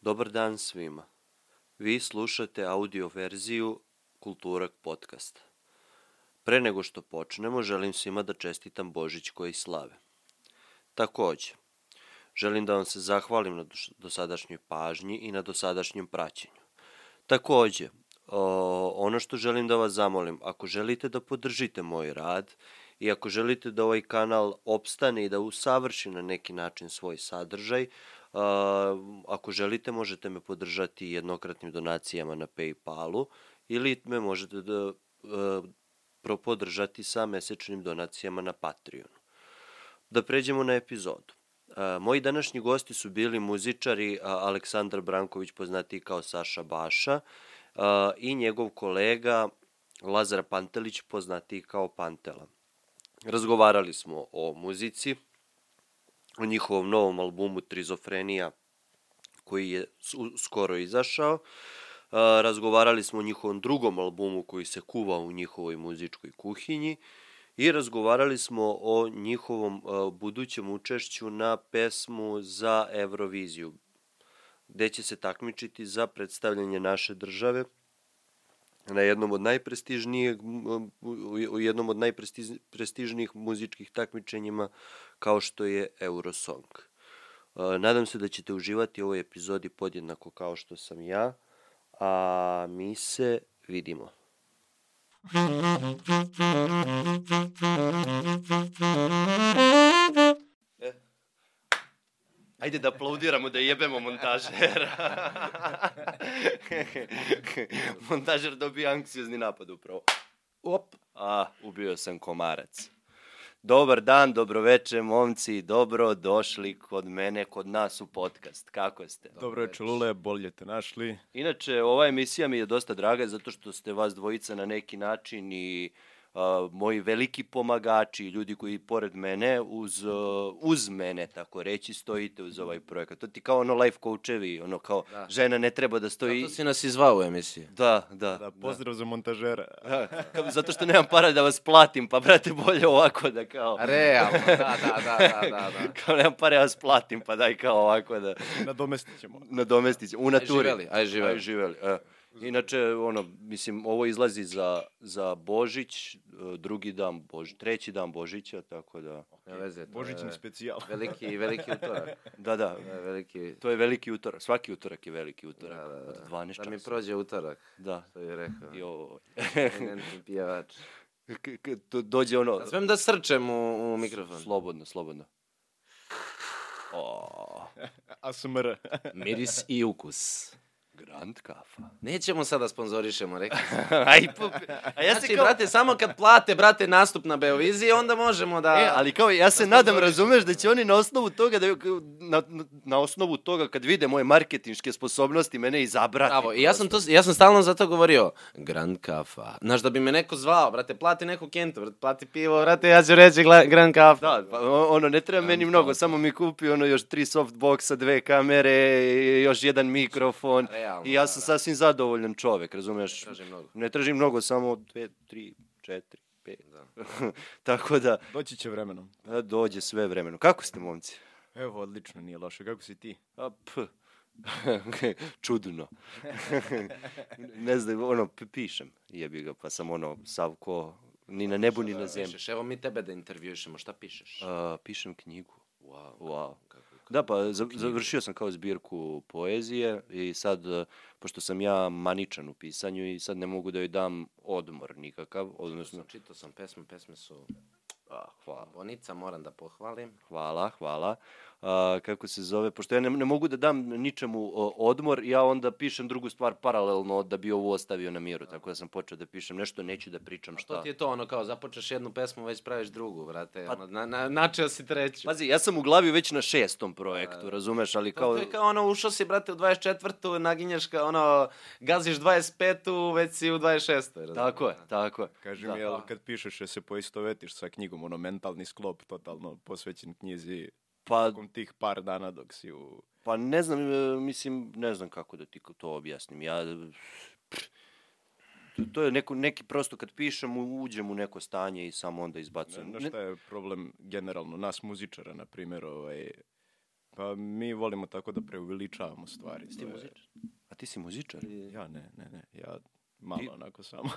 Dobar dan svima. Vi slušate audio verziju Kulturak podcasta. Pre nego što počnemo, želim svima da čestitam Božić koji slave. Takođe, želim da vam se zahvalim na doš- dosadašnjoj pažnji i na dosadašnjem praćenju. Takođe, o, ono što želim da vas zamolim, ako želite da podržite moj rad i ako želite da ovaj kanal opstane i da usavrši na neki način svoj sadržaj, a, ako želite možete me podržati jednokratnim donacijama na Paypalu ili me možete da e, pro- podržati sa mesečnim donacijama na Patreonu. Da pređemo na epizodu. E, Moji današnji gosti su bili muzičari a, Aleksandar Branković, poznati kao Saša Baša, a, i njegov kolega Lazar Pantelić, poznati kao Pantela. Razgovarali smo o muzici, o njihovom novom albumu Trizofrenija, koji je su- skoro izašao. E, Razgovarali smo o njihovom drugom albumu koji se kuva u njihovoj muzičkoj kuhinji i razgovarali smo o njihovom e, budućem učešću na pesmu za Euroviziju, gde će se takmičiti za predstavljanje naše države na jednom od najprestižnijeg m, u- u jednom od najprestižnijih muzičkih takmičenjima kao što je Eurosong. E, Nadam se da ćete uživati u ovoj epizodi podjednako kao što sam ja, a mi se vidimo. E. Ajde da aplaudiramo, da jebemo montažera. Montažer dobija anksiozni napad upravo. Op, a, ubio sam komarac. Dobar dan, dobroveče, momci, dobro došli kod mene, kod nas u podcast. Kako ste? Dobro je Lule, bolje te našli. Inače, ova emisija mi je dosta draga zato što ste vas dvojica na neki način i a, moji veliki pomagači, ljudi koji pored mene, uz, a, uz mene, tako reći, stojite uz ovaj projekat. To ti kao ono life coachevi, ono kao da. žena ne treba da stoji... Zato si nas i zvao u emisiju. Da, da. Da, pozdrav za montažera. Da, kao- zato što nemam para da vas platim, pa brate, bolje ovako da kao... Realno, da, da, da, da, da. da. Kao nemam para da vas platim, pa daj kao ovako da... Nadomestit ćemo. nadomestiće u naturi. živeli, aj živeli. Aj živeli. E. Inače, ono, mislim, ovo izlazi za, za Božić, e, drugi dan Božić, treći dan Božića, tako da... Ne veze, to Božićni je specijal. veliki, veliki utorak. Da, da, To je veliki... to je veliki utorak, svaki utorak je veliki utorak, Da, da, da. od 12 Da časa. mi prođe utorak, Da, što je rekao. i ovo. Eminentni pjevač. K- k- to dođe ono... Da smem da srčem u, u mikrofon. Slobodno, slobodno. O, ASMR. Miris i ukus. grand kafa. Nećemo sada sponzorišemo, rekao. sam. Aj, pa, a ja se Znači, kao... brate, samo kad plate, brate, nastup na Beoviziji, onda možemo da... E, ali kao ja se Da nadam, sponzoriš. razumeš da će oni na osnovu toga da na, na- na osnovu toga kad vide moje marketinške sposobnosti mene izabrati. Bravo, i ja sam, to, ja sam stalno zato govorio, Grand Kafa. Znaš, da bi me neko zvao, brate, plati neku kentu, brate, plati pivo, brate, ja ću reći gla- Grand Kafa. Da, pa o- ono, ne treba meni da- mnogo, samo mi kupi ono još tri softboxa, dve kamere, i još jedan mikrofon Realno, i ja da, sam da. sasvim zadovoljan čovek, razumeš? traži mnogo. Ne tražim mnogo, samo dve, tri, četiri, pet. Tako da, Doći će vremenom. a, dođe sve vremeno. Kako ste, momci? Evo, odlično, nije loše. Kako si ti? A, p. Čudno. ne znam, ono, p- pišem, jebi ga, pa sam ono, sav ko, ni na nebu, ni na zemlji. Pišeš, evo mi tebe da intervjušemo, šta pišeš? A, pišem knjigu. Wow. wow. kako- Da, pa za- završio sam kao zbirku poezije i sad, e, pošto sam ja maničan u pisanju i sad ne mogu da joj dam odmor nikakav, odnosno, Sam čitao sam pesme, pesme su a, hvala. Bonica, moram da pohvalim. Hvala, hvala. A, kako se zove, pošto ja ne, ne mogu da dam ničemu o, odmor, ja onda pišem drugu stvar paralelno da bi ovu ostavio na miru, tako da sam počeo da pišem nešto, neću da pričam Šta? To šta. ti je to ono kao, započeš jednu pesmu, već praviš drugu, brate. Pa... Ono, na, na, načeo si treću. Pazi, ja sam u glavi već na šestom projektu, razumeš, ali Kao... kao... To je kao ono, ušao si, brate, u 24. naginješ kao ono, gaziš 25. već si u 26. razumiješ? Tako je, tako je. Kaži Da. mi, jel kad pišeš, jel se poistovetiš sa knjigom, ono, mentalni sklop, totalno posvećen knjizi, Pa, tokom tih par dana dok si u... pa ne znam, e, mislim, ne znam kako da ti to objasnim. Ja, pff, to- to je neko, neki prosto kad pišem, u- uđem u neko stanje i samo onda Na, izbacujem. na Ne- šta je problem generalno nas muzičara, na primjer, ovaj, pa Pa mi volimo tako da preuveličavamo stvari. Jesi ti to je- muzičar? A ti si muzičar? Ja ne, ne, ne. Ja malo Ti- onako samo.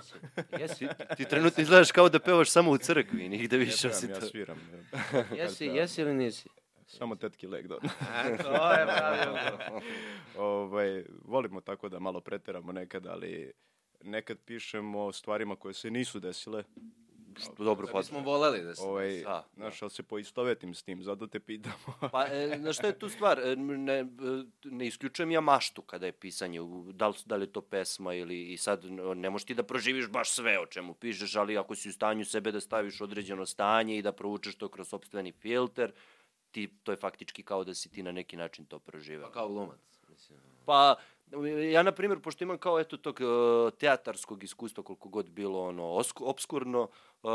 Jesi, ti trenutno izgledaš kao da pevaš samo u crkvi, nigde Ne više osim pevam, ja to. sviram. da. Kad Jesi, pevam. jesi ili nisi? Samo tetki leg da. to je pravilno. ovaj, volimo tako da malo preteramo nekad, ali nekad pišemo o stvarima koje se nisu desile. Dobro, Da pa... bismo voleli da se... Ovaj, Da, da. znaš, ali se poistovetim s tim, zato te pitamo. Pa, e, na što je tu stvar? E, m, Ne, e, ne isključujem ja maštu kada je pisanje, u- da li, da li je to pesma ili i sad n- ne možeš ti da proživiš baš sve o čemu pišeš, ali ako si u stanju sebe da staviš u određeno stanje i da proučeš to kroz sobstveni filter, ti, to je faktički kao da si ti na neki način to proživeo. Pa kao glumac. Mislim. Pa, ja, na primjer, pošto imam kao eto tog e, teatarskog iskustva, koliko god bilo ono osku- obskurno, e,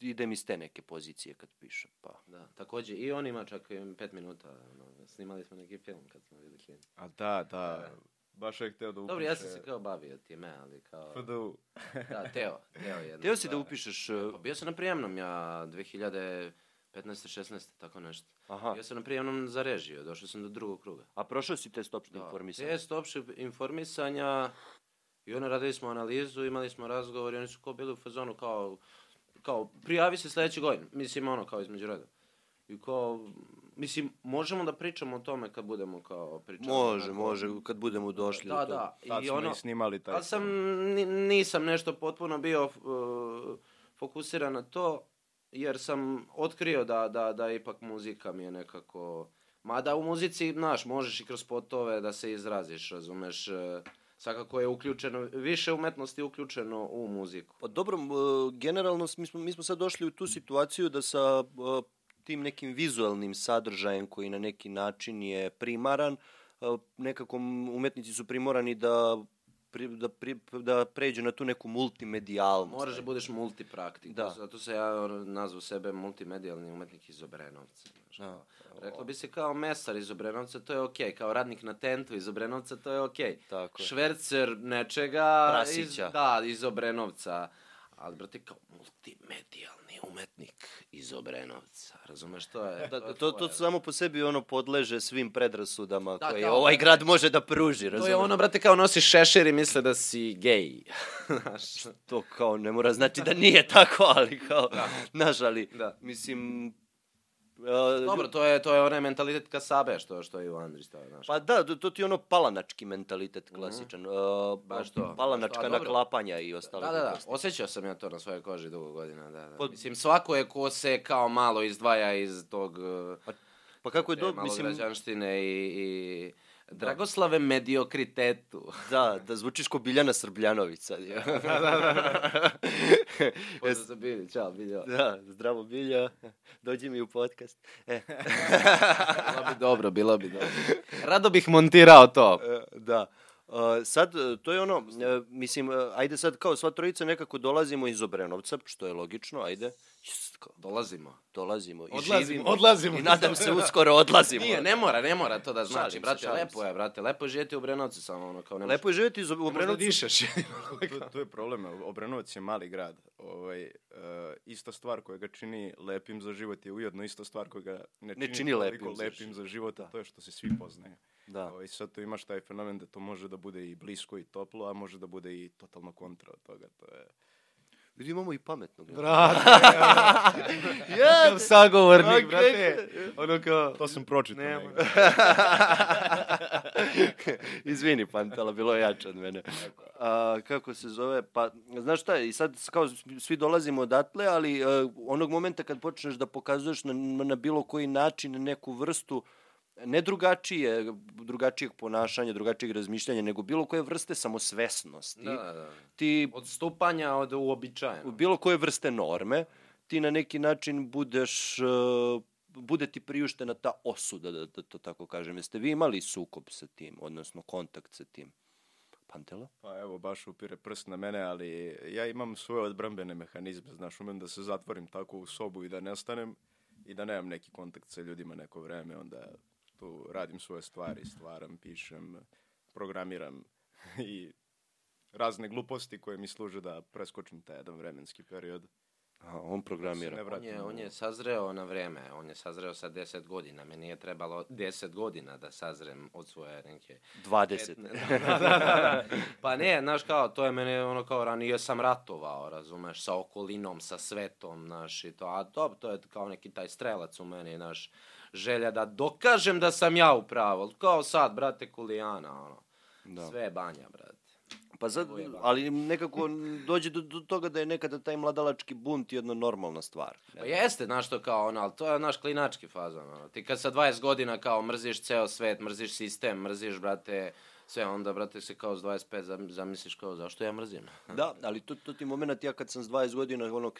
idem iz te neke pozicije kad pišem. Pa. Da, takođe i on ima čak i pet minuta. Ono, snimali smo neki film kad smo bili klinci. A da, da, baš je hteo da upiše. Dobro, ja e, sam se kao bavio time, ali kao... FDU. Da, Teo. Teo je. Teo si da upišeš... e, Pa bio sam na prijemnom ja 2015. 16. tako nešto. Aha. Bio sam na prijemnom za režiju, došao sam do drugog kruga. A prošao si test Da. opšte informisanja? Test opšteg informisanja i onda radili smo analizu, imali smo razgovor i oni su kao bili u fazonu kao, kao prijavi se sledeće godine. Mislim ono kao između reda. I kao, mislim, možemo da pričamo o tome kad budemo kao pričali. Može, može, kad budemo došli do Da, toga. da. Tad I smo ono, i snimali taj. ali sam, ni- nisam nešto potpuno bio uh, fokusiran na to, jer sam otkrio da, da, da ipak muzika mi je nekako... Mada u muzici, znaš, možeš i kroz spotove da se izraziš, razumeš? e, Svakako je uključeno, više umetnosti je uključeno u muziku. Pa dobro, m, e, generalno s- mi smo, mi smo sad došli u tu situaciju da sa e, tim nekim vizualnim sadržajem koji na neki način je primaran, e, nekako m, umetnici su primorani da pri, da, pri, da pređu na tu neku multimedijalnost. Moraš da budeš multipraktik. Da. Da. Zato se ja ono, nazvao sebe multimedijalni umetnik iz Obrenovca. Znaš. Da. Reklo bi se kao mesar iz Obrenovca, to je okej. Kao radnik na tentu iz Obrenovca, to je okej. Tako je. Švercer nečega... Prasića. Iz, da, iz Obrenovca. Ali, brate, kao multimedijalni umetnik iz Obrenovca. Razumeš, E, to je... Da, je to, to tvoje, samo po sebi ono podleže svim predrasudama Da, koje kao- ovaj grad može da pruži, To je razumiješ? ono, brate, kao nosiš šešir i misle da si gej. Znaš, to kao ne mora znači da nije tako, ali kao, znaš, ali, Da. mislim... Uh, Dobro, to je, to je onaj mentalitet kasabe što, što je Ivo Andrić stavio, znaš. Pa da, to, to ti je ono palanački mentalitet klasičan. Mm -hmm. uh, Baš to. Palanačka Mhm. Pa, dobro. naklapanja i ostalo. Da, da, da, gluposti. osjećao sam ja to na svojoj koži dugo godina, da, da. Pa- Mislim, svako je ko se kao malo izdvaja iz tog... Pa Pa kako je dobro, mislim... mislim, građanštine i, i Dragoslave mediokritetu. da, da zvučiš ko Biljana Da, Srbljanović sad. Ja. Pozdrav za Bilju, čao Biljo. da, zdravo Bilja, dođi mi u podcast. E, Bilo bi dobro, bilo bi dobro. Rado bih montirao to. E, da. Uh, sad, e, to je ono, e, mislim, e, ajde sad kao sva trojica nekako dolazimo iz Obrenovca, što je logično, ajde. Just, kao, Dolazimo. dolazimo i Odlazimo, živimo. odlazimo. I nadam se uskoro odlazimo. Nije, ne mora, ne mora to da znači, Šalim se, brate, šalim lepo je, brate, lepo je živjeti u Brenovcu samo ono, kao ne Lepo je živjeti iz- u Obrenovcu. dišeš. to, to je problem, Obrenovac je mali grad. Ovaj, e, ista stvar koja ga čini lepim za život je ujedno ista stvar koja ga ne čini, čini lepim toliko za lepim život. za život, Da. a to je što se svi poznaju. Da. Ovaj, sad tu imaš taj fenomen da to može da bude i blisko i toplo, a može da bude i totalno kontra od toga. To je... Vidi, imamo i pametnog. Brate, Ja, sagovornik, Ok. brate. Ono kao... To sam pročitao. Nema. negde. Izvini, Pantala, bilo je jače od mene. A, kako se zove? Pa, znaš šta, i sad kao svi dolazimo odatle, ali e, onog momenta kad počneš da pokazuješ na, na bilo koji način neku vrstu ne drugačije, drugačijeg ponašanja, drugačijeg razmišljanja, nego bilo koje vrste samosvesnosti. Da, da, da. Ti Odstupanja od uobičajenog. bilo koje vrste norme, ti na neki način budeš, e, bude ti priuštena ta osuda, da, da to tako kažem. Jeste vi imali sukob sa tim, odnosno kontakt sa tim? Pantela? Pa evo, baš upire prst na mene, ali ja imam svoje odbrambene mehanizme, znaš, umem da se zatvorim tako u sobu i da nestanem i da nemam neki kontakt sa ljudima neko vreme, onda tu radim svoje stvari, stvaram, pišem, programiram i razne gluposti koje mi služe da preskočim taj jedan vremenski period A, on programira. Ne On vratim. je, on Da. je sazreo na vrijeme, on je sazreo sa 10 godina. Meni je trebalo 10 godina da sazrem od svoje neke 20. Da, da, da. Pa ne, znaš kao, to je mene ono kao ranije sam ratovao, razumeš, sa okolinom, sa svetom, znaš, i to, a to, to je kao neki taj strelac u meni, znaš, želja da dokažem da sam ja u pravu, ali kao sad, brate, kulijana, ono, Da. sve je banja, brate. Pa sad, Ovo je baš. ali nekako dođe do, do toga da je nekada taj mladalački bunt jedna normalna stvar. Pa jeste, znaš to kao ono, ali to je naš klinački fazon, ono. Ti kad sa 20 godina kao mrziš ceo svet, mrziš sistem, mrziš, brate, sve, onda, brate, se kao s 25 zam- zamisliš kao, zašto ja mrzim? Da, ali to, to ti moment, ja kad sam s 20 godina ono,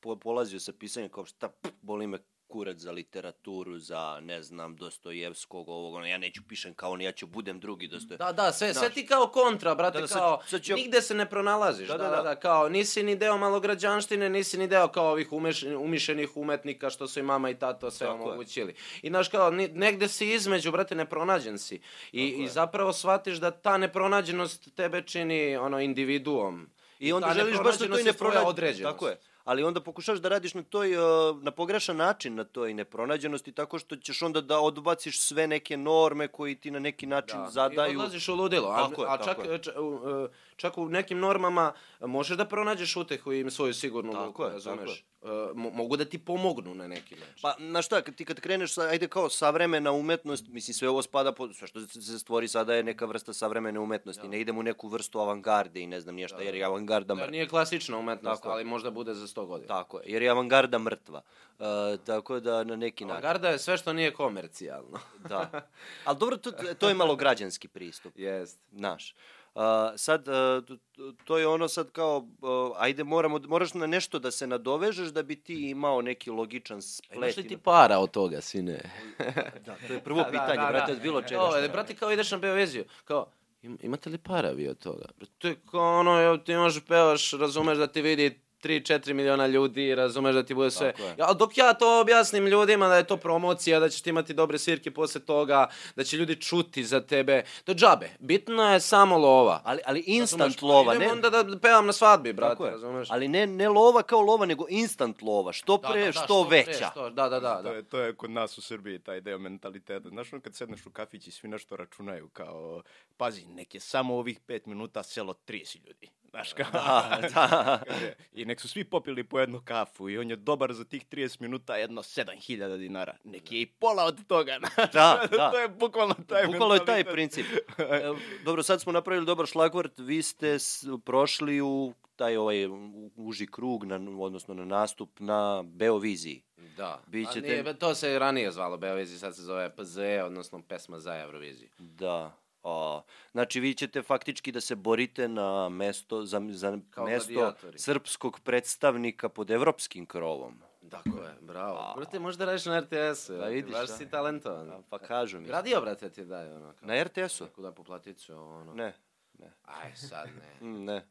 po- polazio sa pisanjem kao šta, pff, boli me kurac za literaturu, za ne znam, Dostojevskog, ovog, ono, ja neću pišem kao on, ja ću budem drugi Dostojevski. Da, da, sve, sve Znaš. ti kao kontra, brate, Da, da, sad- kao, sad ću ja- nigde se ne pronalaziš, da da, da, kao, nisi ni deo malograđanštine, nisi ni deo kao ovih umeš, umišljenih umetnika što su i mama i tato sve Tako je. omogućili. I znaš kao, ni, negde si između, brate, nepronađen si. I, i zapravo shvatiš da ta nepronađenost tebe čini, ono, individuum. I onda ta želiš baš da to i nepronađenost ne je tvoja pronađe. određenost. Tako je. Ali onda pokušaš da radiš na toj, e, na pogrešan način na toj nepronađenosti, tako što ćeš onda da odbaciš sve neke norme koji ti na neki način Da. I zadaju. odlaziš u ludilo. A, Tako je, a tako čak, je. ča- u, e, čak u nekim normama možeš da pronađeš utehu i svoju sigurnu Tako luku, je, razumeš? E, mo- mogu da ti pomognu na neki način. Pa, na šta, kad ti kad kreneš, sa, ajde kao savremena umetnost, mislim sve ovo spada, po, sve što se stvori sada je neka vrsta savremene umetnosti, ne idem u neku vrstu avangarde i ne znam nije šta, jer je avangarda Da, mrtva. nije klasična umetnost, Tako je. ali možda bude za 100 godina. Tako je, jer je avangarda mrtva. E, tako da na neki način. Avangarda je sve što nije komercijalno. Da. Ali dobro, to, to je malo građanski pristup. Jest. naš. A, sad, a, t- t- to je ono sad kao, a, ajde, moramo, moraš na nešto da se nadovežeš da bi ti imao neki logičan splet. Imaš E, li i ti para od toga, sine? Da, to je prvo pitanje, da. brate, od bilo čega. Kao, brate, kao ideš na Beoviziju, kao, "Im- imate li para vi od toga? To je kao ono, evo, ti možeš pevaš, razumeš da ti vidi 3-4 miliona ljudi, razumeš da ti bude sve. Tako je. Ja, dok ja to objasnim ljudima da je to promocija, da ćeš ti imati dobre svirke posle toga, da će ljudi čuti za tebe, to je džabe. Bitna je samo lova. Ali, ali instant Razumeš? Pa lova, idem ne? onda da pevam na svadbi, brate, Tako je. razumeš? Da, Ali ne, ne lova kao lova, nego instant lova. Što pre, što, veća. što- da, da, da. To da. je, to je kod nas u Srbiji taj deo mentaliteta. Znaš ono kad sedneš u kafić i svi nešto računaju kao, pazi, nek je samo ovih pet minuta selo 30 ljudi. Znaš kao, Da, da. Kaže, I nek su svi popili po jednu kafu i on je dobar za tih 30 minuta jedno 7000 dinara. Nek je i pola od toga. znaš. Da, da. to je bukvalno taj Bukvalo je taj mentalitet. princip. E, Dobro, sad smo napravili dobar šlagvort. Vi ste s- prošli u taj ovaj u- uži krug, na, odnosno na nastup na Beoviziji. Da. Bit A ćete- nije, to se i ranije zvalo Beovizija, sad se zove PZ, odnosno pesma za Euroviziju. Da. A, znači, vi ćete faktički da se borite na mesto, za, za Kao mesto gladijatori. srpskog predstavnika pod evropskim krovom. Tako je, bravo. Brate, možda radiš na RTS-u, da vidiš, baš a? si talentovan. A, Pa kažu mi. Radio, brate, ti daj, ono, kao, Na RTS-u? neku da poplaticu, ono. Ne. Aj, sad ne. Mm, Ne.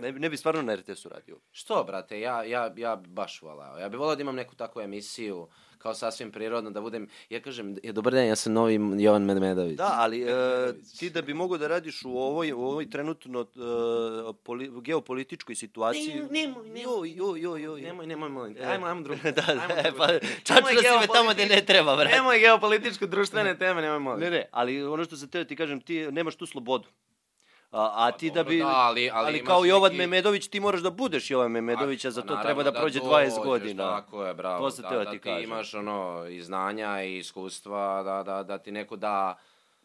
Ne, bi- ne bi stvarno na RTS-u radio. Što, brate, ja, ja, ja bi baš volao. Ja bih volao da imam neku takvu emisiju, kao sasvim prirodno, da budem, ja kažem, je, dobar dan, ja sam novi Jovan Medmedović. Da, ali e, ti da bi mogao da radiš u ovoj, u ovoj trenutno e, poli- geopolitičkoj situaciji... Ne, nemoj, nemoj. Jo, jo, jo, jo. Nemoj, nemoj, molim te. E, Ajmo, ajmo drugu. da, Ajmo da, drugu. pa, Nemoj čačila si me tamo gde geopolitički- ne treba, brate. Nemoj geopolitičko-društvene teme, nemoj molim. Ne, ne, ali ono što sam teo da ti kažem, ti nemaš tu slobodu. A, a ti da dobro, bi... da, ali- ali imaš kao Jovan neki- Memedović, ti moraš da budeš Jovan Memedović, a za Pa to treba naravno da, prođe dođeš, 20 godina. Tako je, bravo. To sam da, teo da ti ti kažem. imaš ono, i znanja i iskustva, da, da, da ti neko da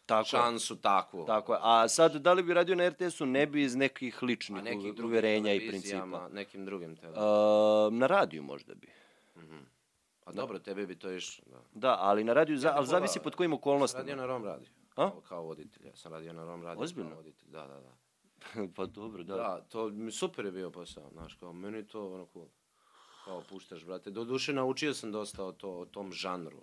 Tako je. šansu takvu. Tako je. A sad, da li bi radio na RTS-u? Ne bi iz nekih ličnih A nekim drugim uverenja i televizijama, da. principa. Nekim drugim televizijama. E, na radiju možda bi. A Pa dobro, tebi bi to išlo. Da. Da, ali na radiju, za, ali volao, zavisi da. pod kojim Radio okolnostima. na Rom radio. A? Kao, kao voditelj. Ja sam radio na Rom radio. Ozbiljno? Kao voditelj. Da, da, da. pa dobro, da. Da, to mi super je bio posao, znaš, kao meni je to ono cool. Kao puštaš, brate. Doduše naučio sam dosta o, to, o tom žanru.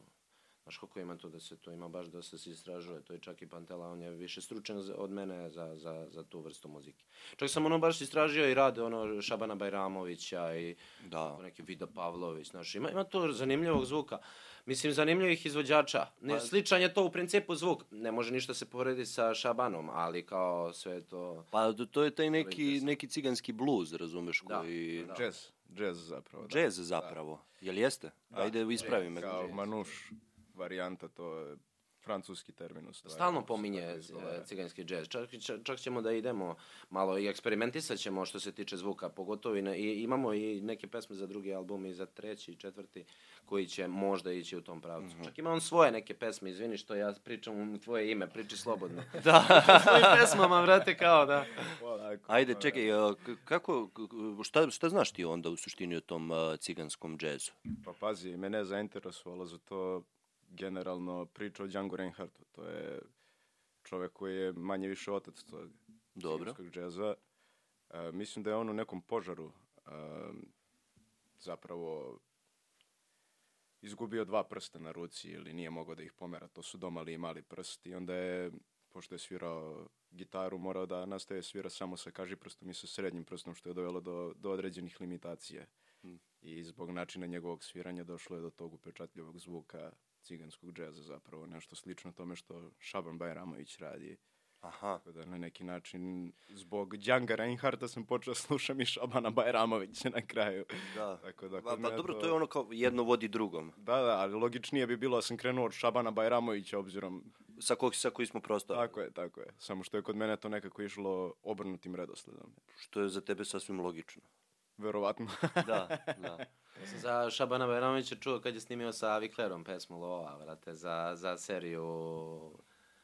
Znaš koliko ima tu da se to ima baš da se se istražuje, to je čak i Pantela, on je više stručan za- od mene za, za, za tu vrstu muzike. Čak sam ono baš istražio i rade ono Šabana Bajramovića i Da. tako neki Vida Pavlović, znaš, ima, ima tu zanimljivog zvuka. Mislim, zanimljivih izvođača. Ne, sličan je to u principu zvuk. Ne može ništa se porediti sa Šabanom, ali kao sve je to... Pa do- to je taj neki, interesno. neki ciganski bluz, razumeš, Da, koji... da. Jazz, jazz zapravo. Da. Jazz zapravo. Jel jeste? Ajde, ispravi me. E, Kao manuš varijanta, to je francuski termin u stvari. Stalno kako se pominje tako izgovara. e, ciganski džez. Čak, čak- čak ćemo da idemo malo i eksperimentisat ćemo što se tiče zvuka, pogotovo i, na, i imamo i neke pesme za drugi album i za treći i četvrti koji će možda ići u tom pravcu. Čak ima on svoje neke pesme, izvini što ja pričam u tvoje ime, priči slobodno. Da. U svojim pesmama, vrate, kao da. Polako, Ajde, ma, čekaj, a, k- kako, k- k- šta, šta znaš ti onda u suštini o tom a, ciganskom džezu? Pa pazi, mene je zainteresovalo za to generalno priča o Django Reinhardtu. To je čovek koji je manje više otac tog Dobro. ciganskog džeza. E, mislim da je on u nekom požaru e, zapravo izgubio dva prsta na ruci ili nije mogao da ih pomera. To su domali i mali prst i onda je, pošto je svirao gitaru, morao da nastaje svira samo sa kaži prstom i sa srednjim prstom, što je dovelo do, do određenih limitacija. I zbog načina njegovog sviranja došlo je do tog upečatljivog zvuka ciganskog džeza zapravo, nešto slično tome što Šaban Bajramović radi. Aha. Tako da na neki način zbog Djanga Reinharta sam počeo da slušam i Šabana Bajramovića na kraju. Da. Tako da, kod Pa, pa mene dobro, to je ono kao jedno vodi drugom. Da, da, ali logičnije bi bilo da sam krenuo od Šabana Bajramovića obzirom... Sa kog, sa koji smo prostora. Tako je, tako je. Samo što je kod mene to nekako išlo obrnutim redosledom. Što je za tebe sasvim logično. Verovatno. Da, da. Ja sam za Šabana Bajramovića čuo kad je snimio sa Aviklerom pesmu Lova, vrate, za, za seriju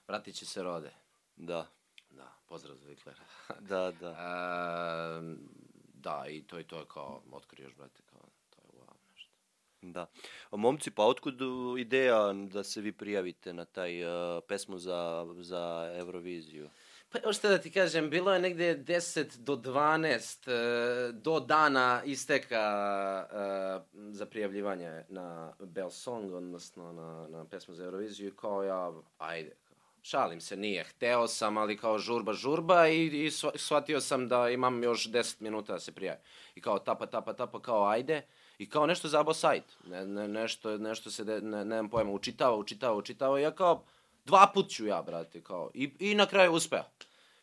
Vratit će se rode. Da, Da, pozdrav za Aviklera. da, da. Ehm, da, i to i to je kao, otkriješ, brate, kao, to je wow, nešto. da. A Momci, pa otkud uh, ideja da se vi prijavite na taj uh, pesmu za, za Euroviziju? Pa evo šta da ti kažem, bilo je negde 10 do 12 e, do dana isteka e, za prijavljivanje na Belsong, odnosno na, na pesmu za Euroviziju i kao ja, ajde, šalim se, nije, hteo sam, ali kao žurba, žurba i, i shva- shvatio sam da imam još 10 minuta da se prijavim. I kao tapa, tapa, tapa, kao ajde, I kao nešto zabo sajt, ne, ne, nešto, nešto se, de, ne, nemam pojma, učitava, učitava, učitava, i ja kao, dva put ću ja, brate, kao, i, i na kraju uspeo.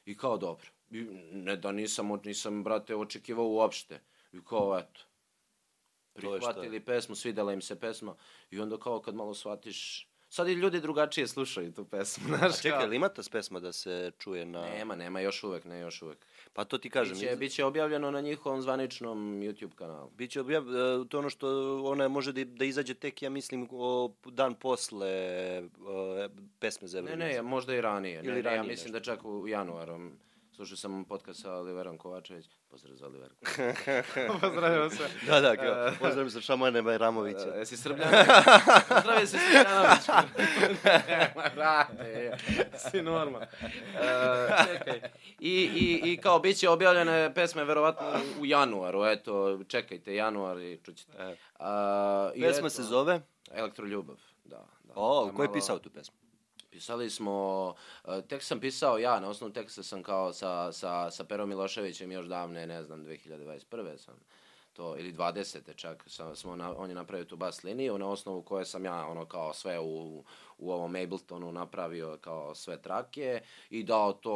I kao, dobro, I, ne da nisam, o- nisam, brate, očekivao uopšte. I kao, eto, To je šta je. prihvatili pesmu, svidela im se pesma, i onda kao kad malo shvatiš, sad i ljudi drugačije slušaju tu pesmu, A znaš, čekaj, kao. ali ima ta pesma da se čuje na... Nema, nema, još uvek, ne, još uvek. Pa to ti kažem. Biće, biće objavljeno na njihovom zvaničnom YouTube kanalu. Biće objav, e, to je ono što ona može da, da izađe tek, ja mislim, o, dan posle e, pesme za Ne, Euroviziju. ne, možda i ranije. Ili Ili ne, ranije ja ranije mislim da čak u januaru. Slušao sam podcast sa Oliverom Kovačević. Pozdrav za Oliver. Pozdravljamo se. Da, da, kao, E. pozdravim sa Šamane Bajramovića. Jesi Srbljanović? Pozdrav se Srbljanović. Brate, si normal. E, čekaj. I, i, I kao bit će objavljene pesme verovatno u januaru. Eto, čekajte januar i čućete. E. A, i Pesma eto, se zove? Elektroljubav. Da, da. O, Da ko je malo- pisao tu pesmu? Pisali smo, e, tekst sam pisao ja, na osnovu teksta sam kao sa, sa, sa Perom Miloševićem još davne, ne znam, 2021. sam to, ili 20. čak, sam, smo na, on je napravio tu bas liniju, na osnovu koje sam ja, ono, kao sve u, u ovom Abletonu napravio kao sve trake i dao to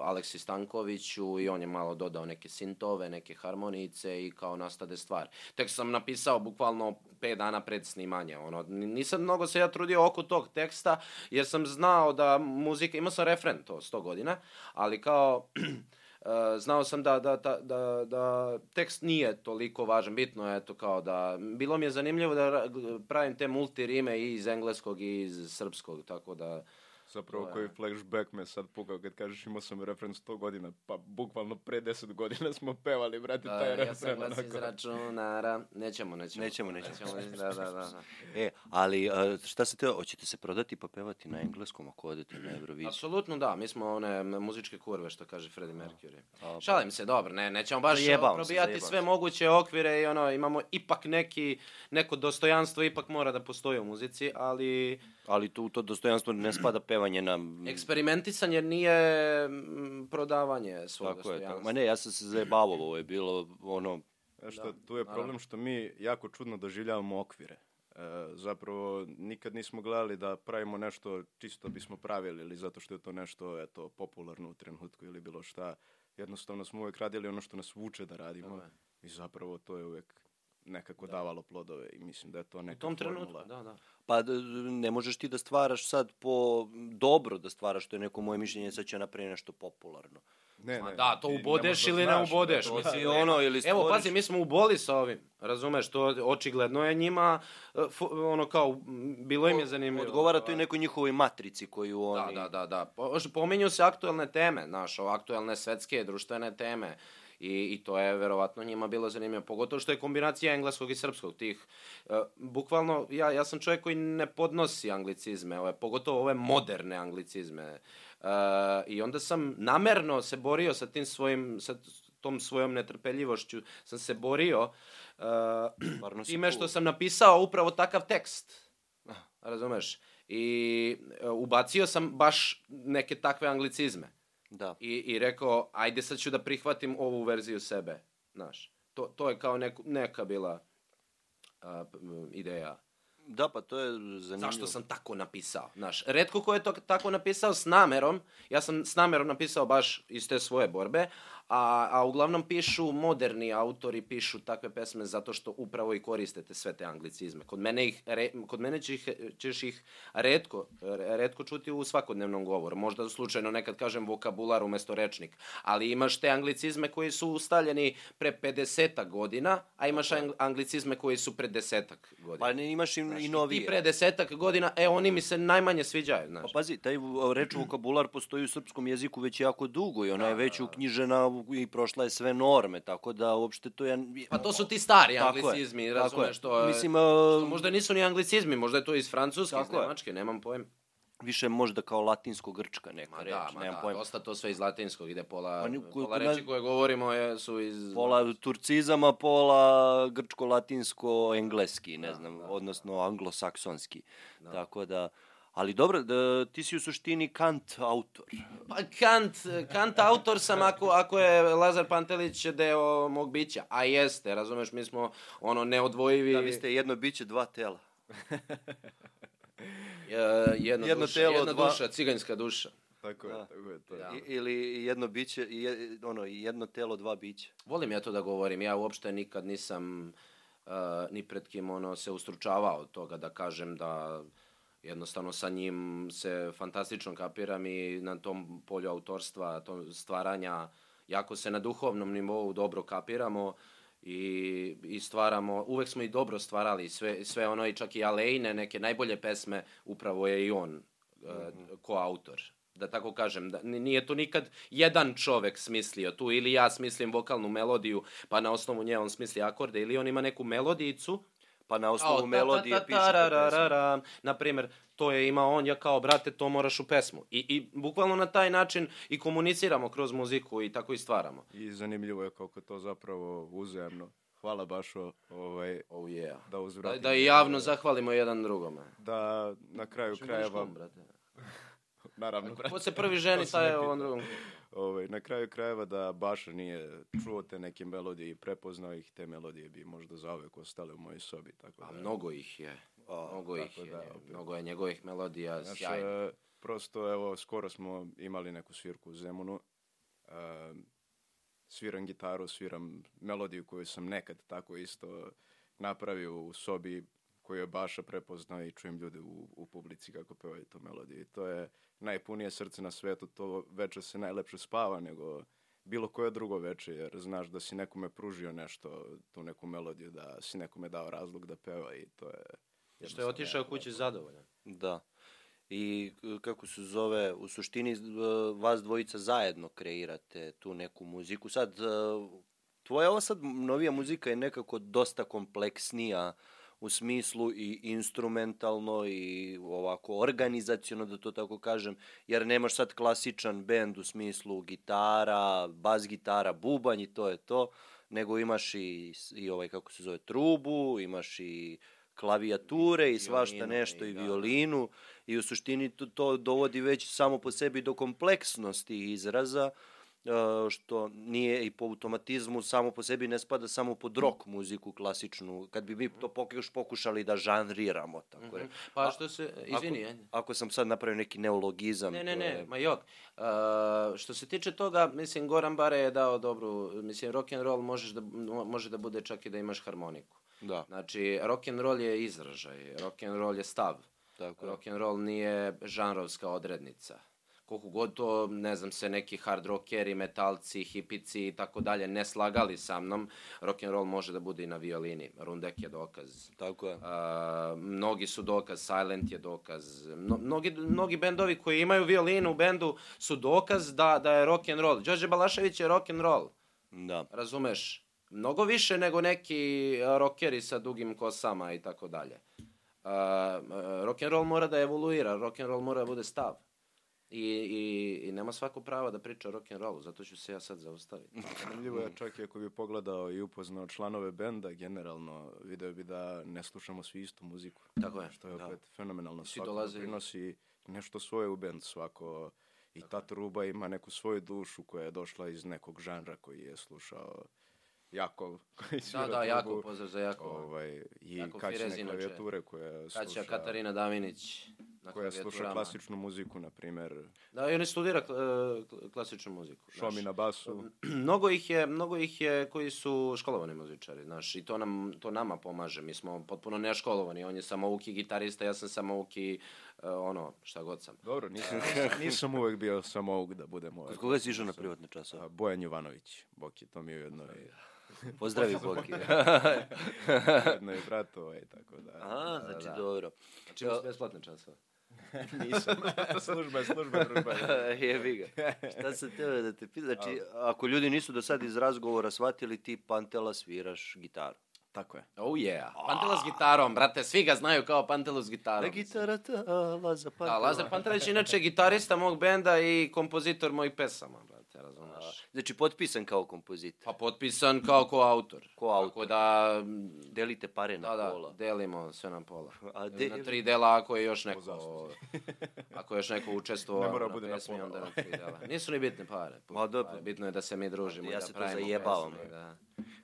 e, Aleksi Stankoviću i on je malo dodao neke sintove, neke harmonice i kao nastade stvar. Tekst sam napisao bukvalno 5 dana pred snimanje, ono, n- nisam mnogo se ja trudio oko tog teksta, jer sam znao da muzika, imao sam refren to 100 godina, ali kao e, znao sam da, da, da, da, da tekst nije toliko važan, bitno je to kao da, bilo mi je zanimljivo da ra- pravim te multirime i iz engleskog i iz srpskog, tako da Zapravo To je- koji flashback me sad pukao kad kažeš imao sam referenc 100 godina, pa bukvalno pre 10 godina smo pevali, brate, Da, taj ja sam refren. glas iz onako. računara. Nećemo, nećemo. Nećemo, nećemo. da, da, da, da. E, ali a, šta se te, hoćete se prodati pa pevati na engleskom ako odete na Euroviziju? Apsolutno da, mi smo one m, muzičke kurve što kaže Freddie Mercury. A, pa- Šalim se, dobro, ne, nećemo baš Zajebao se, probijati zajebao sve se. moguće okvire i ono, imamo ipak neki, neko dostojanstvo ipak mora da postoji u muzici, ali Ali tu u to dostojanstvo ne spada pevanje na... eksperimentisanje nije mm, prodavanje svog Tako je, dostojanstva. tako. Ma ne, ja sam se zajebavao, ovo je bilo ono... Znaš šta, da, tu je problem što mi jako čudno doživljavamo okvire. E, zapravo nikad nismo gledali da pravimo nešto čisto bismo pravili ili zato što je to nešto eto, popularno u trenutku ili bilo šta. Jednostavno smo uvek radili ono što nas vuče da radimo Tako je. i zapravo to je uvek nekako davalo plodove i mislim da je to neka U tom formula. trenutku, da, da. Pa d- ne možeš ti da stvaraš sad po dobro da stvaraš, to je neko moje mišljenje, sad će napravi nešto popularno. Ne, Ma ne, da, to ti ubodeš možda ili ne znaš da ubodeš. to- mislim, i nema. ono, ili Evo, stvoriš- pazi, mi smo u boli sa ovim. Razumeš, to očigledno je njima, e, fu- ono kao, m, bilo im je zanimljivo. pa, ovaj. Odgovara to i nekoj njihovoj matrici koju Da, oni... da, da, da. Po- Pominju se aktuelne teme, znaš, o, aktuelne svetske, društvene teme. I, I to je verovatno njima bilo zanimljivo, pogotovo što je kombinacija engleskog i srpskog tih. E, bukvalno, ja, ja sam čovjek koji ne podnosi anglicizme, ove, pogotovo ove moderne anglicizme. E, I onda sam namerno se borio sa tim svojim, sa tom svojom netrpeljivošću, sam se borio e, Stvarno si time što cool. sam napisao upravo takav tekst. Razumeš? I e, ubacio sam baš neke takve anglicizme. Da. I, I rekao, ajde sad ću da prihvatim ovu verziju sebe. Znaš, to, to je kao neku, neka bila a, p- m, ideja. da, pa to je zanimljivo. Zašto sam tako napisao? Znaš, redko ko je to tako napisao s namerom, ja sam s namerom napisao baš iz te svoje borbe, a, a uglavnom pišu moderni autori, pišu takve pesme zato što upravo i koriste te sve te anglicizme. Kod mene, ih, re, kod mene će ih, ćeš ih redko, re- redko čuti u svakodnevnom govoru. Možda slučajno nekad kažem vokabular umesto rečnik, ali imaš te anglicizme koji su ustaljeni pre 50 godina, a imaš ang- anglicizme koji su pre desetak godina. Pa ne, imaš i, i Novi. novije. Ti pre desetak godina, e, oni mi se najmanje sviđaju, Pa znaš. pazi, taj vo- reč vokabular postoji u srpskom jeziku već jako dugo i Da, ona je već uknjižena u- i prošla je sve norme, tako da uopšte to je... Pa to su ti stari Tako je, anglicizmi, tako je. razumeš što... Mislim, Mislim, a- možda nisu ni anglicizmi, možda je to iz francuske, iz Tako je. nemačke, nemam pojma. Više možda kao latinsko-grčka neka Ma reč, da, ma nemam da, pojma. dosta to sve iz latinskog ide pola, Pa ni- ko- pola kod nas- reči koje govorimo je, su iz... Pola turcizama, pola grčko-latinsko-engleski, Da, ne znam, odnosno anglosaksonski. Tako da, ali dobro, da, ti si u suštini kant autor. Pa Kant, Kant autor sam ako, ako je Lazar Pantelić deo mog bića, a jeste, razumeš, mi smo ono neodvojivi... Da, vi ste jedno biće, dva tela. e, jedno, jedno duša, telo, jedna dva- duša, ciganska duša. Tako je, Da. tako je. To. je. Da. I, ili jedno biće, i je, ono, jedno telo, dva bića. Volim ja to da govorim, ja uopšte nikad nisam uh, ni pred kim ono, se ustručavao od toga da kažem da jednostavno sa njim se fantastično kapiram i na tom polju autorstva, to stvaranja, jako se na duhovnom nivou dobro kapiramo i, i stvaramo, uvek smo i dobro stvarali sve, sve ono i čak i Alejne, neke najbolje pesme, upravo je i on mm ko autor da tako kažem, da, n- nije to nikad jedan čovek smislio tu, ili ja smislim vokalnu melodiju, pa na osnovu nje on smisli akorde, ili on ima neku melodijicu, Pa na kao osnovu ta- ta- melodije ta- piše tarararara. Na primjer, to je ima on, ja kao, brate, to moraš u pesmu. I, I bukvalno na taj način i komuniciramo kroz muziku i tako i stvaramo. I zanimljivo je koliko je to zapravo uzajamno. Hvala Bašo ovaj, Oh yeah. da Da, uzvratimo. da i javno zahvalimo jedan drugome. da na kraju krajeva, Krajeva. brate. naravno, Ko se prvi ženi, taj je on drugom. ovaj, na kraju krajeva da Bašo nije čuo te neke melodije i prepoznao ih, te melodije bi možda zauvek ostale u mojoj sobi. Tako da, A Pa mnogo ih je. Mnogo ih tako je. da, opet. mnogo je njegovih melodija. Znaš, sjajno. e, prosto, evo, skoro smo imali neku svirku u Zemunu. E, sviram gitaru, sviram melodiju koju sam nekad tako isto napravio u sobi koju je Baša prepoznao i čujem ljude u, u publici kako pevaju tu melodiju. I to je najpunije srce na svetu, to večer se najlepše spava nego bilo koje drugo veče, jer znaš da si nekome pružio nešto, tu neku melodiju, da si nekome dao razlog da peva i to je... Što je otišao kući zadovoljan. Da. i e, kako se zove, u suštini e, vas dvojica zajedno kreirate tu neku muziku. Sad, e, tvoja ova sad novija muzika je nekako dosta kompleksnija u smislu i instrumentalno i ovako organizaciono, da to tako kažem, jer nemaš sad klasičan bend u smislu gitara, bas gitara, bubanj i to je to, nego imaš i, i ovaj, kako se zove, trubu, imaš i klavijature i svašta Violinu nešto i i da. violinu i u suštini to, to dovodi već samo po sebi do kompleksnosti izraza e, što nije i po automatizmu samo po sebi ne spada samo pod rock muziku klasičnu kad bi mi to pok- još pokušali da žanriramo tako re. Pa A- što se, izvini, ako, ajde. ako sam sad napravio neki neologizam Ne, ne, to ne, je- ma jok. Uh, što se tiče toga, mislim, Goran Bare je dao dobru, mislim, rock and roll možeš da, mo- može da bude čak i da imaš harmoniku. da Znači, rock and roll je izražaj, rock and roll je stav. tako je. Rock and roll nije žanrovska odrednica. Koliko god to, ne znam, se neki hard rockeri, metalci, hipici i tako dalje ne slagali sa mnom, rock and roll može da bude i na violini. Rundek je dokaz. tako je A, mnogi su dokaz, Silent je dokaz. Mno, mnogi, mnogi bendovi koji imaju violinu u bendu su dokaz da, da je rock and roll. Đorđe Balašević je rock and roll, da razumeš? Mnogo više nego neki a, rockeri sa dugim kosama i tako dalje. A, a, Rock and roll mora da evoluira, rock and roll mora da bude stav. I, i, I nema svako prava da priča o rock and rollu, zato ću se ja sad zaustaviti. Zanimljivo Mm. je čak i ako bi pogledao i upoznao članove benda, generalno video bi da ne slušamo svi istu muziku. Tako je, Što je da. opet fenomenalno. Svi Svako dolaze- dolaze... prinosi nešto svoje u bend, svako i ta truba ima neku svoju dušu koja je došla iz nekog žanra koji je slušao Jakov. Koji svira Da, da, trubu. jako, pozdrav za jako. Ovaj, I Jakov Firez kaćene inače. klavijature koja Kaća sluša, Katarina Davinić. na koja sluša klavijaturama. klasičnu muziku, na primer Da, i oni studira kla- e, klasičnu muziku. znaš. Šomi na basu. Mnogo ih je, mnogo ih je koji su školovani muzičari, znaš, i to nam to nama pomaže. Mi smo potpuno neškolovani, on je samouki gitarista, ja sam samouki e, ono, šta god sam. Dobro, nisam, nisam uvek bio samo ovog da budem ovaj. kod koga si išao na privatne časove A, Bojan Jovanović, Boki, to mi je jedno i, pozdravi Boki jedno i brat, ovaj, tako da. a znači dobro Znači, imam besplatne časove. Nisam. služba, služba, družba. Jebi ga. Šta sam teo da te pita? Znači, ako ljudi nisu do sad iz razgovora shvatili, ti Pantela sviraš gitaru. Tako je. Oh yeah. Pantela s gitarom, brate, svi ga znaju kao Pantela s gitarom. Na gitara ta, Laza Pantela. Da, Lazar Pantelić je inače gitarista mog benda i kompozitor mojih pesama, brate, razumeš? Znači, potpisan kao kompozitor. Pa potpisan kao koautor. Koautor. Tako da, m, Delite pare na da, da, pola. delimo sve na pola. A De... de- Na tri dela ako je još neko... ako je još neko učestvovao Ne mora na bude na pesmi, pola. onda na tri dela. Nisu ni bitne pare. Ma dobro. Bitno je da se mi Ja družimo. i da se tu pravimo zajebavam, pesme, bre. Da.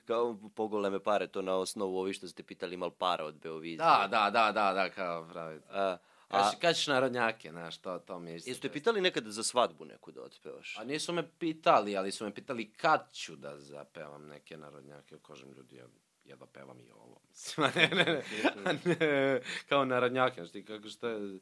Kao pogoleme pare, to na osnovu ovi što ste pitali, mal para od Beovizije. da, da, da, da, da, kao pravi. A, a Kaš, kaš narodnjake, znaš, to, to mi je isto. jeste pitali nekada za svadbu neku da otpevaš? A nisu me pitali, ali su me pitali kad ću da zapevam neke narodnjake. Kažem, ljudi, ja, ja da pevam i ovo. Mislim, a ne, ne, ne, a ne, kao narodnjake, znaš ti kako što je...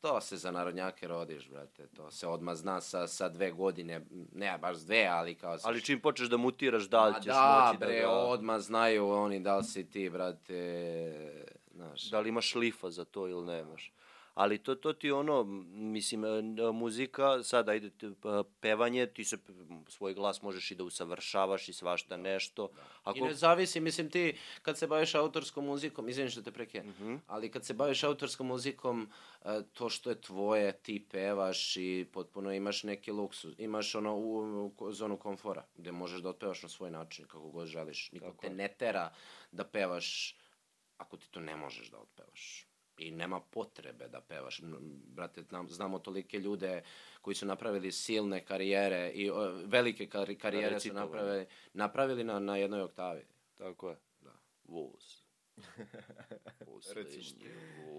To se za narodnjake rodiš, brate. To se odmah zna sa, sa dve godine, ne baš s dve, ali kao... Sa Ali čim počneš da mutiraš, da li A ćeš da, moći bre, da... ga- odmah znaju oni da li si ti, brate, znaš. Da li imaš šlifa za to ili nemaš. Ali to, to ti je ono, m, mislim, e, n- muzika, sad ajde, t- p- pevanje, ti se p- m, svoj glas možeš i da usavršavaš i svašta nešto. Ako, I ne zavisi, mislim ti, kad se baviš autorskom muzikom, izvinim što te preke, ali kad se baviš autorskom muzikom, e, to što je tvoje, ti pevaš i potpuno imaš neki luksuz, imaš ono u, u ko- zonu komfora, gde možeš da otpevaš na svoj način, kako god želiš. Niko te ne tera da pevaš ako ti to ne možeš da otpevaš. I nema potrebe da pevaš. M, Brate, znam, znamo tolike ljude koji su napravili silne karijere i o, velike kari, karijere su Recitovali. napravili, napravili na, na jednoj oktavi. Tako je. Da. Voz. Voz, Recimo. srećni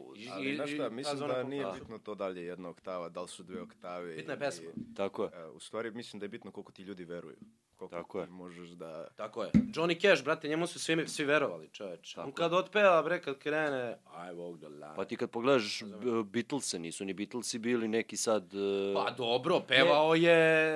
voz. I- Ali, znaš šta, mislim ta zona da nije komfora. bitno to dalje jedna oktava, da li su dve oktave. Bitna je ili- pesma. Tako je. E, u stvari, mislim da je bitno koliko ti ljudi veruju. Koliko Tako ti je. možeš da... Tako je. Johnny Cash, brate, njemu su svi, svi verovali, čoveč. On kad otpeva, bre, kad krene, da I walk the line. Pa ti kad pogledaš b- Beatlese, nisu ni Beatlesi bili neki sad... e, Pa dobro, pevao je e,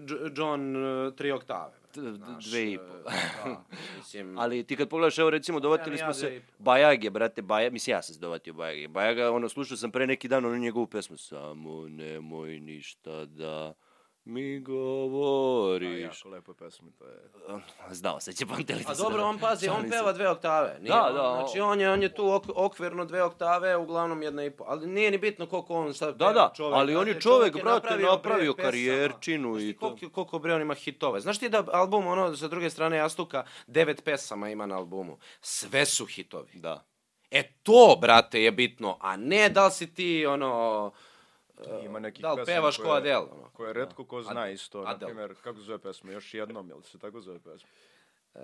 Dž- John e, tri oktave. Bre. t- dve i po. da, mislim, Ali ti kad pogledaš, evo recimo, dovatili Ja, da smo ja se dve i po. Bajage, brate, Baja, mislim ja sam se dovatio Bajage. Bajaga, ono, slušao sam pre neki dan onu njegovu pesmu Samo nemoj ništa da mi Da, govoriš. jako lepo pesmi, to je. Znao se da- će pamteliti. A dobro, on pazi, on peva dve oktave. Nije, Da, on- da, Znači, o- on je, on je tu ok, okvirno dve oktave, uglavnom jedna i po. Ali nije ni bitno koliko on sad Da, peva, da, ali on je Znate, čovek, brate, bre napravio pesama. karijerčinu Znaš ti i to. Koliko, koliko bre on ima hitove. Znaš ti da album, ono, sa druge strane Jastuka, devet pesama ima na albumu. Sve su hitovi. Da. E to, brate, je bitno, a ne da li si ti, ono, Ima nekih da li pesama pevaš ko koje- Adele, ono. Koje redko ko zna isto. Na Adele. primjer, kako se zove pesma? Još jednom, jel se tako zove pesma? E,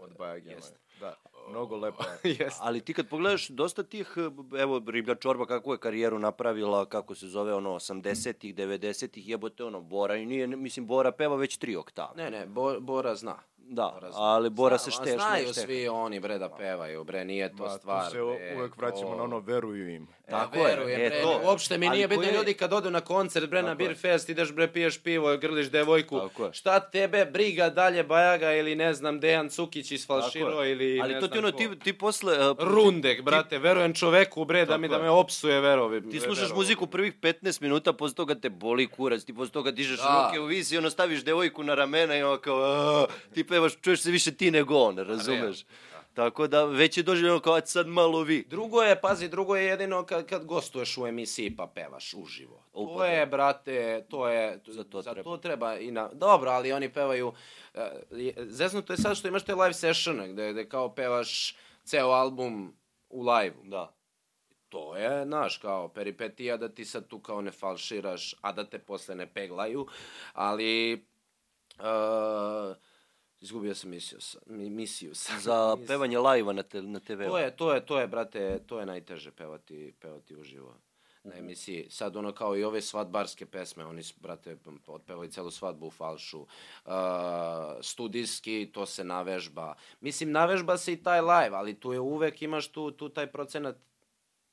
Od Bajagema. jest. Da, mnogo lepa. Jeste. Ali ti kad pogledaš dosta tih, evo, Riblja Čorba kakvu je karijeru napravila, kako se zove, ono, 80-ih, 90-ih, jebote, ono, Bora, i nije, mislim, Bora peva već tri oktave. Ne, pa ne, Bo, Bora zna. Da, Bora zna. ali Bora se Zna, šteš. Znaju ne šteš. svi oni, bre, da pevaju, bre, nije to Ma, stvar. tu se bre, uvek to- vraćamo na ono, veruju im. Tako Tako je, verujem, e, bre, to. uopšte mi Ali nije bitno koji je- ljudi kad odu na koncert, bre, na Tako je. beer fest, ideš, bre, piješ pivo, grliš devojku, Tako je. šta tebe briga dalje Bajaga ili, ne znam, Dejan Cukić isfalširao ili, Ali ne to ti znam ono, ko. ti, ti posle... uh, Rundek, brate, verujem čoveku, bre, da mi da je. me opsuje, verovi. Ti slušaš muziku prvih 15 minuta, posle toga te boli kurac, ti posle toga dižeš Da. ruke u vis i ono staviš devojku na ramena i ono kao, "A", ti pevaš, čuješ se više ti nego on, razumeš? Tako da već je doživljeno kao, "Aj, sad malo vi. Drugo je, pazi, drugo je jedino kad, kad gostuješ u emisiji pa pevaš uživo. Upravo. To je, brate, to je... da. Za to za treba. to treba i na... Dobro, ali oni pevaju... e, je- Zeznuto je sad što imaš te live sessione gde, gde kao pevaš ceo album u live Da. To je, znaš, kao peripetija da ti sad tu kao ne falširaš, a da te posle ne peglaju, ali... e, izgubio sam misiju, sa- mi- misiju sam. Za Mis- pevanje lajva na, te, na TV-u. To je, to je, to je, brate, to je najteže pevati, pevati uživo Mhm. na emisiji. Sad ono kao i ove svadbarske pesme, oni su, brate, p- otpevali celu svadbu u falšu. Uh, studijski, to se navežba. Mislim, navežba se i taj live, ali tu je uvek imaš tu, tu taj procenat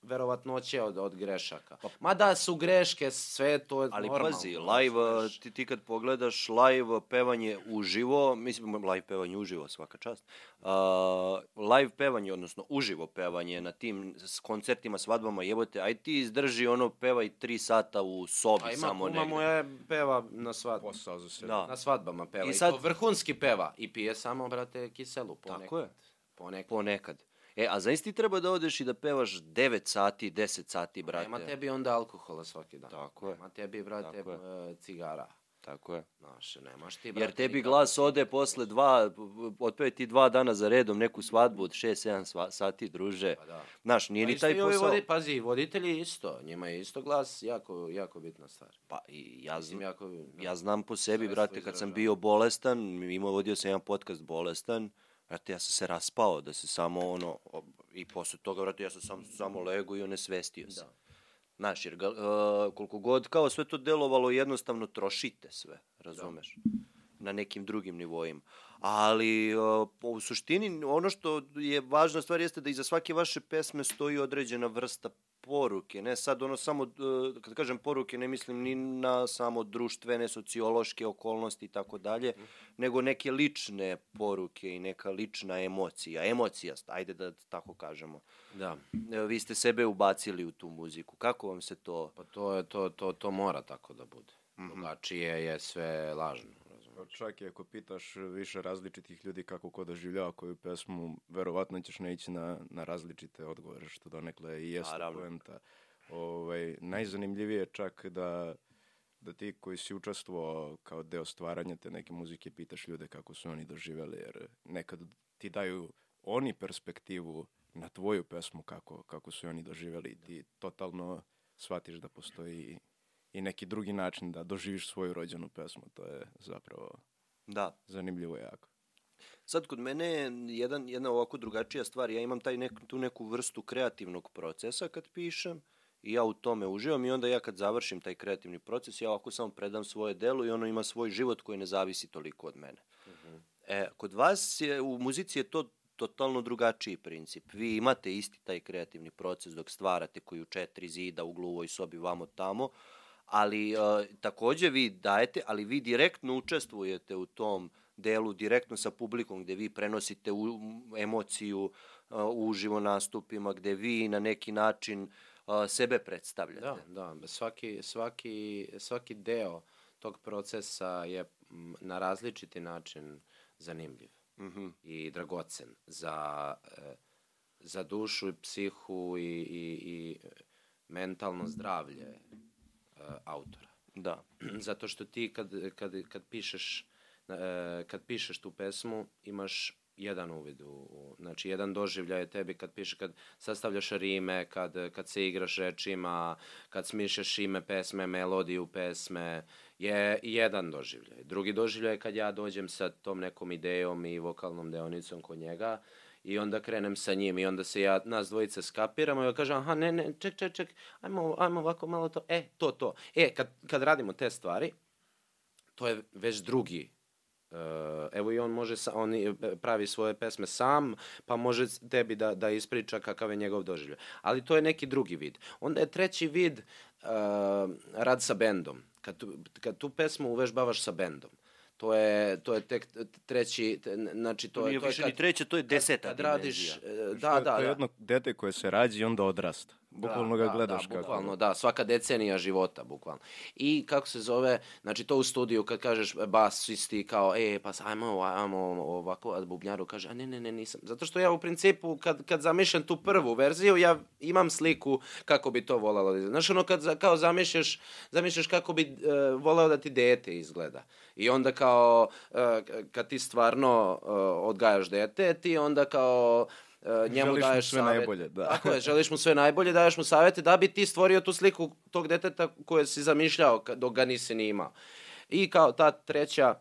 verovatnoće od, od grešaka. Ma da su greške, sve to je Pa- Ali normalno. pazi, live, a, znaš. ti, ti kad pogledaš live a, pevanje uživo, mislim, live pevanje uživo, svaka čast, a, live pevanje, odnosno uživo pevanje na tim s koncertima, svadbama, jebote, aj ti izdrži ono, pevaj tri sata u sobi A ima samo kuma negde. moja peva na svadbu. Posao za sebe. Da. Na svadbama peva. I I, sad- to vrhunski peva. I pije samo, brate, kiselu. Ponekad. Tako je. Ponekad. Ponekad. E, a zaista ti treba da odeš i da pevaš 9 sati, 10 sati, brate. Nema tebi onda alkohola svaki dan. Tako je. Nema tebi, brate, Tako e, cigara. Tako je. Znaš, nemaš ti, brate. Jer tebi nikad- glas ode posle dva, otpeve ti dva dana za redom neku svadbu od 6-7 sati, druže. Pa da. Znaš, nije Pa ni isto taj i ovi posao. Vodi, pazi, i voditelji isto. Njima je isto glas jako, jako bitna stvar. Pa i ja, Mislim, znam, jako... ja znam po sebi, sredstvo brate, kad sam izražavanja. bio bolestan, imao vodio sam jedan podcast bolestan, brate, ja sam se raspao da se samo ono, ob- i posle toga, brate, ja sam sam, samo lego i onesvestio se. Da. Znaš, jer ga, e, koliko god, kao sve to delovalo, jednostavno trošite sve, razumeš? na nekim drugim nivoima. Ali e, po- u suštini ono što je važna stvar jeste da iza svake vaše pesme stoji određena vrsta poruke, ne sad ono samo, e, kad kažem poruke ne mislim ni na samo društvene, sociološke okolnosti i tako dalje, nego neke lične poruke i neka lična emocija, emocija, ajde da tako kažemo. Da. E, Vi ste sebe ubacili u tu muziku, kako vam se to... Pa to, je, to, to, to mora tako da bude. Mhm. Drugačije je sve lažno. razumeš. Čak i ako pitaš više različitih ljudi kako ko doživljava koju pesmu, verovatno ćeš naići na, na različite odgovore, što donekle i jeste Naravno. poenta. Ovaj, najzanimljivije je čak da, da ti koji si učestvovao kao deo stvaranja te neke muzike, pitaš ljude kako su oni doživjeli, jer nekad ti daju oni perspektivu na tvoju pesmu kako, kako su je oni doživjeli i ti totalno shvatiš da postoji i neki drugi način da doživiš svoju rođenu pesmu. To je zapravo Da, zanimljivo jako. Sad kod mene je jedan, jedna ovako drugačija stvar, ja imam taj nek, tu neku vrstu kreativnog procesa kad pišem i ja u tome uživam i onda ja kad završim taj kreativni proces, ja ovako samo predam svoje delo i ono ima svoj život koji ne zavisi toliko od mene. E, kod vas je, u muzici je to totalno drugačiji princip. Vi imate isti taj kreativni proces dok stvarate koji u četiri zida, u gluvoj sobi, vamo tamo, ali uh, takođe vi dajete, ali vi direktno učestvujete u tom delu, direktno sa publikom gde vi prenosite u, m, emociju uh, u uživo nastupima, gde vi na neki način uh, sebe predstavljate. Da, da, svaki, svaki, svaki deo tog procesa je m, na različiti način zanimljiv Mhm. i dragocen za, e, za dušu i psihu i, i, i mentalno zdravlje e, autora. da. Zato što ti kad, kad, kad pišeš e, kad pišeš tu pesmu imaš jedan uvid u, u znači jedan doživljaj je tebi kad piše kad sastavljaš rime, kad kad se igraš rečima, kad smišljaš ime pesme, melodiju pesme, je jedan doživljaj. Drugi doživljaj je kad ja dođem sa tom nekom idejom i vokalnom deonicom kod njega i onda krenem sa njim i onda se ja, nas dvojica skapiramo i ja kažem, aha, ne, ne, ček, ček, ček, ajmo, ajmo ovako malo to, e, to, to. E, kad, kad radimo te stvari, to je već drugi Uh, evo i on može sa, on i, e, pravi svoje pesme sam, pa može s- tebi da, da ispriča kakav je njegov doživljaj. Ali to je neki drugi vid. Onda je treći vid uh, rad sa bendom. Kad tu, kad tu pesmu uvežbavaš sa bendom. To je, to je tek treći, te- znači to, To je, nije to je više ni treće, to je deseta kad radiš, dimenzija. e, To da, je- da, To je da. jedno dete koje se rađi i onda odrasta. Bukvalno da, ga gledaš da, kako... bukvalno, da, svaka decenija života, bukvalno. I kako se zove, znači to u studiju kad kažeš e, basisti kao, e, pa s- ajmo, ova- ajmo ovako, a bubnjaru kaže, a ne, ne, ne, nisam. Zato što ja u principu, kad, kad zamišljam tu prvu verziju, ja imam sliku kako bi to volalo. da izgleda. Znaš, ono kad za- kao zamišljaš, zamišljaš kako bi e, voleo da ti dete izgleda. I onda kao, e, kad ti stvarno e, odgajaš dete, ti onda kao, e, njemu Želiš mu daješ sve savete. najbolje, da. Tako je, želiš mu sve najbolje, daješ mu savete da bi ti stvorio tu sliku tog deteta koje si zamišljao ka- dok ga nisi ni imao. I kao ta treća,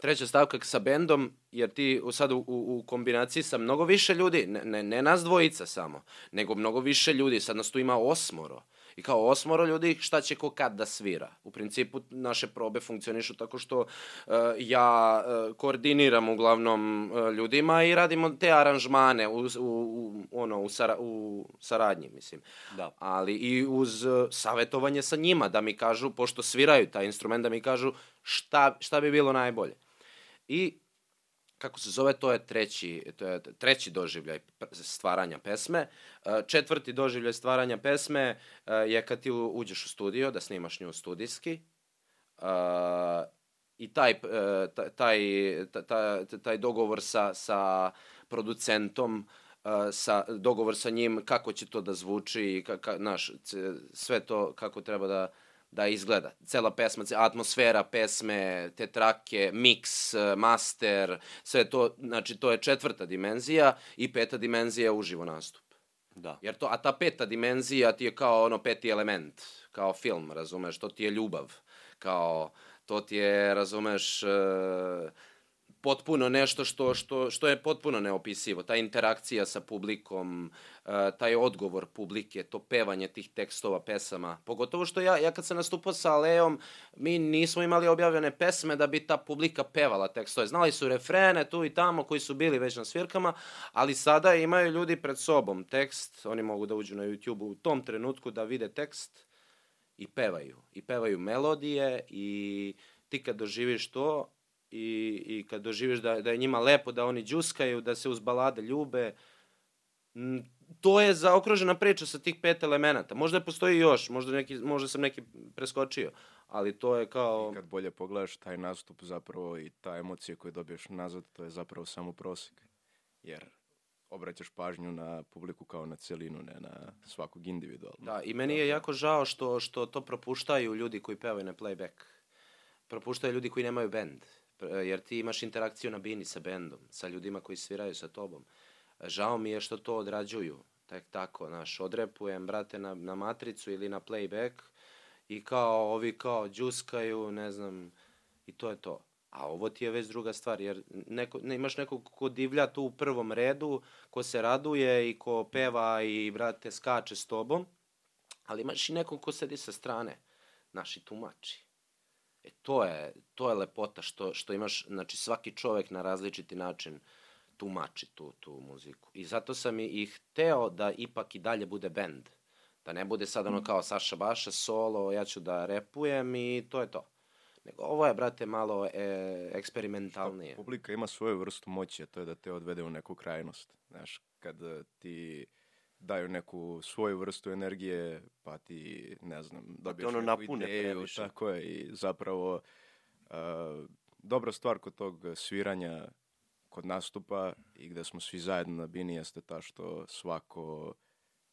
treća stavka sa bendom, jer ti u- sad u, u, u kombinaciji sa mnogo više ljudi, ne, ne, ne nas dvojica samo, nego mnogo više ljudi, sad nas tu ima osmoro. I kao osmoro ljudi šta će ko kad da svira. U principu naše probe funkcionišu tako što uh, ja uh, koordiniram uglavnom uh, ljudima i radimo te aranžmane u, u, u, ono, u, sara, u saradnji, mislim. Da. Ali i uz uh, savjetovanje sa njima da mi kažu, pošto sviraju taj instrument, da mi kažu šta, šta bi bilo najbolje. I kako se zove, to je treći, to je treći doživljaj pr- stvaranja pesme. E, Četvrti doživljaj stvaranja pesme e, je kad ti u- uđeš u studio, da snimaš nju studijski. E, I taj, e, ta- taj, ta- ta- taj dogovor sa, sa producentom, e, sa, dogovor sa njim kako će to da zvuči, i ka, ka, naš, c- sve to kako treba da, da izgleda. Cela pesma, ce- atmosfera pesme, te trake, miks, e, master, sve to, znači to je četvrta dimenzija i peta dimenzija je uživo nastup. Da. Jer to, a ta peta dimenzija ti je kao ono peti element, kao film, razumeš, to ti je ljubav, kao to ti je, razumeš, e, potpuno nešto što, što, što je potpuno neopisivo. Ta interakcija sa publikom, e, taj odgovor publike, to pevanje tih tekstova, pesama. Pogotovo što ja, ja kad sam nastupao sa Aleom, mi nismo imali objavljene pesme da bi ta publika pevala tekstove. Znali su refrene tu i tamo koji su bili već na svirkama, ali sada imaju ljudi pred sobom tekst, oni mogu da uđu na YouTube u tom trenutku da vide tekst i pevaju. I pevaju melodije i ti kad doživiš to i, i kad doživiš da, da je njima lepo, da oni džuskaju, da se uz balade ljube, m, to je zaokružena priča sa tih pet elemenata. Možda postoji još, možda, neki, možda sam neki preskočio, ali to je kao... I kad bolje pogledaš taj nastup zapravo i ta emocija koju dobiješ nazad, to je zapravo samo prosek. Jer obraćaš pažnju na publiku kao na celinu, ne na svakog individualno. Da, i meni je jako žao što, što to propuštaju ljudi koji pevaju na playback. Propuštaju ljudi koji nemaju bend. Pr- Jer ti imaš interakciju na bini sa bendom, sa ljudima koji sviraju sa tobom. Žao mi je što to odrađuju. Tak, tako, naš, odrepujem, brate, na, na matricu ili na playback i kao, ovi kao, džuskaju, ne znam, i to je to. A ovo ti je već druga stvar, jer neko, ne, imaš nekog ko divlja tu u prvom redu, ko se raduje i ko peva i, brate, skače s tobom, ali imaš i nekog ko sedi sa strane, naši tumači. E to je, to je lepota što, što imaš, znači svaki čovek na različiti način tumači tu, tu muziku. I zato sam i, i hteo da ipak i dalje bude bend. Da ne bude sad Mhm. ono kao Saša Baša, solo, ja ću da repujem i to je to. Nego ovo je, brate, malo e, eksperimentalnije. Publika ima svoju vrstu moći, a to je da te odvede u neku krajnost. Znaš, kad eh, ti daju neku svoju vrstu energije, pa ti, ne znam, dobiješ Pa ono neku napune ideju, previše. Tako je, i zapravo eh, dobra stvar kod tog sviranja, kod nastupa i gde smo svi zajedno na bini jeste ta što svako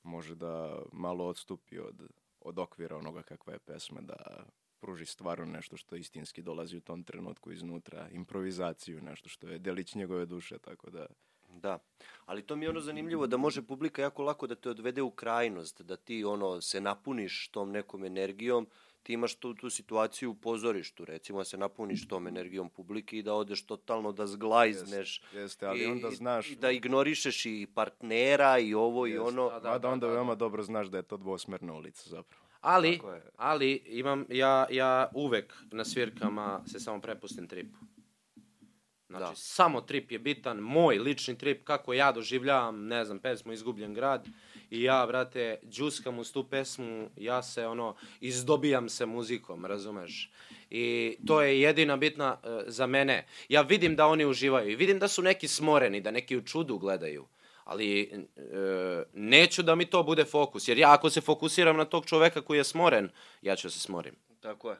može da malo odstupi od, od okvira onoga kakva je pesma, da pruži stvarno nešto što istinski dolazi u tom trenutku iznutra, improvizaciju, nešto što je delić njegove duše, tako da... Da, ali to mi je ono zanimljivo da može publika jako lako da te odvede u krajnost, da ti ono se napuniš tom nekom energijom, ti imaš tu, tu situaciju u pozorištu, recimo da se napuniš tom energijom publike i da odeš totalno da zglajzneš. Jeste, jeste, ali i, onda znaš- I da ignorišeš i partnera i ovo i ono. Da, da, da, da, Mada da, onda da, veoma dobro znaš da je to dvosmerna ulica zapravo. Ali, Tako je. ali imam, ja, ja uvek na svirkama se samo prepustim tripu. Znači, Da. samo trip je bitan, moj lični trip, kako ja doživljavam, ne znam, pesmu Izgubljen grad, i ja, brate, džuskam uz tu pesmu, ja se, ono, izdobijam se muzikom, razumeš? I to je jedina bitna e, za mene. Ja vidim da oni uživaju i vidim da su neki smoreni, da neki u čudu gledaju, ali e, neću da mi to bude fokus, jer ja ako se fokusiram na tog čoveka koji je smoren, ja ću da se smorim. Tako je.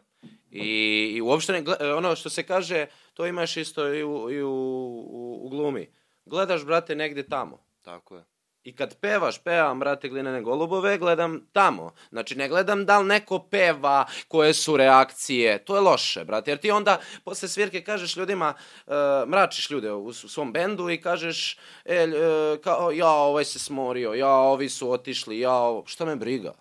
I, i uopšte ne, gle- ono što se kaže, to imaš isto i u, i u, u, u glumi. Gledaš, brate, negde tamo. Tako je. I kad pevaš, pevam, brate, glinene golubove, gledam tamo. Znači, ne gledam da li neko peva, koje su reakcije. To je loše, brate. Jer ti onda, posle svirke, kažeš ljudima, e, mračiš ljude u, s- u svom bendu i kažeš, e, lj- e, kao, ja, ovaj se smorio, ja, ovi su otišli, ja, ovo- šta me briga?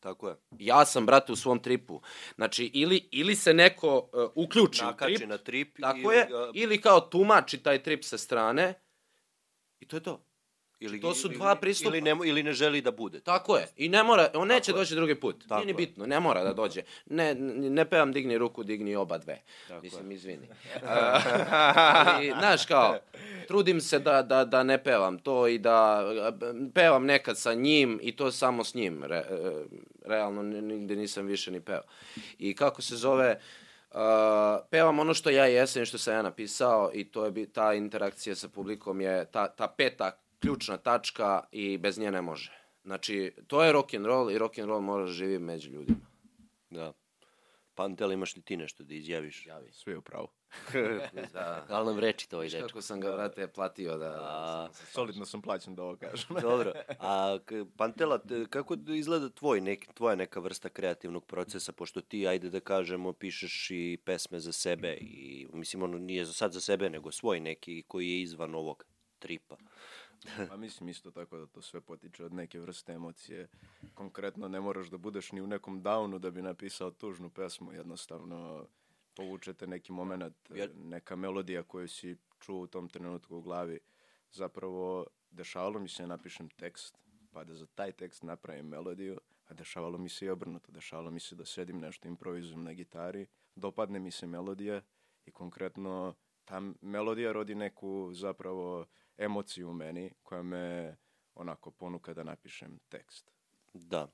Tako je. Ja sam, brate, u svom tripu. Znači, ili, ili se neko e, uključi u Nakači trip, na trip. ili tako je, ga- ili kao tumači taj trip sa strane, i to je to. ili, to su ili- dva pristupa. Ili ne, ili ne želi da bude. Tako je. I ne mora, on je. neće doći drugi put. Tako Tako Nije ni je. bitno, ne mora da dođe. Ne, n- ne pevam digni ruku, digni oba dve. Tako Mislim, izvini. Ali, znaš kao, trudim se da, da, da ne pevam to i da e, pevam nekad sa njim i to samo s njim. Re, e, realno, n- nigde nisam više ni peo. I kako se zove... Uh, pevam ono što ja jesam i što sam ja napisao i to je bi, ta interakcija sa publikom je ta, ta peta ključna tačka i bez nje ne može. Znači, to je rock and roll i rock and roll mora da živi među ljudima. Da. Pantel, imaš li ti nešto da izjaviš? Javi. Sve je upravo. Da. Ali nam reči to ovaj dečko. Kako sam ga, vrate, platio da... A, Solidno sam plaćen da ovo kažem. Dobro. A k- Pantela, t- kako d- izgleda tvoj nek, tvoja neka vrsta kreativnog procesa, pošto ti, ajde da kažemo, pišeš i pesme za sebe i, mislim, ono nije za sad za sebe, nego svoj neki koji je izvan ovog tripa. Pa mislim isto tako da to sve potiče od neke vrste emocije. Konkretno ne moraš da budeš ni u nekom downu da bi napisao tužnu pesmu, jednostavno povučete neki moment, Jer- neka melodija koju si čuo u tom trenutku u glavi. Zapravo dešavalo mi se da napišem tekst, pa da za taj tekst napravim melodiju, a dešavalo mi se i obrnuto. Dešavalo mi se da sedim nešto, improvizujem na gitari, dopadne mi se melodija i konkretno ta melodija rodi neku zapravo emociju u meni koja me onako ponuka da napišem tekst. Da.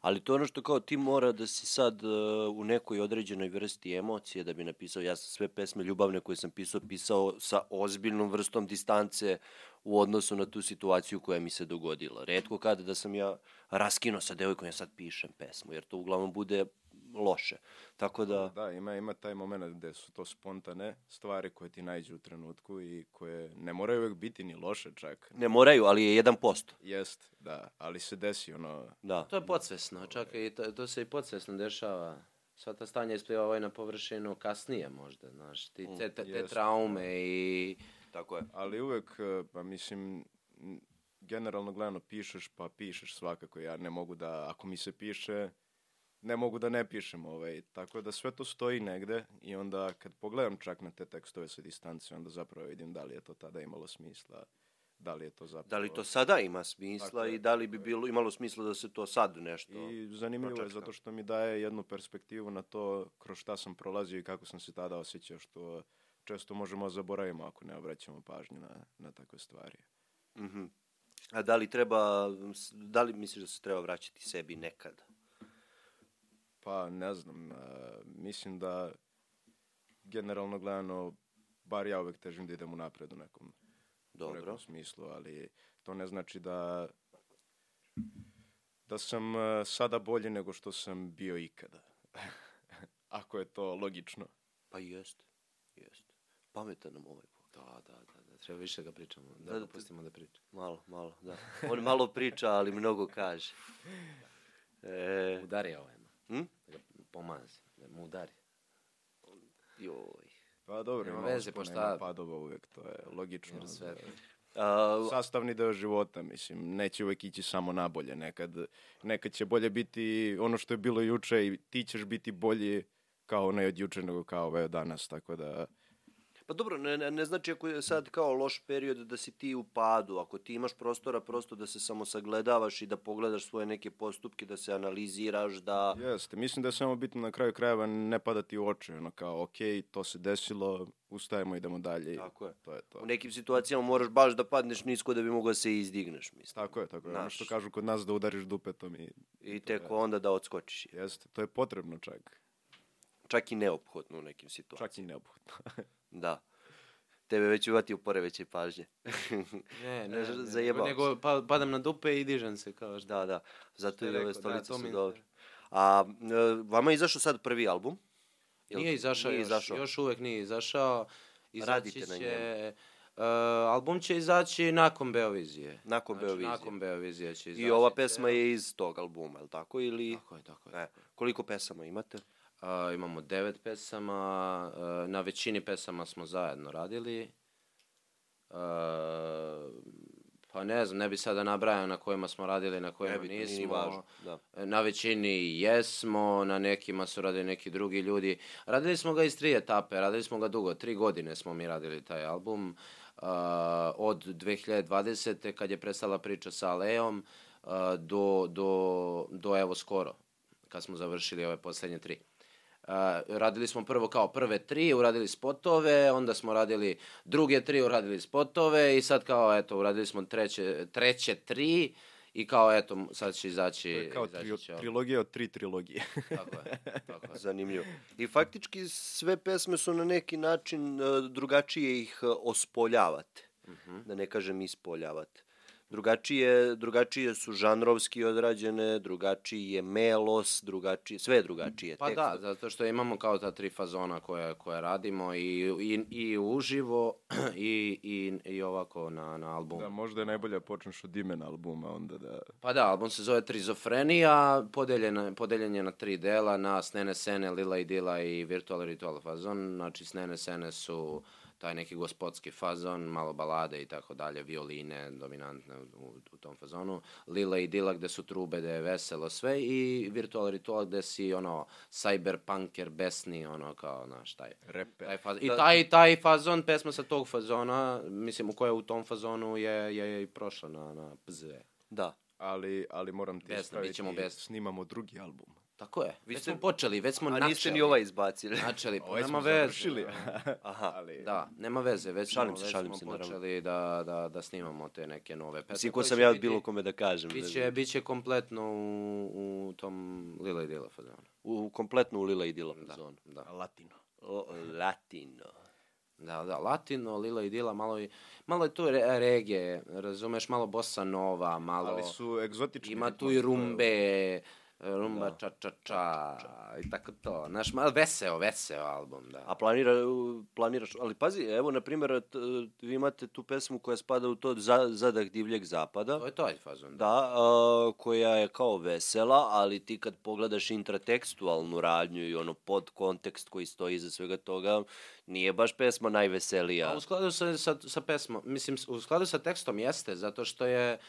Ali to je ono što kao ti mora da si sad e, u nekoj određenoj vrsti emocije da bi napisao, ja sam sve pesme ljubavne koje sam pisao, pisao sa ozbiljnom vrstom distance u odnosu na tu situaciju koja mi se dogodila. Redko kada da sam ja raskino sa devojkom, ja sad pišem pesmu, jer to uglavnom bude loše. Tako da, Da, ima, ima taj moment gde su to spontane stvari koje ti najđu u trenutku i koje ne moraju uvek biti ni loše čak. ne moraju, ali je 1%. Jest, da, ali se desi ono, Da, To je podsvesno, čak i to, to se i podsvesno dešava. Sva ta stanja ispliva ovaj na površinu kasnije možda, znaš, ti te, te, te jest. traume i... tako je. ali uvek, eh, pa mislim, m, generalno gledano pišeš, pa pišeš svakako. Ja ne mogu da, ako mi se piše, ne mogu da ne pišem. Ovaj. Tako da sve to stoji negde i onda kad pogledam čak na te tekstove sa distancije, onda zapravo vidim da li je to tada imalo smisla, da li je to zapravo... Da li to sada ima smisla Tako je, i da li bi bilo, imalo smisla da se to sad nešto... I zanimljivo je pročačkam. zato što mi daje jednu perspektivu na to kroz šta sam prolazio i kako sam se tada osjećao, što često možemo da zaboravimo ako ne obraćamo pažnju na, na takve stvari. Mhm. A da li treba, da li misliš da se treba vraćati sebi nekad? Pa ne znam, e, mislim da generalno gledano, bar ja uvek težim da idem u napred u nekom, u Dobro. nekom smislu, ali to ne znači da da sam e, sada bolji nego što sam bio ikada. Ako je to logično. Pa jeste, jeste. Pametan nam ovaj put. Da, da, da. Da, treba više da ga pričamo, da, Da, ga da, pustimo da priča. Malo, malo, da. On malo priča, ali mnogo kaže. E, Udari ovaj, ma. hm? da ga pomazi, da mu udari. Joj. Pa dobro, Nema ima veze, veze, pa pa šta? padova uvek, to je logično. Jer sve, A, sastavni deo života, mislim, neće uvek ići samo nabolje, nekad, nekad će bolje biti ono što je bilo juče i ti ćeš biti bolji kao onaj od juče nego kao ovaj od danas, tako da Pa dobro, ne, ne, ne znači ako je sad kao loš period da si ti u padu, ako ti imaš prostora prosto da se samo sagledavaš i da pogledaš svoje neke postupke, da se analiziraš, da... jeste, mislim da je samo bitno na kraju krajeva ne padati u oči, ono kao ok, to se desilo, ustajemo, idemo dalje. i Tako je. To je to. U nekim situacijama moraš baš da padneš nisko da bi mogao da se izdigneš, mislim. Tako je, tako je. Ono Znaš. što kažu kod nas da udariš dupetom i I tek onda da odskočiš. jeste, to je potrebno čak, Čak i neophodno u nekim situacijama. čak i neophodno. Da. Tebe već uvati upore veće pažnje. ne, ne, ne, ne, ne, zajebao nego pa, padam na dupe i dižem se kao šta. da, da. Zato Što je i ove rekao, da, stolice to mi su je- dobre. A e, vama je izašao sad prvi album? Jel- Nije izašao, nije još, izašao. još uvek nije izašao. Izaći Radite na će, njemu. e, album će izaći nakon Beovizije. Nakon Beovizije. znači, Nakon Beovizije će izaći. I ova ceo. pesma je iz tog albuma, je li tako? Ili... Tako je, tako je. E, koliko pesama imate? A, imamo devet pesama, a, na većini pesama smo zajedno radili. A, pa ne znam, ne bi sada nabrajao na kojima smo radili, na kojima Nebitno, nije ni nismo. važno, da. Na većini jesmo, na nekima su radili neki drugi ljudi. Radili smo ga iz tri etape, radili smo ga dugo, tri godine smo mi radili taj album. Uh, od 2020. kad je prestala priča sa Alejom uh, do, do, do evo skoro, kad smo završili ove poslednje tri. Uh, radili smo prvo kao prve tri, uradili spotove, onda smo radili druge tri, uradili spotove i sad kao, eto, uradili smo treće, treće tri i kao, eto, sad će izaći... To je kao E, izaći trio, će ovo. trilogija od tri trilogije. Tako je, tako je. Pa, Zanimljivo. I faktički sve pesme su na neki način e, drugačije ih e, ospoljavate. Mhm. Da ne kažem ispoljavate. Drugačije, drugačije su žanrovski odrađene, drugačiji je melos, drugačije, sve je drugačije. Pa tekst- da, zato što imamo kao ta tri fazona koje, koje radimo i, i, i uživo i, i, i ovako na, na albumu. da, možda je najbolje da počneš od imena albuma, onda da... Pa da, album se zove Trizofrenija, podeljena, podeljen je na tri dela, na Snene Sene, Lila i Dila i Virtual Ritual fazon. Znači, Snene Sene su taj neki gospodski fazon, malo balade i tako dalje, violine dominantne u, u, u tom fazonu. Lila i Dila gde su trube, gde je veselo sve i Virtual Ritual gde si ono cyberpunker besni, ono kao, znaš, taj. Reper. Taj fazon. I taj, taj fazon, pesma sa tog fazona, mislim, u koja je u tom fazonu je, je, je i prošla na, na PZE. da. ali, ali moram ti Besno, bit ispraviti, ćemo besno. snimamo drugi album. Tako je. Vi već ste- smo počeli, već smo A načeli. niste ni ovaj izbacili. Načeli, pa Ovaj nema smo veze. završili. Aha. ali, Da, nema veze, već Šalim smo, se, već šalim smo se, naravno. počeli da, da, da snimamo te neke nove pesme. Mislim, ko koje sam će ja biti- bilo kome da kažem. ne Biće, znam. biće kompletno u, u tom Lila i Dila fazonu. U, kompletno u Lila i Dila fazonu. Da. Latino. O, Latino. Da, da, latino, Lila i Dila, malo, i, malo je tu re, rege, razumeš, malo bossa nova, malo... Ali su egzotični. Ima tu ritmovi, i to je- rumbe, Da. rumba ča ča ča i tako to. Znaš, malo veseo, veseo album, da. A planira, u, planiraš, ali pazi, evo, na primjer, t- vi imate tu pesmu koja spada u to za, zadah divljeg zapada, To je taj fazon, da. da, a, koja je kao vesela, ali ti kad pogledaš intratekstualnu radnju i ono pod kontekst koji stoji iza svega toga, nije baš pesma najveselija. A u skladu sa, sa, sa pesmom, mislim, s- u skladu sa tekstom jeste, zato što je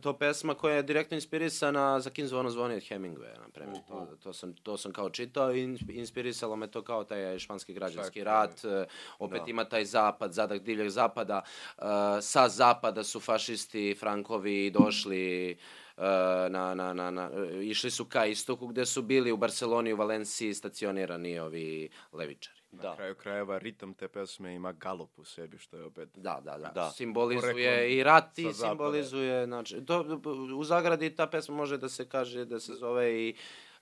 to pesma koja je direktno inspirisana za Kim zvono zvoni od Hemingwaya, na primjer. To, to, sam, to sam kao čitao i ins- inspirisalo me to kao taj španski građanski rat, e, opet ima taj zapad, zadak divljeg zapada, e, sa zapada su fašisti, frankovi došli, e, e, na, na, na, na, e, išli su ka istoku gdje su bili u Barceloni i u Valenciji stacionirani ovi levičari. Da. Na kraju krajeva ritam te pesme ima galop u sebi, što je opet... Da, da, da. Da. Poreklom Simbolizuje i rat i sa zapada. da. simbolizuje, znači, to, u zagradi ta pesma može da se kaže, da se zove i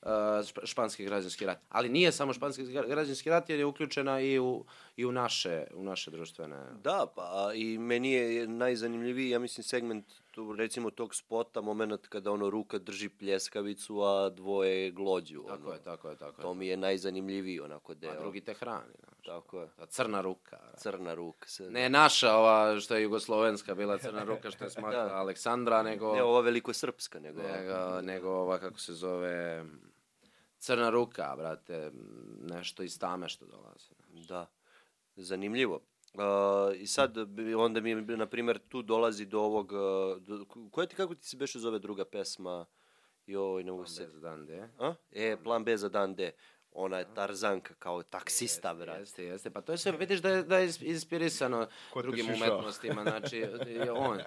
uh, šp- španski građanski rat. Ali nije samo španski gra- građanski rat jer je uključena i u, i u naše, u naše društvene... Da, pa a i meni je najzanimljiviji, ja mislim, segment tu, recimo tog spota, moment kada ono ruka drži pljeskavicu, a dvoje glođu. Tako ono. je, tako je, tako je. To mi je najzanimljiviji onako deo. A drugi te hrani, znači. Tako je. Ta crna ruka. Da. Crna ruka. Se... Ne naša ova što je jugoslovenska bila crna ruka što je smakla Da. Aleksandra, nego... Ne, ova veliko srpska, nego... nego, nego ova, kako se zove, crna ruka, brate, nešto iz tame što dolazi. Da, zanimljivo. Uh, I sad, bi- onda mi, je, na primjer, tu dolazi do ovog... uh, Do, koja ti, kako ti se beše zove druga pesma? Joj, ne mogu Pa se... Bez dan D. A? E, plan B za dan D. Ona je Tarzanka kao taksista, brate. Jeste, jeste. Pa to je sve, vidiš da je, da je is- inspirisano Ko te drugim šišao? umetnostima. Znači, je on.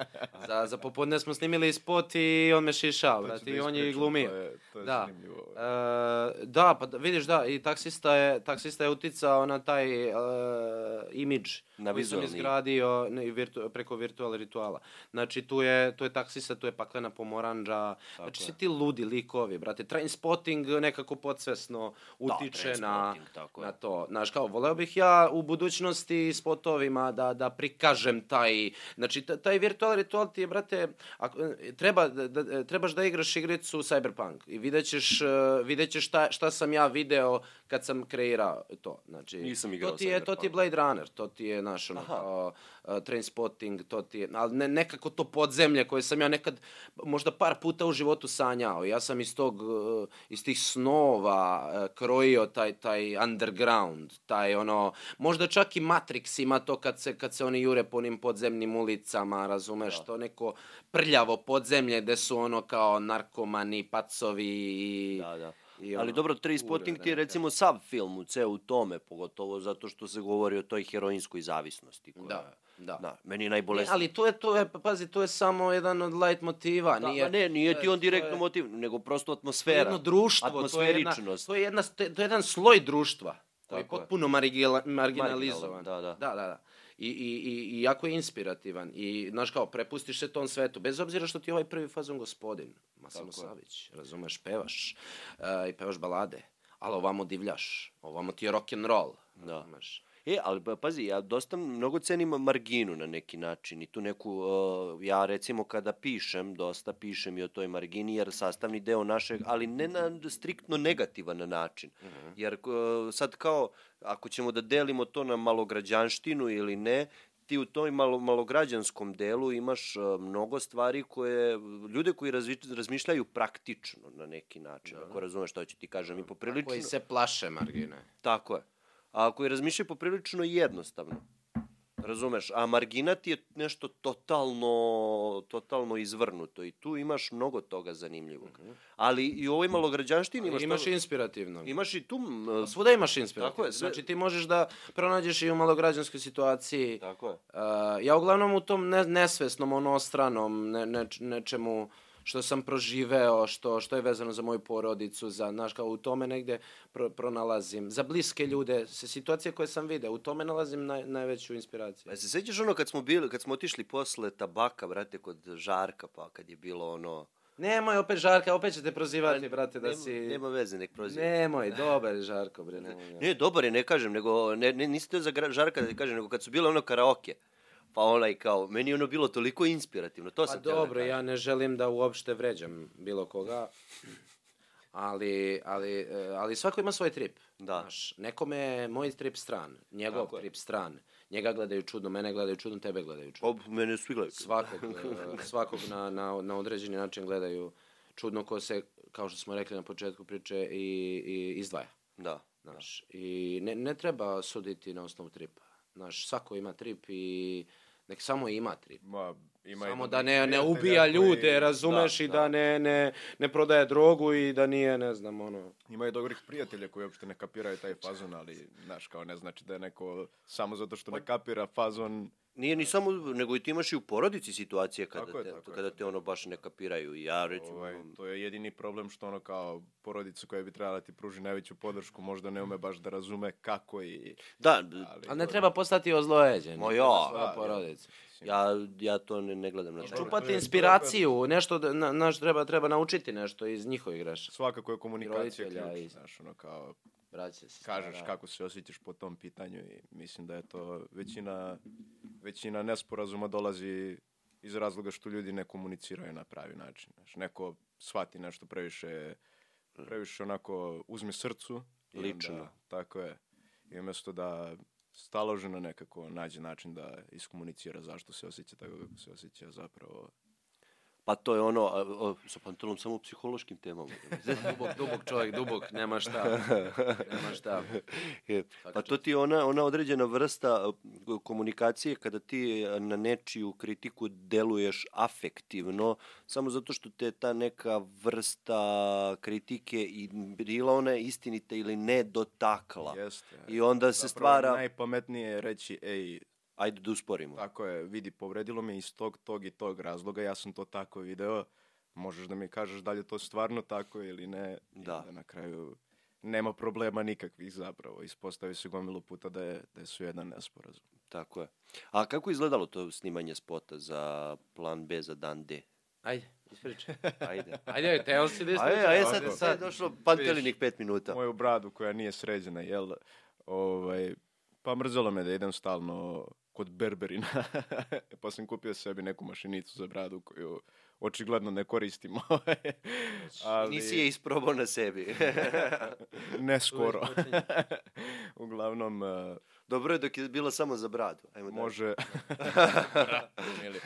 Za, za popodne smo snimili spot i on me šišao, To ću brate, da i on je i ispričam, glumio. To je, to je da. zanimljivo. E, da, pa da- vidiš da, i taksista je, taksista je uticao na taj e, imidž Na koji sam vizualni. izgradio ne, virtu, preko virtual rituala. Znači tu je, tu je taksista, tu je paklena pomoranđa, znači svi ti ludi likovi, brate. Train spotting nekako podsvesno utiče na, Trainspotting, Da, tako je. na to. Znaš, kao, voleo bih ja u budućnosti spotovima da, da prikažem taj, znači, ta- taj virtual ritual ti je, brate, ako, e, treba, da, da- e, trebaš da igraš igricu Cyberpunk i vidjet ćeš, e, vidjet ćeš šta, šta sam ja video kad sam kreirao to. Znači, Nisam igrao to ti je, To ti je Cyberpunk. Blade Runner, to ti je, znaš, ono, kao, e, Trainspotting, to ti je, ali ne, nekako to podzemlje koje sam ja nekad, možda par puta u životu sanjao. Ja sam iz tog, e, iz tih snova e, krojio taj, taj underground, taj ono, možda čak i Matrix ima to kad se, kad se oni jure po onim podzemnim ulicama, Da. razumeš, to neko prljavo podzemlje gde su ono kao narkomani, pacovi i... Da, da. i ono, Ali dobro, Train kurve, Spotting da ti je ne recimo sav film u ceo u tome, pogotovo zato što se govori o toj heroinskoj zavisnosti. Koja, Da, da. Na, meni je Ne, najbolesnije. ali to je, to je, pa pazi, to je samo jedan od light motiva. Da, nije, ma ne, nije to je- ti on to je- direktno motiv, nego prosto atmosfera. To je jedno društvo, to je, jedna, atmosferičnost. to, je jedna, to je- to je jedan sloj društva koji je Tako je. potpuno marigila- marginalizovan. da, da. da, da. I, i, i, i jako je inspirativan. I, znaš kao, prepustiš se tom svetu. Bez obzira što ti je ovaj prvi fazon gospodin, Masimo Savić, razumeš, pevaš. e, I pevaš balade. Ali ovamo divljaš. Ovamo ti je rock'n'roll. Razumeš. E, ali pa, pazi, ja dosta mnogo cenim marginu na neki način i tu neku, uh, ja recimo kada pišem, dosta pišem i o toj margini jer sastavni deo našeg, ali ne na striktno negativan način. Jer uh, sad kao, ako ćemo da delimo to na malograđanštinu ili ne, ti u toj malo, malograđanskom delu imaš uh, mnogo stvari koje, ljude koji razvi- razmišljaju praktično na neki način, ako razumeš što ću ti kažem i poprilično. Koji se plaše margine. Tako je. A ako je razmišljaju poprilično jednostavno. Razumeš, a margina ti je nešto totalno, totalno izvrnuto i tu imaš mnogo toga zanimljivog. Ali i u ovoj malograđanštini imaš, Mhm. Imaš to- inspirativno. imaš i tu... m, Pa Svuda imaš inspiraciju. Tako je, sve- Znači ti možeš da pronađeš i u malograđanskoj situaciji. Tako je. Uh, ja uglavnom u tom ne- nesvesnom, onostranom, ne, ne, nečemu što sam proživeo, što, što je vezano za moju porodicu, za, znaš, kao u tome negde pro- pronalazim. Za bliske ljude, se situacije koje sam video, u tome nalazim naj, najveću inspiraciju. E, se sjećaš ono kad smo, bili, kad smo otišli posle tabaka, brate, kod Žarka, pa kad je bilo ono... Nemoj opet Žarka, opet ćete prozivati, brate, da nema, si... nema veze, nek proziva. Nemoj, dobar je Žarko, bre, nemoj. Ne, dobar je, ne kažem, nego, ne, ne, nisi to za gra- žarka da ti kažem, nego kad su bile ono karaoke, pa onaj kao, meni je ono bilo toliko inspirativno, to Pa sam teo da dobro, kažem. ja ne želim da uopšte vređam bilo koga, ali, ali, e, ali svako ima svoj trip. Da. Znaš, nekome je moj trip stran, njegov Tako je. trip stran. Njega gledaju čudno, mene gledaju čudno, tebe gledaju čudno. Ob, mene su igrali. Svakog, e, svakog na, na, na određeni način gledaju čudno ko se, kao što smo rekli na početku priče, i, i izdvaja. Da. Znaš, i ne, ne treba suditi na osnovu tripa. Znaš, svako ima trip i nek samo ima trip. Ma, ima i Samo dobrih da ne, ne prijatelja ubija koji- ljude, razumeš, i da, ne, ne, ne prodaje drogu i da nije, ne znam, ono... Ima i dobrih prijatelja koji uopšte ne kapiraju taj fazon, ali, znaš, kao ne znači da je neko, samo zato što ne kapira fazon, Nije ni samo, nego i ti imaš i u porodici situacije kada, Tako je, te, tako je. kada te ono baš ne kapiraju. I Ja recimo, um, Ovaj, to je jedini problem što ono kao porodica koja bi trebala da ti pruži najveću podršku možda ne ume baš da razume kako i... da, Ali, A ne treba postati ozlojeđen. Ma ja. Da. Svoja porodica. Znači, ja, ja to ne, ne gledam na taj način. to Čupati je- inspiraciju, nešto da, na, naš treba, treba naučiti nešto iz njihovih grešaka. Svakako je komunikacija roditelja i- Da. ključ, znaš, ono kao, Braće se. kažeš kako se osjećaš po tom pitanju i mislim da je to većina, većina nesporazuma dolazi iz razloga što ljudi ne komuniciraju na pravi način. Znaš, neko shvati nešto previše, previše onako uzme srcu. i onda- Lično. tako je. I umjesto da staloženo nekako nađe način da iskomunicira zašto se osjeća tako kako se osjeća zapravo. Pa to je ono, a, o, sa pantelom samo o psihološkim temama. Dubok, dubok čovjek, dubok, nema šta. Nema šta. Je, pa to ti je ona, ona određena vrsta e, komunikacije kada ti e, na nečiju kritiku deluješ afektivno, samo zato što te ta neka vrsta kritike i bila ona istinita ili ne dotakla. Jeste. I onda Da se Zapravo je stvara, Najpametnije je reći, ej, ajde da usporimo. Tako je, vidi, povredilo me iz tog, tog i tog razloga, ja sam to tako video, možeš da mi kažeš da li je to stvarno tako ili ne, i Da. na kraju nema problema nikakvih zapravo, ispostavi se gomilu puta da je, da su jedan nesporazum. Tako je. A kako je izgledalo to snimanje spota za plan B za dan D? Ajde, ispričaj. Ajde. Ajde, teo si da A ispričaj. je, a je sad, Ovako. sad je došlo pantelinih pet minuta. Moju bradu koja nije sređena, jel, ovaj, pa mrzelo me da idem stalno kod Berberina, pa sam kupio sebi neku mašinicu za bradu koju očigledno ne ovaj, koristimo. Ali... Nisi je isprobao na sebi. Ne skoro. Uglavnom, eh, Da. Dobro je dok je bilo samo za bradu. Ajmo dalje. može... Ili,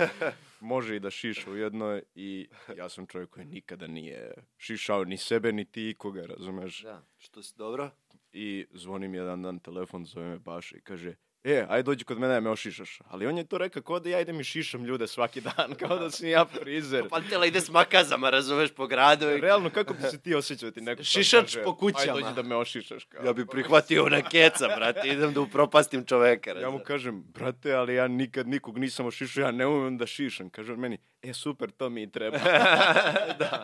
može i da šiša ujedno i ja sam čovjek koji nikada nije šišao ni sebe, ni ti ikoga, razumeš? Da. Što si dobro? I zvoni mi jedan dan telefon, zove me Baša i kaže E, aj dođi kod mene da me ošišaš. Ali on je to rekao kao da ja idem i šišam ljude svaki dan, kao da sam ja frizer. Pa, Pantela ide s makazama, razumeš, po gradu. i- Realno, kako bi se ti osjećao da ti neko... sad Šišač kaže, po kućama." Aj dođi da me ošišaš. Kao. Ja bi prihvatio na keca, brate, idem da upropastim čoveka. Ja mu kažem, brate, ali ja nikad nikog nisam ošišao, ja ne umem da šišam. Kaže on meni, e super, to mi i treba. da.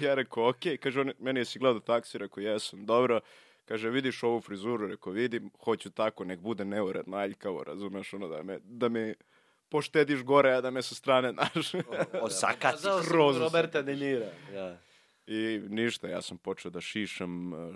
ja rekao, okej. Kaže on, meni jesi gledao taksi? Rekao, jesam, dobro. Kaže, vidiš ovu frizuru? Rekao, vidim, hoću tako, nek bude neuredno, aljkavo, razumeš, ono, da me, da me poštediš gore, a da me sa strane, znaš. Osakati. Kazao sam Kroz- Roberta De Nira. Ja. I ništa, ja sam počeo da šišam eh,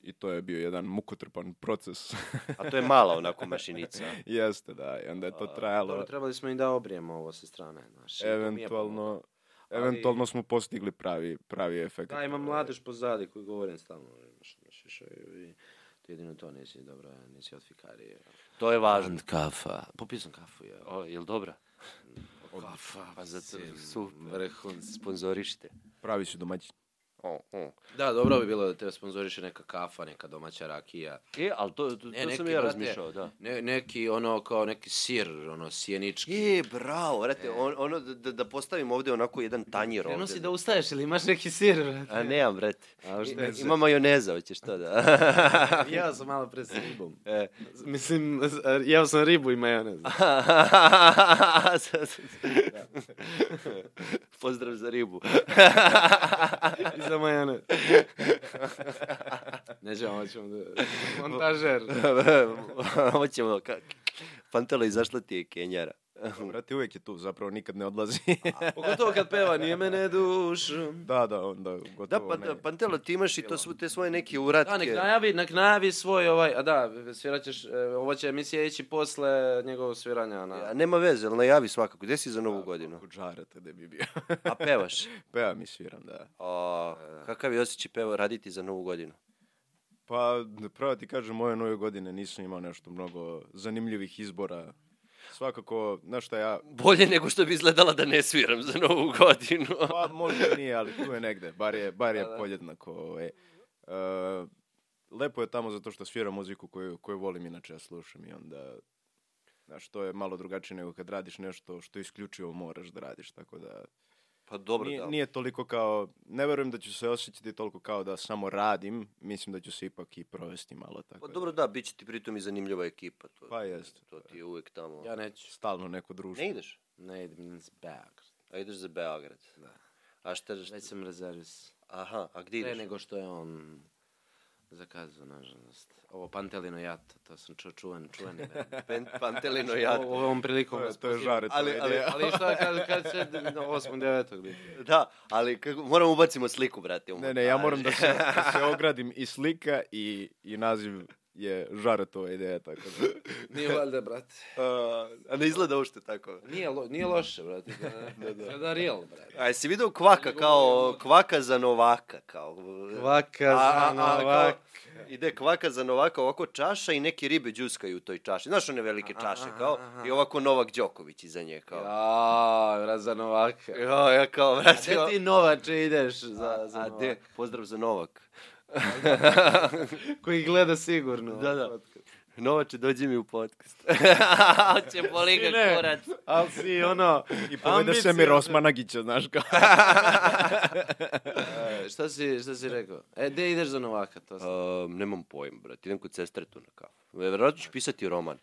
i to je bio jedan mukotrpan proces. A to je mala onako mašinica. Jeste, da, i onda je to trajalo. Dobro, trebali smo i da obrijemo ovo sa strane. Znaš, Znači, i to mi je pomoglo. eventualno, eventualno smo postigli pravi, pravi efekt. Da, ima mladež pozadi koji govorim stalno. Znaš, znaš, znaš, i ti jedino to nisi dobro, nisi od fikarije. To je važno. And kafa. Popio sam kafu, je. O, jel dobra? Kafa, pa zato su vrhun. Sponzorište. Pravi su domaći. O, o. Da, dobro bi bilo da te sponzoriše neka kafa, neka domaća rakija. E, ali to, to, to E, neki, sam i ja brate, razmišljao, da. Ne, neki ono kao neki sir, ono sjenički. E, bravo, brate, on, ono, da, da postavim ovdje onako jedan tanjir ovdje. Prenosi da ustaješ ili imaš neki sir, brate? A nemam, brate. A, šta je I- za- Ima majoneza, hoćeš to da. Jeo sam malo pre s ribom. E. Mislim, e, jeo sam ribu i majonez. Pozdrav za ribu. I za majonez. Nećemo, hoćemo da... Montažer. Hoćemo, ka- Pantela, izašla ti je Kenjara. Brate, uvijek je tu, zapravo nikad ne odlazi. Pogotovo kad peva Nije mene dušom. da, da, onda gotovo Da, pa, ne. Pantela, ti imaš i to svu, te svoje neke uratke. Da, nek najavi, nek najavi svoj ovaj, a da, svirat ćeš, e, ovo će emisija ići posle njegovog sviranja A na... nema veze, ali najavi svakako. Gde si za novu godinu? Kako džarate da bi bio. A pevaš? Peva mi sviram, da. O, kakav je osjećaj peva raditi za novu godinu? Pa, da pravo ti kažem, moje nove godine nisam imao nešto mnogo zanimljivih izbora. Svakako, znaš šta ja, Bolje nego što bi izgledala da ne sviram za novu godinu. pa možda nije, ali tu je negde, bar je, bar Da, je podjednako. Ovaj. E, lepo je tamo zato što svira muziku koju, koju volim inače, ja slušam i onda Znaš, to je malo drugačije nego kad radiš nešto što isključivo moraš da radiš, tako da Pa dobro, nije, da. nije toliko kao, ne verujem da ću se osjećati toliko kao da samo radim, mislim da ću se ipak i provesti malo tako. Pa da dobro, da, bit će ti pritom i zanimljiva ekipa. To, Pa jeste. to ti je uvek tamo. Ja neću. Stalno neko društvo. Ne ideš? Ne idem iz Beograd. A ideš za Beograd. Da. A šta, šta Već sam rezervis. aha, a gdje ideš? Pre nego što je on zakazao, nažalost. Ovo Pantelino Jato, to sam čuo čuven, čuveni. bend. Pen, Pantelino ja. Ovo- Ovom prilikom To je, vas to je pustim. žare, to Ali- je ali- ideja. Ali šta kad, kad se 8. 9. biti? Da, ali kako, moramo ubacimo sliku, brate. u Ne, ne, ja montažu. moram da se, da se ogradim i slika i, i naziv je žaretova ideja, tako da. Nije valjda, brate. A, a ne izgleda uopšte tako. Nije, lo, nije loše, brate. Da, da, da. real, brate. A jesi vidio kvaka kao, kvaka za Novaka, kao. Kvaka A, a, a, kao, ide kvaka za Novaka, ovako čaša i neke ribe džuskaju u toj čaši. Znaš one velike čaše, kao, i ovako Novak Đoković iza nje, kao. Ja, brat, za Novaka. Ja, ja kao, A vrati, gde ti Novače ideš za, za a, de, pozdrav za Novak. Novaka? Koji gleda sigurno. Da, da. Novače, dođi mi u podcast. Hoće boli ga Ne. kurac. Ali si ono... I povede se mi Rosmanagića, znaš kao. E, šta, si, šta si rekao? E, gde ideš za Novaka? To sam... Um, nemam pojma, brate, idem kod sestre tu na kafu. Vjerojatno ću pisati roman.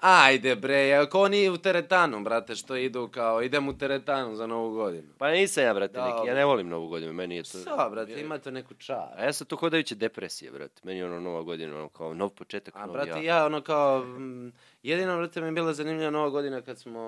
Ajde bre, ja, ko oni u teretanu, brate, što idu kao, idem u teretanu za novu godinu. Pa nisam ja, brate, Da, neki, ja ne volim Novu godinu, meni je to... Šta, brate, imate neku čar. A ja sam to hodajuće depresije, brate. Meni je ono nova godina, ono kao nov početak, A nov brate, ja. ja ono kao, mm, jedino, brate, mi je bila zanimljiva nova godina kad smo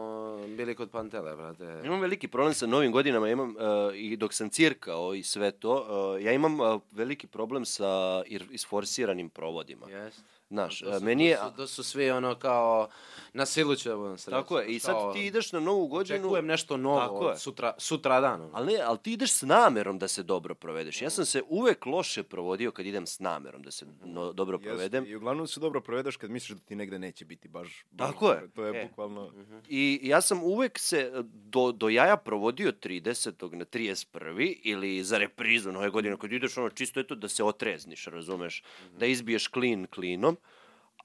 bili kod Pantele, brate. Imam veliki problem sa novim godinama, imam, uh, i dok sam cirkao i sve to, uh, ja imam uh, veliki problem sa ir- isforsiranim provodima. Jeste. Znaš, To uh, su- meni je... To su, to su svi ono kao, na silu ću da budem srećan. Tako je, i Kao, sad ti ideš na novu godinu... Očekujem nešto novo Tako od je. sutra, sutra dan. Ali ne, ali ti ideš s namerom da se dobro provedeš. Ja sam se uvek loše provodio kad idem s namerom da se no, dobro provedem. I uglavnom se dobro provedeš kad misliš da ti negde neće biti baš... baš Tako je. dobro. To je E. bukvalno... I ja sam uvek se do, do jaja provodio 30. na 31. ili za reprizu nove godine, kad ideš ono čisto eto da se otrezniš, razumeš, da izbiješ klin klinom,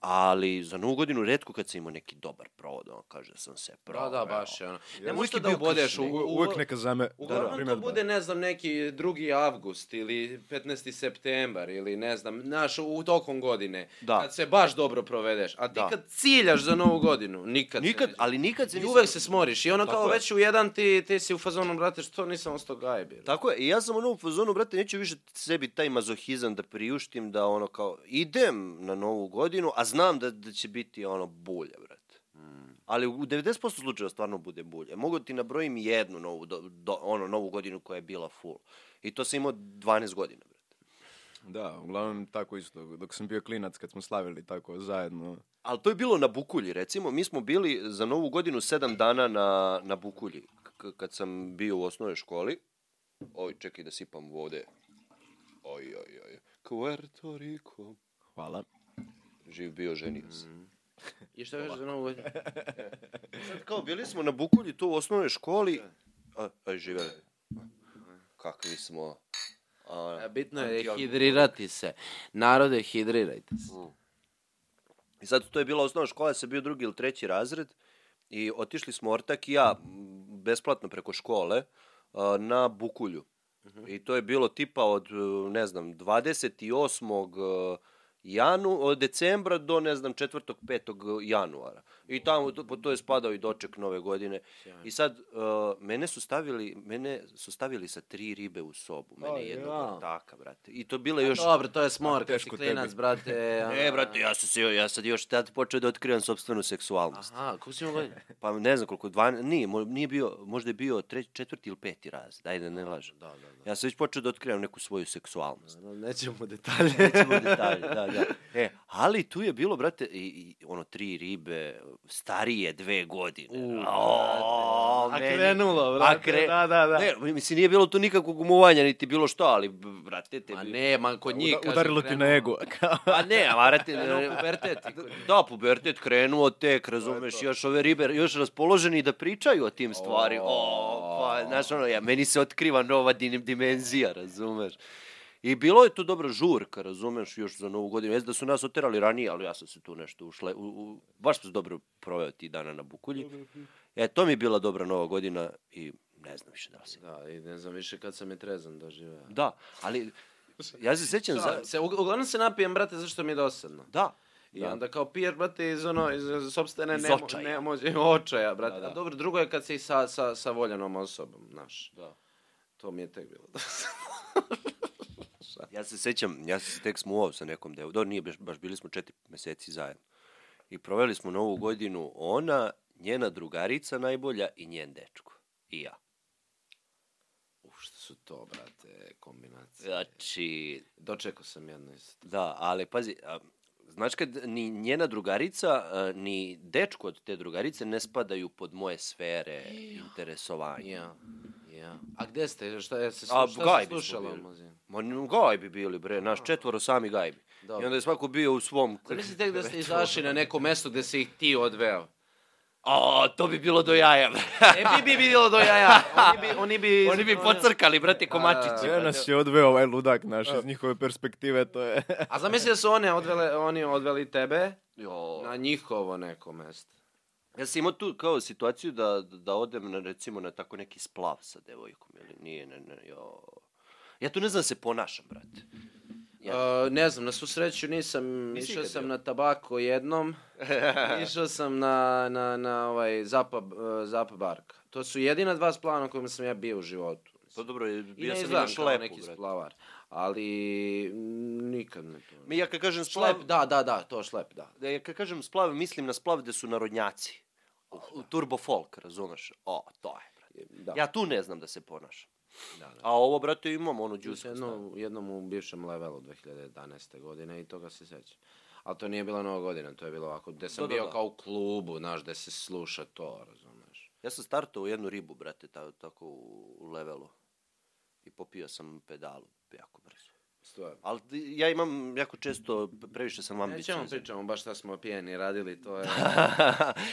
ali za novu godinu redko kad sam imao neki dobar provod, on kaže da sam se Da, proveo. da, baš je ono. Ne Uvijek možeš to je da bio ubodeš u, kršni. u, U- Uvek neka Da, zame... Uglavnom to primjedba. bude, ne znam, neki 2. avgust ili 15. septembar ili ne znam, naš, u tokom godine. Da. Kad se baš dobro provedeš. A ti Da. kad ciljaš za novu godinu, nikad, Nikad, se ali nikad se I nisam- uvek se smoriš i ono Tako kao je. već u jedan ti, ti si u fazonu, brate, što nisam ostao gajbi. Tako je, i ja sam ono u fazonu, brate, neću više sebi taj mazohizam da priuštim, da ono kao, idem na novu godinu, a znam da, da će biti ono bulja, brate. Ali u 90% slučajeva stvarno bude bulja. Mogu ti nabrojim jednu novu, do, do- ono, novu godinu koja je bila full. I to sam imao 12 godina, brate. Da, uglavnom tako isto. Dok sam bio klinac, kad smo slavili tako zajedno... Ali to je bilo na Bukulji, recimo. Mi smo bili za novu godinu sedam dana na, na Bukulji, k- kad sam bio u osnovnoj školi. Oj, čekaj da sipam vode. Oj, oj, oj. Puerto Rico. Hvala. Živ bio, ženio Mm. se. I što kažeš za novu godinu? Sad kao, bili smo na Bukulji tu u osnovnoj školi. A, aj, živeli. Kakvi smo. A, A, Pa, Bitno je Antioksidan. hidrirati se. Narode, hidrirajte se. I sad to je bila osnovna škola, ja sam bio drugi ili treći razred i otišli smo Ortak i ja m, besplatno preko škole a, na Bukulju. Mhm. I to je bilo tipa od, e, ne znam, 28. Janu, od decembra do, ne znam, 4. 5. januara. I tamo, to- po to je spadao i doček nove godine. I sad, e, mene su stavili, mene su stavili sa tri ribe u sobu. Mene Aj, je jednog ja. Pa ortaka, brate. I to bila Pa još... Dobro, to je smor, kad si Teško klinac, tebi. brate. Ne, ono- E, brate, ja sam se, ja sad još tad počeo da otkrivam sopstvenu seksualnost. Aha, kako si imao godinu? Pa ne znam koliko, dva, nije, mo- nije bio, možda je bio treći, četvrti ili peti raz, daj da ne lažem. Da, da, Ja sam već počeo da otkrivam neku svoju seksualnost. da. Nećemo detalje. Nećemo u detalje, da, da. E, ali tu je bilo, brate, i, i ono tri ribe, starije dve godine. U, O, brate. A meni- krenulo, brate, da, da, da. Ne, mislim, nije bilo tu nikakvog umuvanja, niti bilo što, ali, b- brate, te... Ma bi- ne, ma kod njih... Uda- udarilo ti na e- ego. kao. Pa ne, a varate... e, Krenuo pubertet i kod njih. Da, pubertet krenuo tek, razumeš, još ove ribe, još raspoloženi da pričaju o tim stvari. O, pa, znaš, ono, ja, meni se otkriva nova din- dimenzija, razumeš. I bilo je tu dobra žurka, razumeš, još za novu godinu. Jeste da su nas oterali ranije, ali ja sam se tu nešto ušle. U, u, Mhm. baš sam se dobro proveo ti dana na Bukulji. E, to mi je bila dobra nova godina i ne znam više da li si. Da, i ne znam više kad sam je trezan doživeo. Da, ali ja se sjećam za... Da, se, ug- uglavnom se napijem, brate, zašto mi je dosadno. Da, I Da. onda kao pijer, brate, iz ono, iz, iz sobstvene Iz nemo- očaja. nemoći, očaja, brate. Da, da. A dobro, drugo je kad si sa, sa, sa voljenom osobom, znaš. Da. To mi je tek bilo. ja se sjećam, ja sam se tek smuo sa nekom devojkom, dobro, nije baš- baš bili smo četiri meseci zajedno. I proveli smo novu godinu ona, njena drugarica najbolja i njen dečko. I ja. Uf, što su to, brate, kombinacije. Znači, Dočekao sam jedno isto. Da, ali pazi, a, znaš kad ni njena drugarica, a, ni dečko od te drugarice ne spadaju pod moje sfere interesovanja. Ja, ja. A gde ste? Šta je se A, slušalo? Šta gajbi se smo slušalo? bili. muzika? Ma n- gajbi bili, bre, naš četvoro sami gajbi. Dobro. I onda je svako bio u svom... Zamisli tek da ste izašli na neko mesto gde si ih ti odveo. O, to bi bilo do jaja, bre. E, bi bi bilo do jaja. Oni bi, oni bi... Oni bi pocrkali, brate, komačići. Sve nas je odveo ovaj ludak naš iz njihove perspektive, to je... A zamisli da su one odvele, oni odveli tebe Jo. na njihovo neko mesto. Ja sam imao tu kao situaciju da, da odem na, recimo na tako neki splav sa devojkom, ili nije, ne, ne, jo. Ja tu ne znam da se ponašam, brate. E, ne znam, na svu sreću nisam, Nisi išao ikad sam bio? na tabako jednom, išao sam na, na, na ovaj Zapa, e, Zapa Bark. To su jedina dva splava na kojima sam ja bio u životu. Pa dobro, je- I bio ne sam izgledam imaš kao lepo, neki brate. splavar, ali m, nikad ne to. Mi ja kad kažem splav, Šlep, da, da, da, to šlep, da. da ja kad kažem splav, mislim na splav gde su narodnjaci. U- Turbo folk, razumeš? O, to je. brate. Oh, da. Ja tu ne znam da se ponašam. Da, da. A ovo, brate, imam ono Juice džuska. jedno, jednom u bivšem levelu 2011. godine i toga se sećam. Ali to nije bila nova godina, to je bilo ovako, gde sam Da, da, bio da. kao u klubu, znaš, gde se sluša to, razumeš. Ja sam startao u jednu ribu, brate, ta, tako u, u levelu. I popio sam pedalu jako brzo. Stvarno. Ali ti- ja imam jako često, previše sam Nećemo ambiciozan. pričamo baš šta smo pijeni radili, to je...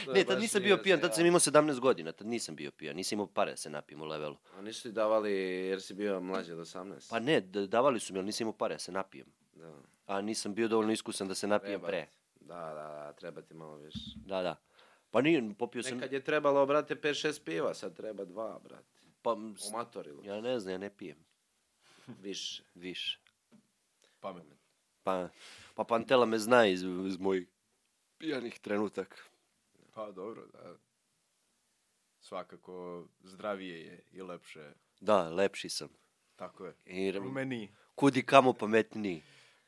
To je ne, tad baš nisam nije bio pijan, se, tad ja. sam imao 17 godina, tad nisam bio pijan, nisam imao pare da se napijem u levelu. A nisu ti davali jer si bio mlađi od 18? Pa ne, d- davali su mi, ali nisam imao pare da se napijem. da. A nisam bio dovoljno iskusan da se napijem Treba pre. ti. Da, da, da, treba ti malo više. Da, da. Pa nije, popio sam... Nekad je trebalo, brate, 5-6 piva, sad treba dva, brate. Pa, m, s- Umatorilo, ja ne znam, ja ne pijem više. više. Pametno. Pa, pa Pantela me zna iz, iz mojih pijanih trenutaka. Pa dobro, da. Svakako zdravije je i lepše. Da, lepši sam. Tako je. I r- Meni. kudi kamo pametniji.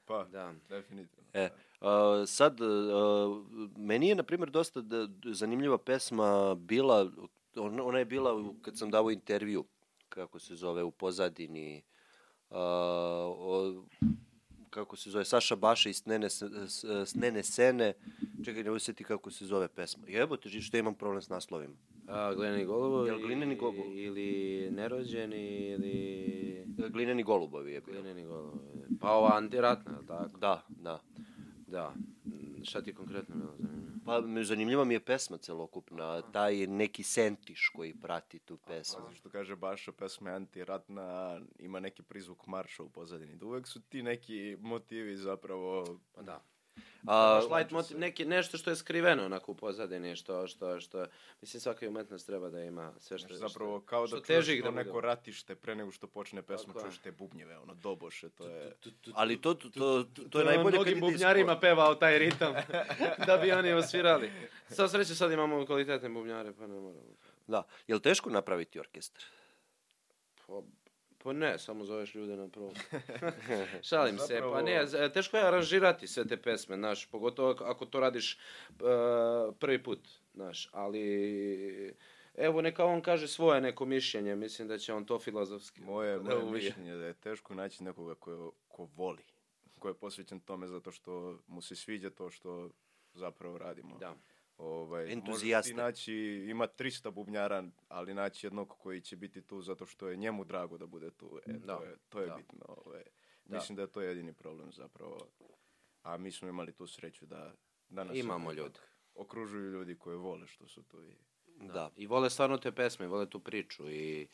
Pa, Da. definitivno. E, a, sad, e, a, meni je, na primjer, dosta da, d- zanimljiva pesma bila, ona, ona je bila u- kad sam dao intervju, kako se zove, u pozadini, a, o, kako se zove, Saša Baša i Snene, S- S- Snene Sene, čekaj, ne usjeti kako se zove pesma. Jebote, ži- što ja imam problem s naslovima? A, glineni golubovi Jel glineni golub- ili nerođeni ili Glineni golubovi je bilo. glineni golubovi. Pa ova antiratna, jel tako? Da, da. Da. Mm, Šta ti konkretno bilo zanimljivo? Pa me- zanimljiva mi je pesma celokupna, taj neki sentiš koji prati tu pesmu. Zato što kaže Baša, pesma je antiratna, ima neki prizvuk marša u pozadini. Da uvek su ti neki motivi zapravo... Pa da. A, Baš light motiv, neki, nešto što je skriveno onako u pozadini, što, što, što, mislim svaka umetnost treba da ima sve što... Znaš, zapravo kao da što čuješ teži to da bude. neko ratište pre nego što počne pesma, Tako je. čuješ te bubnjeve, ono, doboše, to je... Ali to, to, to, to je najbolje kad je Da, mnogim disco. bubnjarima pevao taj ritam, da bi oni osvirali. Sa sreće sad imamo kvalitetne bubnjare, pa ne moramo. Da. Je li teško napraviti orkestar? Pa, pa ne, samo zoveš ljude na probu. Da. Šalim se, pa ne, z- teško je aranžirati sve te pesme, znaš, pogotovo ak- ako to radiš e, prvi put, znaš, ali evo neka on kaže svoje neko mišljenje, mislim da će on to filozofski. Moje, da moje uvije. mišljenje je da je teško naći nekoga ko, ko voli, ko je posvećen tome zato što mu se sviđa to što zapravo radimo. Da. Ovaj, Entuzijasta. možeš ti naći, ima 300 bubnjara, ali naći jednog koji će biti tu zato što je njemu drago da bude tu. E, Da, to je, to je da. bitno. Ovaj. Mislim da je to jedini problem zapravo. A mi smo imali tu sreću da danas... Imamo ovaj, ljude. Okružuju ljudi koji vole što su tu. I, Da. I vole stvarno te pesme, vole tu priču i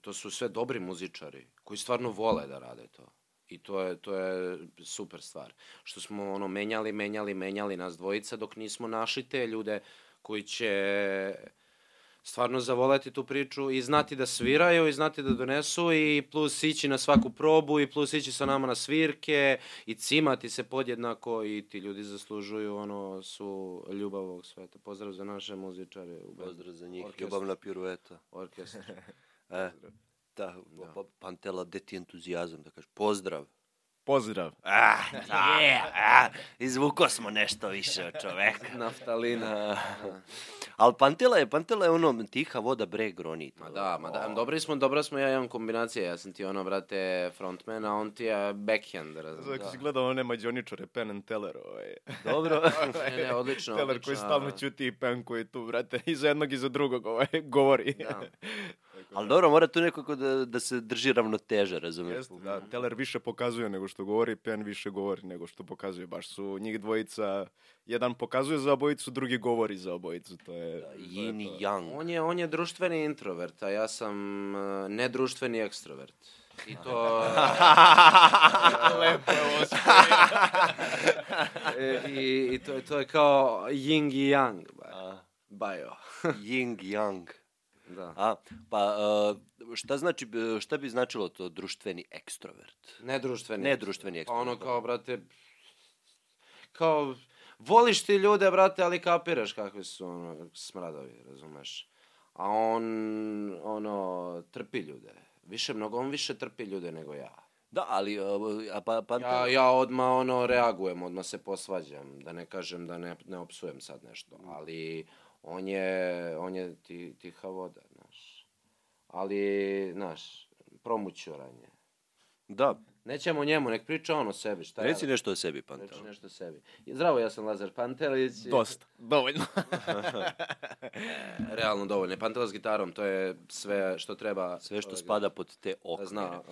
to su sve dobri muzičari koji stvarno vole da rade to. I to je, to je super stvar. Što smo ono menjali, menjali, menjali nas dvojica dok nismo našli te ljude koji će stvarno zavoleti tu priču i znati da sviraju i znati da donesu i plus ići na svaku probu i plus ići sa nama na svirke i cimati se podjednako i ti ljudi zaslužuju ono su ljubav ovog sveta. Pozdrav za naše muzičare u bendu. Pozdrav za njih, Orkestar. ljubavna pirueta. orkestar. E, da, da. Pa, Pantela, gde ti entuzijazam da kažeš? Pozdrav. Pozdrav. Ah, je, ah, izvuko smo nešto više od čoveka. Naftalina. Ali Da. Pantela je, Pantela je ono tiha voda bre groni. Ma da, ma da. Dobri smo, dobra smo, ja imam kombinacije. Ja sam ti ono, brate, frontman, a on ti je backhand, da. razumiješ? Zato si gledao one mađoničare Penn and Teller, ovaj. Dobro. Da. Ne, ne, odlično, Teller koji odlično. da. stalno ćuti i Penn koji tu, brate, i za jednog i za drugog ovaj, govori. Da. Ali dobro, mora tu nekako da, da se drži ravnoteža, razumiješ? Jeste, da, Teller više pokazuje nego što govori, Penn više govori nego što pokazuje. Baš su njih dvojica, jedan pokazuje za obojicu, drugi govori za obojicu. To je, Da, to je Yin i to. yang. On je, on je društveni introvert, a ja sam e, nedruštveni ekstrovert. I to... Da. e, Lepo je ovo sve. e, i, i to, je- to je kao yin i yang. ba- A, Bio. Da, Yin yang. Da. A, pa, e, šta, znači, e, šta bi značilo to društveni ekstrovert? Nedruštveni. Nedruštveni da. Pa ono ekstrovert. kao, brate, kao, voliš ti ljude, brate, ali kapiraš kakvi su, ono, smradovi, razumeš. A on, ono, trpi ljude. Više, mnogo, on više trpi ljude nego ja. Da, ali, e, a pa, Pantela... Ja, ja odmah ono reagujem, odmah se posvađam, da ne kažem da ne, ne opsujem sad nešto, Mm. ali on je, on je ti, tiha voda, znaš. Ali, znaš, promućuran je. Da, Nećemo njemu, nek priča on o sebi, šta ja reci da- nešto o sebi, Reći Pantela. nešto o sebi. I Zdravo, ja sam Lazar Pantelić. i- Dosta, dovoljno. E, Realno dovoljno. Pantela s gitarom, to je sve što treba. Sve što čovjek spada pod te Da okvire. zna.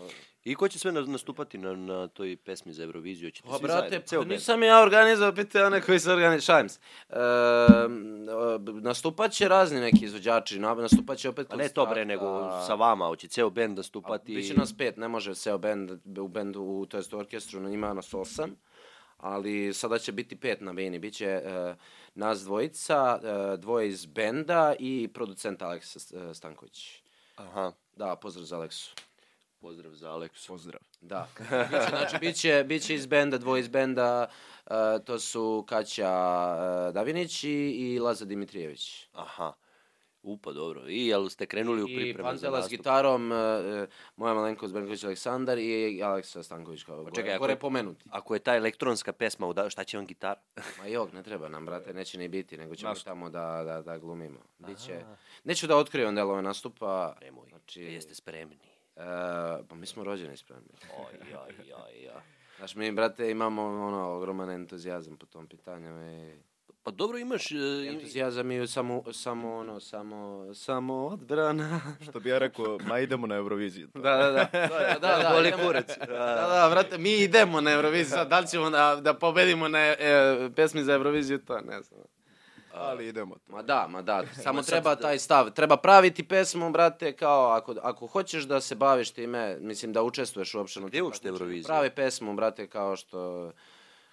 I ko će sve na- nastupati na, na toj pesmi za Euroviziju? Hoćete Pa, svi brate, zajedno? pa Ceo band? nisam ja organizao, pite one koji su organizovali, šalim se. E, nastupat će razni neki izvođači, na- nastupat će opet... Pa ne to bre, Konstrakta. nego sa vama, hoće ceo bend da. A, nastupati. Biće nas pet, ne može ceo bend, u bendu, u, to jest u orkestru, na njima nas osam, ali sada će biti pet na vini. Biće e, nas dvojica, e, dvoje iz benda i producent Aleksa S- e, Stanković. Aha, Da, pozdrav za Aleksu. pozdrav za Aleksu. Pozdrav. Da. Biće, znači, biće, biće iz benda, dvoje iz benda, e, to su Kaća e, Davinić i, i Laza Dimitrijević. Aha. Upa, dobro. I jel ste krenuli u I pripreme za Pantela s nastup? gitarom, e, e, moja malenkost Bernković Aleksandar i Aleksa Stanković kao čekaj, gore, ako- gore pomenuti. Ako je ta elektronska pesma, uda, šta će vam gitar? Ma jog, ne treba nam, brate, neće ni biti, nego ćemo Nastup. tamo da, da, da glumimo. Biće, neću da otkrivam delove nastupa, Nemoj, znači, jeste spremni. e, pa mi smo rođeni spremni. Oj, oj, oj, oj. Znaš, mi, brate, imamo ono, ogroman entuzijazam po tom pitanju i... Pa dobro, imaš... e, im- Entuzijazam je samo, samo ono, samo, samo odbrana. Što bi ja rekao, ma idemo na Euroviziju. da, da, da. da, da, da, Boli idemo- kurac. Da, da, vrate, mi idemo na Euroviziju, sad da li ćemo da, da pobedimo na e, pesmi za Euroviziju, to ne znam. Ali idemo. Ma da, ma da, samo treba taj stav, treba praviti pesmu, brate, kao ako, ako hoćeš da se baviš time, mislim da učestvuješ uopšte na Gde je tim uopšte takmičenjima, Eurovizija? Pravi pesmu, brate, kao što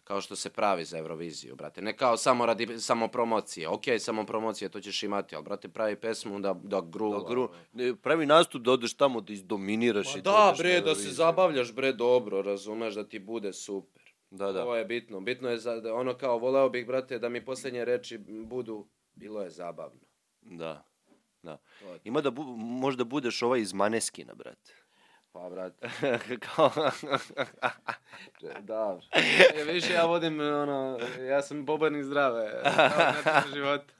kao što se pravi za Euroviziju, brate. Ne kao samo radi samopromocije. Ok, samopromocije, to ćeš imati, ali, brate, pravi pesmu da, da gruva. Pa gru- ne, pravi nastup da odeš tamo da izdominiraš. Pa i da, odeš na bre, da se Euroviziju. zabavljaš, bre, dobro, razumeš, da ti bude super. Da, da. To je bitno. Bitno je za, da ono kao, voleo bih, brate, da mi poslednje reči budu, bilo je zabavno. Da. Da. To je to. Ima da bu, možda budeš ovaj iz Maneskina, brate. Pa, brate, Kao... E, da. Ja, više ja vodim, ono, ja sam bobarnik zdrave. Na života.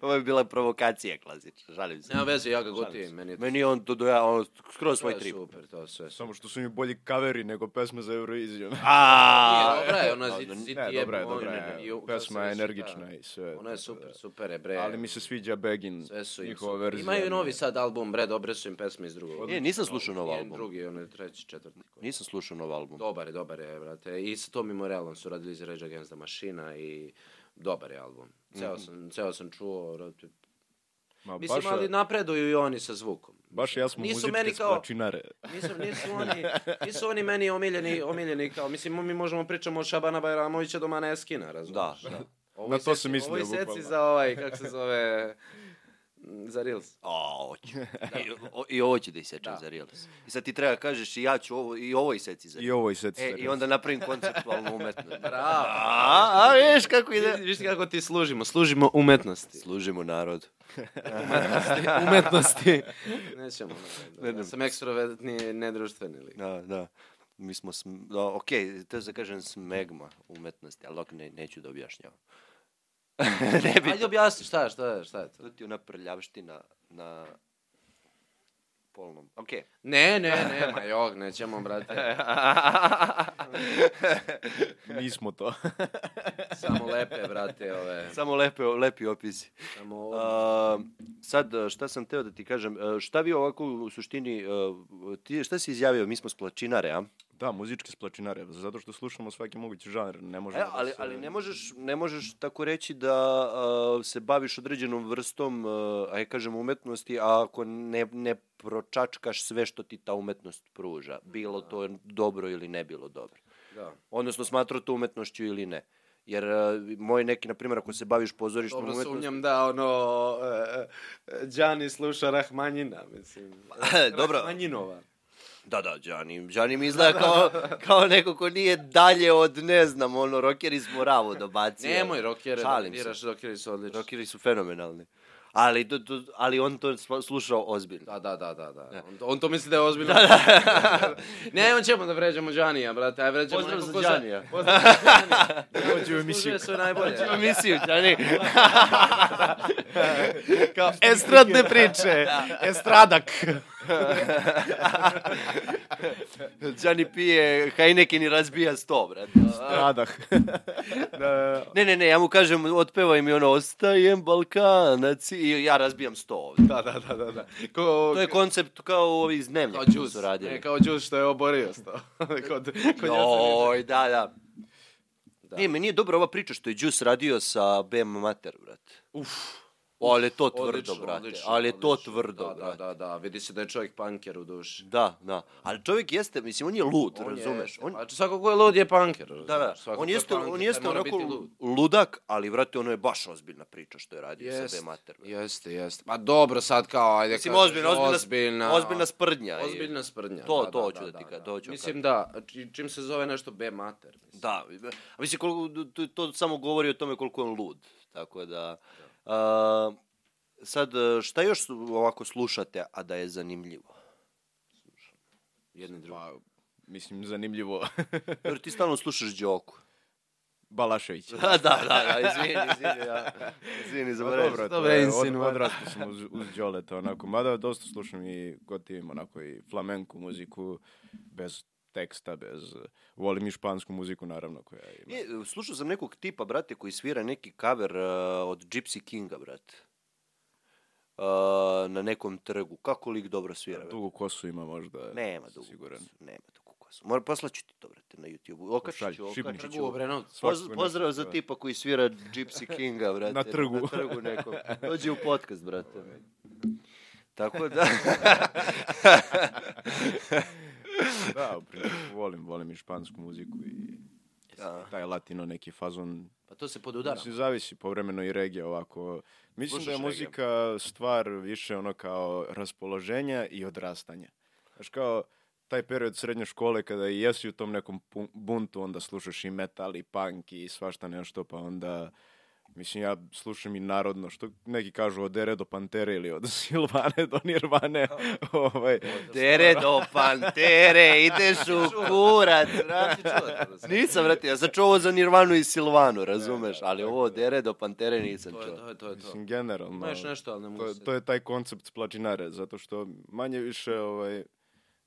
Ovo je bila provokacija klasična, žalim se. Nema veze, ja ga gotivim, meni je to Meni je on to doja, on skroz svoj sve trip. super, to je sve super. Samo što su mi bolji kaveri nego pesme za Euroviziju. A, Nije, dobra je, ona ziti, ziti Ne, dobra je, jebo, dobra ono, je. i u- Pesma sve je se- energična da. i sve. Ona je super, super je, bre. Ali mi se sviđa Begin, Sve su im njihova super. verzija. Imaju novi sad album, bre, dobre su im pesme iz drugog. E, nisam slušao nov Jedan album. Drugi, onaj treći, četvrti. koji- nisam slušao nov album. Dobar je, dobar je, brate. I sa Tommy Morellom su radili za Rage Against the Machine i dobar je album. Mhm. Ceo sam, ceo sam čuo, brate. Ma, Mislim, Pa baš, ali napreduju i oni sa zvukom. baš ja smo nisu muzičke meni meni kao- splačinare. Nisu, nisu, oni, nisu oni meni omiljeni, omiljeni kao, mislim, mi možemo pričamo od Šabana Bajramovića do Maneskina, razumiješ? Da, da. Ovo Na i to seci- sam mislio, Ovo i seci bukvalno. za ovaj, kako se zove, Za Reels. A, hoću. I, o- I ovo ću da isečem Da. za Reels. I sad ti treba da kažeš i ja ću ovo, i ovo iseci za I Reels. ovo i sad E, I onda napravim konceptualnu umetnost. Bravo. A, a, vidiš kako Vidi- ide. Vidiš kako ti služimo? Služimo umetnosti. Služimo narod. umetnosti. umetnosti. Nećemo. Ne, Ne, ja ne. sam ekstrovertni, nedruštveni lik. Da, da. Mi smo, sm... da, ok, to da kažem smegma umetnosti, ali ok, ne, neću da objašnjavam. ne bi Ajde objasni šta, šta, je, šta je to? to ti je ona prljavština na polnom. Ok. Ne, ne, ne, ma jog, nećemo, brate. Nismo to. Samo lepe, brate, ove. Samo lepe, lepi opisi. Samo ovo. A, sad, šta sam teo da ti kažem, e, šta vi ovako u suštini, e, ti, šta si izjavio, mi smo splačinare, a? Da, muzički splačinare, zato što slušamo svaki mogući žanr, ne možemo E, ali, da se... ali ne, možeš, ne možeš tako reći da uh, se baviš određenom vrstom, uh, aj kažem, umetnosti, a ako ne, ne pročačkaš sve što ti ta umetnost pruža, bilo to dobro ili ne bilo dobro. Da. Odnosno, smatra to umetnošću ili ne. Jer uh, moj neki, na primjer, ako se baviš pozorištom Dobro umetnosti... sumnjam da ono e, e, Đani sluša Rahmanjina, mislim. Dobro. Rahmanjinova. Da, da, Đani, Đani mi Da, izgleda kao, kao neko ko nije dalje od, ne znam, ono, rockeri iz Moravo dobacio. Nemoj da rokere, Šalim se. diraš, rokeri su odlični. Rockeri su fenomenalni. Ali, to, to, ali on to slu- slušao ozbiljno. Da, da, da, da, da. On, on to misli da je ozbiljno. ne, on ćemo da vređamo Đanija, brate. Aj vređamo Pozdrav nekog za Da, ko zna- Đanija. Pozdrav za Đanija. Dođe u emisiju. Zaslužuje sve najbolje. Ima misiju, Đani. Kao estradne priče, Da. estradak. Đani pije Heineken i razbija sto, brate. Da. Estradah. da, Ne, ne, ne, ja mu kažem, otpevaj mi ono, ostajem Balkanac i ja razbijam sto ovde. Da, da, da, da, da. Ko, To je koncept kao ovi iz dnevnika. kao E, koji džuz. su radili. Ne, kao džuz što je oborio sto. kod, kod no. Joj, da, da. da. Ne, meni je dobra ova priča što je Juice radio sa BM Mater, brate. Uf. Ali je to tvrdo, Odlično, brate. odlično, ali je to odlično. tvrdo, da, da, brate. da, da, vidi se da je čovjek punker u duši. Da, da. Ali čovjek jeste, mislim, on je lud, razumeš? On... On, Znači, svako ko je lud je punker. da, da. razumeš? Svako On ko je jeste, punker, on taj jeste mora onako biti lud. ludak, ali, vrate, ono je baš ozbiljna priča što je radio sa da BM Mater. brate. Jeste, jeste. Ma dobro sad kao, ajde Mislim, kažeš, ozbiljna, ozbiljna, ozbiljna, ozbiljna sprdnja. i- Ozbiljna sprdnja. To- to hoću da ti ka- to hoću da Mislim da, či- čim se zove nešto B mater. Mislim. Da, a mislim, koliko, to, to samo govori o tome koliko je on lud. Tako da... A, sad, e, šta još su- ovako slušate, a da je zanimljivo? Jedni drugi. Pa, mislim, zanimljivo. Jer ti stalno slušaš Đoku. Balašević. da, da, da, izvini, izvini, da. Izvini, Pa zaboravim. dobro, to Dobre je, od, insinuacije. odrastao sam uz, uz Đoleta, onako, mada dosta slušam i gotivim, onako, i flamenku muziku, bez teksta, bez... Volim i špansku muziku, naravno, koja ima. E, slušao sam nekog tipa, brate, koji svira neki cover e, od Gypsy Kinga, brate. E, na nekom trgu. Kako lik dobro svira, brate? Dugu kosu ima možda. Nema sam dugo. Siguran. kosu, Nema dugo kosu. Moram poslaću ti to, brate, na YouTube-u. Okačit Pošalji, ću, šibnut okačit ću. ću. Drugo Obrenovc. Svako Poz, svoje pozdrav nešto, za da. tipa koji svira Gypsy Kinga, brate. Na trgu. Na trgu nekom. Dođi u podcast, brate. Tako da... Da, u principu, volim, volim i špansku muziku i Da. taj latino neki fazon. Pa to se podudara. Mislim, zavisi povremeno i regija ovako. Mislim Slušaš da je regija? muzika stvar više ono kao raspoloženja i odrastanja. Znaš kao, taj period srednje škole kada i jesi u tom nekom pun- buntu, onda slušaš i metal i punk i svašta nešto, pa onda... Mislim, ja slušam i narodno, što neki kažu od Ere do Pantere ili od Silvane do Nirvane. ovaj, Tere do pantere, ideš u kurac, brate. da, Nisam, brate, ja sam čuo ovo za Nirvanu i Silvanu, razumeš, da, ali ovo od Ere do pantere nisam To je čuo. to, je, to je to. mislim, generalno... Ima još nešto, ali ne mogu to, se... to je taj koncept splačinare, zato što manje više, ovaj,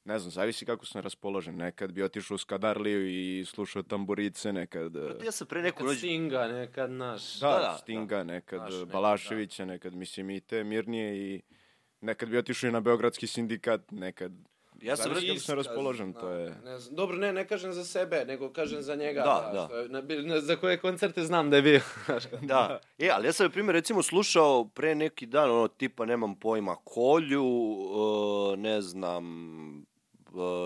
ne znam, zavisi kako sam raspoložen. Nekad bi otišao u Skadarliju i slušao tamburice, nekad... eh, Brate, ja sam pre neku Nekad noć... Singa, nekad naš. Da, da, da. Stinga, nekad Naš, eh, nekad, Balaševića, nekad, mislim, i te mirnije i... Nekad bi otišao i na Beogradski sindikat, nekad... Ja sam, Zavisi brate, kako sam raspoložen, to je... Da, Ne znam. Dobro, ne, ne kažem za sebe, nego kažem za njega. Da, da. što je- na, bil- na- za koje koncerte znam da je bio. Da, e, ali ja sam, na primjer, recimo slušao pre neki dan, ono, tipa, nemam pojma, kolju, e, ne znam, e,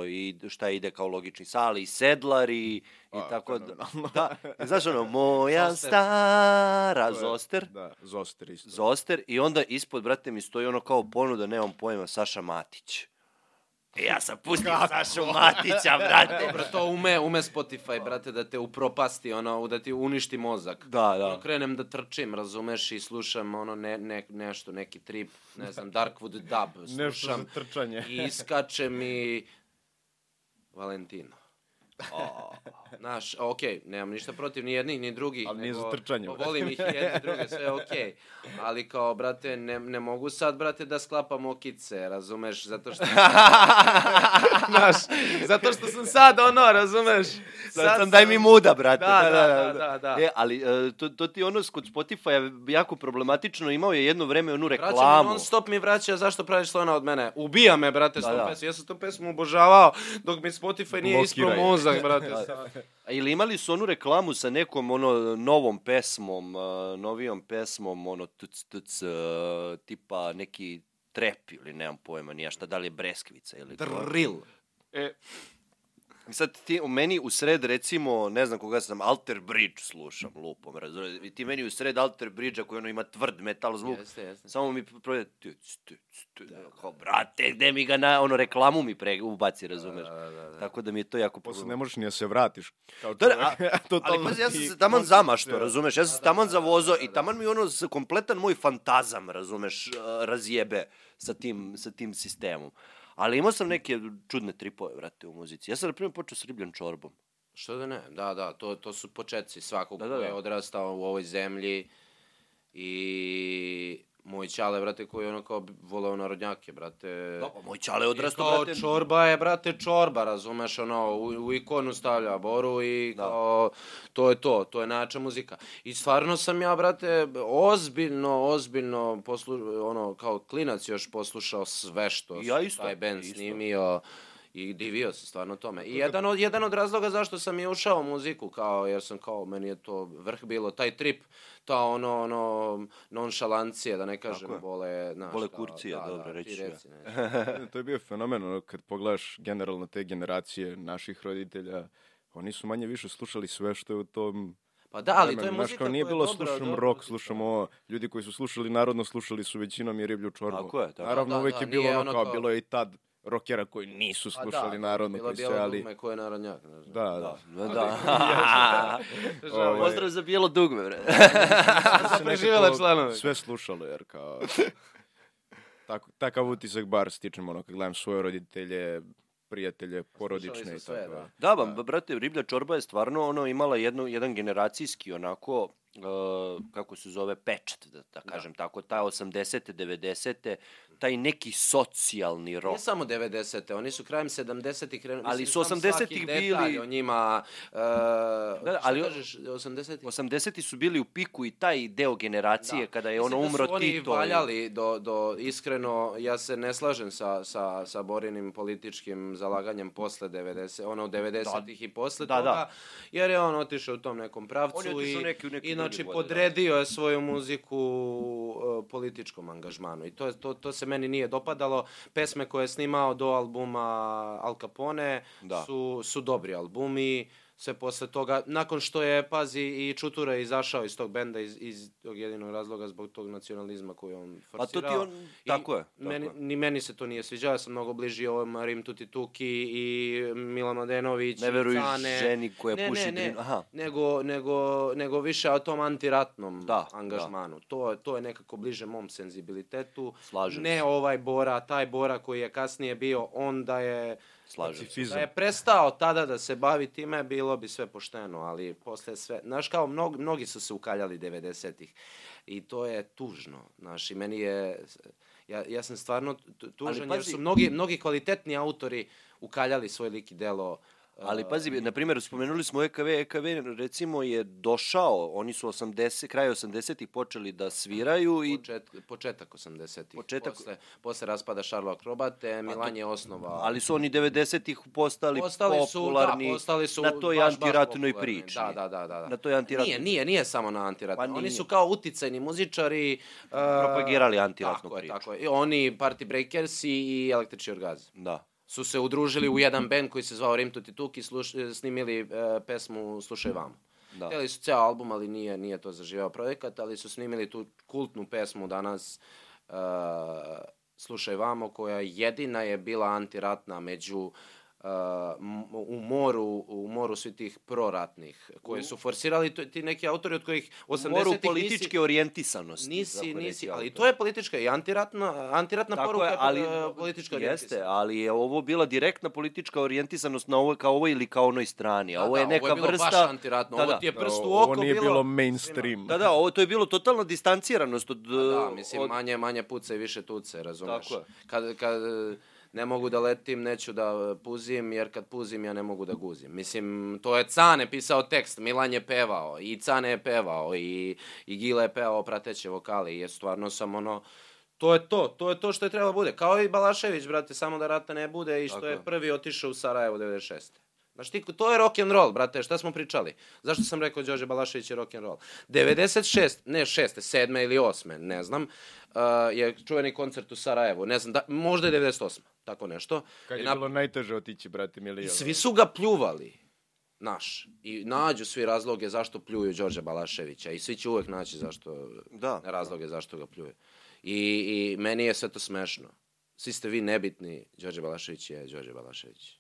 i šta ide kao logični sali, i sedlari, i A, tako da. fenomenalno. da. Znaš, ono, moja Soster. stara, da, Zoster. Da, Zoster isto. Zoster i onda ispod, brate, mi stoji ono kao ponuda, nemam pojma, Saša Matić. E, ja sam pustio Sašu Matića, brate. Dobro, Da to ume, ume Spotify, brate, da te upropasti, ono, da ti uništi mozak. Da, da. Ono, krenem da trčim, razumeš, i slušam ono ne, ne, nešto, neki trip, ne znam, Darkwood dub, Nešto za slušam trčanje. i iskače mi Valentino. O, naš, okej, nemam ništa protiv ni jednih ni drugih. Ali nije nego za trčanje, brate. Volim ih i jedne i druge, sve je okej. Ali kao, brate, ne, ne mogu sad, brate, da sklapam okice, razumeš? Zato što da. Znaš, zato što sam sad ono, razumeš? Sad, sam, Da, daj mi muda, brate. Da, da, da, da, da. E, ali e, to, to ti ono s- kod Spotify jako problematično. Imao je jedno vreme onu Vraća mi reklamu. non stop mi vraća, zašto praviš slona od mene? Ubija me, brate, s Da, tom da. pesmom. Ja sam tu pesmu obožavao, dok mi Spotify nije Blokiraj. ispro mozak, brate. sad. A Ili imali su onu reklamu sa nekom ono novom pesmom, e, novijom pesmom, ono tuc tuc, e, tipa neki trep ili nemam pojma nija šta, da li je Breskvica ili... Drill. I sad ti u meni u sred recimo, ne znam koga sam, Alter Bridge slušam lupom, razumiješ? I ti meni u sred Alter Bridge-a koji ono ima tvrd metal zvuk, Jeste, jeste. samo mi prođe tuc tuc tuc, kao brate, gde mi ga na, ono reklamu mi pre, ubaci, razumeš? Tako da mi je to jako Posle problem. ne možeš ni da se vratiš. Kao Da, da, čovjek. a- ali Totalno pazi, ja sam ti se taman zamašto, koncentriran. razumeš? Ja sam se taman zavozao i taman mi ono s- kompletan moj fantazam, razumeš, a, razjebe sa tim, sa tim sistemom. Ali imao sam neke čudne tripove, vrate, u muzici. Ja sam, na primjer, počeo s ribljan čorbom. Što da ne? Da, da, to, to su početci svakog Da, da, da, ko da. je odrastao u ovoj zemlji i moj čale, brate, koji je ono kao voleo narodnjake, brate. Da, pa moj čale je I odrastao, kao, brate. čorba je, brate, čorba, razumeš, ono, u, u ikonu stavlja boru i Da. kao, to je to, to je najjača muzika. I stvarno sam ja, brate, ozbiljno, ozbiljno, poslu, ono, kao klinac još poslušao sve što I ja isto, taj band isto. snimio i divio se stvarno tome. I jedan od, jedan od razloga zašto sam i ušao u muziku, kao, jer sam kao, meni je to vrh bilo, taj trip, ta ono, ono, nonšalancije, da ne kažem, je. vole, znaš, Vole kao, kurcije, da, dobro, da, ti reći ću ja. reci nešto. to je bio fenomen, ono, kad pogledaš generalno te generacije naših roditelja, oni su manje više slušali sve što je u tom Pa da, ali to je vremenu. Znaš, muzika kao nije koja je bilo dobra, da. slušam dobra rock, muzika. slušam ovo. Ljudi koji su slušali narodno, slušali su većinom i riblju čorbu. Tako je, tako je. Naravno, Da, da, uvek je bilo nije ono ono kao, kao- da, bilo je i tad rokera koji nisu slušali narodno, Bilo Pa koji je se, bijelo ali... dugme koje je narodnjak. ne znam. Da, da. Da, da. Ovaj, Pozdrav za bijelo dugme, bre. da su se preživele nekako članove. Sve slušalo, jer kao... Tako, takav utisak bar stičem, ono, kad gledam svoje roditelje, prijatelje, porodične i su sve, tako. da. Da, ba, ba- brate, riblja čorba je stvarno ono imala jednu, jedan generacijski onako, e, kako se zove, pečat, da, da kažem tako, ta 80. 90. taj neki socijalni Nije rok. samo 90-te, oni su krajem 70-ih krenuli. Ali su mislim, znam 80-ih svaki detalj bili- o njima... Uh, da, da, ali ali... o- kažeš, 80-ih? 80. su bili u piku i taj deo generacije kada je ono Mislim da umro su oni Tito. i- valjali do, do, iskreno, ja se ne slažem sa, sa, sa Borinim političkim zalaganjem posle 90, ono 90-ih i posle Da, da. toga, jer je on otišao u tom nekom pravcu On je otišao i, neki- u neki drugi i znači vode, da. podredio je svoju muziku uh, političkom angažmanu i to, je- to, to se meni nije dopadalo. Pesme koje je snimao do albuma Al Capone Da. su, su dobri albumi, sve posle toga, nakon što je, pazi, i Čutura izašao iz tog benda iz, iz tog jedinog razloga zbog tog nacionalizma koji je on Pa to ti forsirao. on- tako je, tako meni, je. Ni meni se to nije sviđao, ja sam mnogo bliži ovom Rim Tuti Tuki i Milan Mladenović. Ne veruj Cane. ženi koja ne, puši ne, drinu. ne, Aha. Nego, nego, nego više o tom antiratnom Da, angažmanu. To, to je nekako bliže mom senzibilitetu. Slažem ne se. ovaj Bora, taj Bora koji je kasnije bio, onda je... Slažem se. Pacifizam. Da je prestao tada da se bavi time, bilo bi sve pošteno, ali posle sve... Znaš, kao, mnog, mnogi su se ukaljali 90-ih i to je tužno. Znaš, i meni je... Ja, ja sam stvarno tu- tužan, jer pazi- su mnogi, mnogi kvalitetni autori ukaljali svoj lik i delo. Ali pazi, na primjer, spomenuli smo E EKV, EKV recimo je došao, oni su 80, kraj 80-ih počeli da sviraju i Počet, početak 80-ih. Početak- Posle, posle raspada Šarlo Akrobate, Milan je osnova. ali su oni 90-ih postali, Postali su, popularni da, postali su na toj baš, baš antiratnoj popularni. priči. Da, da, da, da. da. Na toj antiratnoj- Nije, nije, nije samo na antiratnoj. Pa Oni nije. su kao uticajni muzičari. Uh, Propagirali antiratnu tako priču. Je, tako je. I oni, Party Breakers i, i Električni orgazm Da. su se udružili u jedan band koji se zvao Rim Tuti Tuk i sluš, snimili uh, e, pesmu Slušaj vamo. Da. Htjeli su ceo album, ali nije, nije to zaživao projekat, ali su snimili tu kultnu pesmu danas uh, Slušaj vamo, koja jedina je bila antiratna među uh, m- u moru u moru svih tih proratnih koje su forsirali to- ti neki autori od kojih 80-ih Moru nisi- političke orijentisanosti. Nisi, tako nisi, reći, ali autor. to je politička i antiratna, antiratna Tako poruka je, ali e, jeste, politička orijentisanost. ali je ovo bila direktna politička orijentisanost na ovoj kao ovoj ili kao onoj strani, a Da, ovo je da, neka bilo vrsta baš antiratno, Da, ovo da. ti je prst u Ovo- oko Ovo nije bilo bilo mainstream. Da, da, ovo to je bilo totalna distanciranost od Pa da, mislim, od- manje, manje puca i više tuce, razumeš? Tako je. Kad, kad e, ne mogu da letim, neću da e, puzim, jer kad puzim ja ne mogu da guzim. Mislim, to je Cane pisao tekst, Milan je pevao, i Cane je pevao, i, i Gile je pevao prateće vokale, i je stvarno sam ono... To je to, to je to što je trebalo da bude. Kao i Balašević, brate, samo da rata ne bude i što Tako je je. prvi otišao u Sarajevo 96. Znaš ti, to je rock and roll, brate, šta smo pričali? Zašto sam rekao Đorđe Balašević je rock and roll? 96, ne 6, 7 ili 8, ne znam, uh, je čuveni koncert u Sarajevu, ne znam, da, možda je 98, tako nešto. Kad I je nap- bilo da. najteže otići, brate I Milija. svi su ga pljuvali, naš. I nađu svi razloge zašto pljuju Đorđa Balaševića i svi će uvek naći zašto, Da. razloge zašto ga pljuju. I, I meni je sve to smešno. Svi ste vi nebitni, Đorđe Balašević je Đorđe Balašević.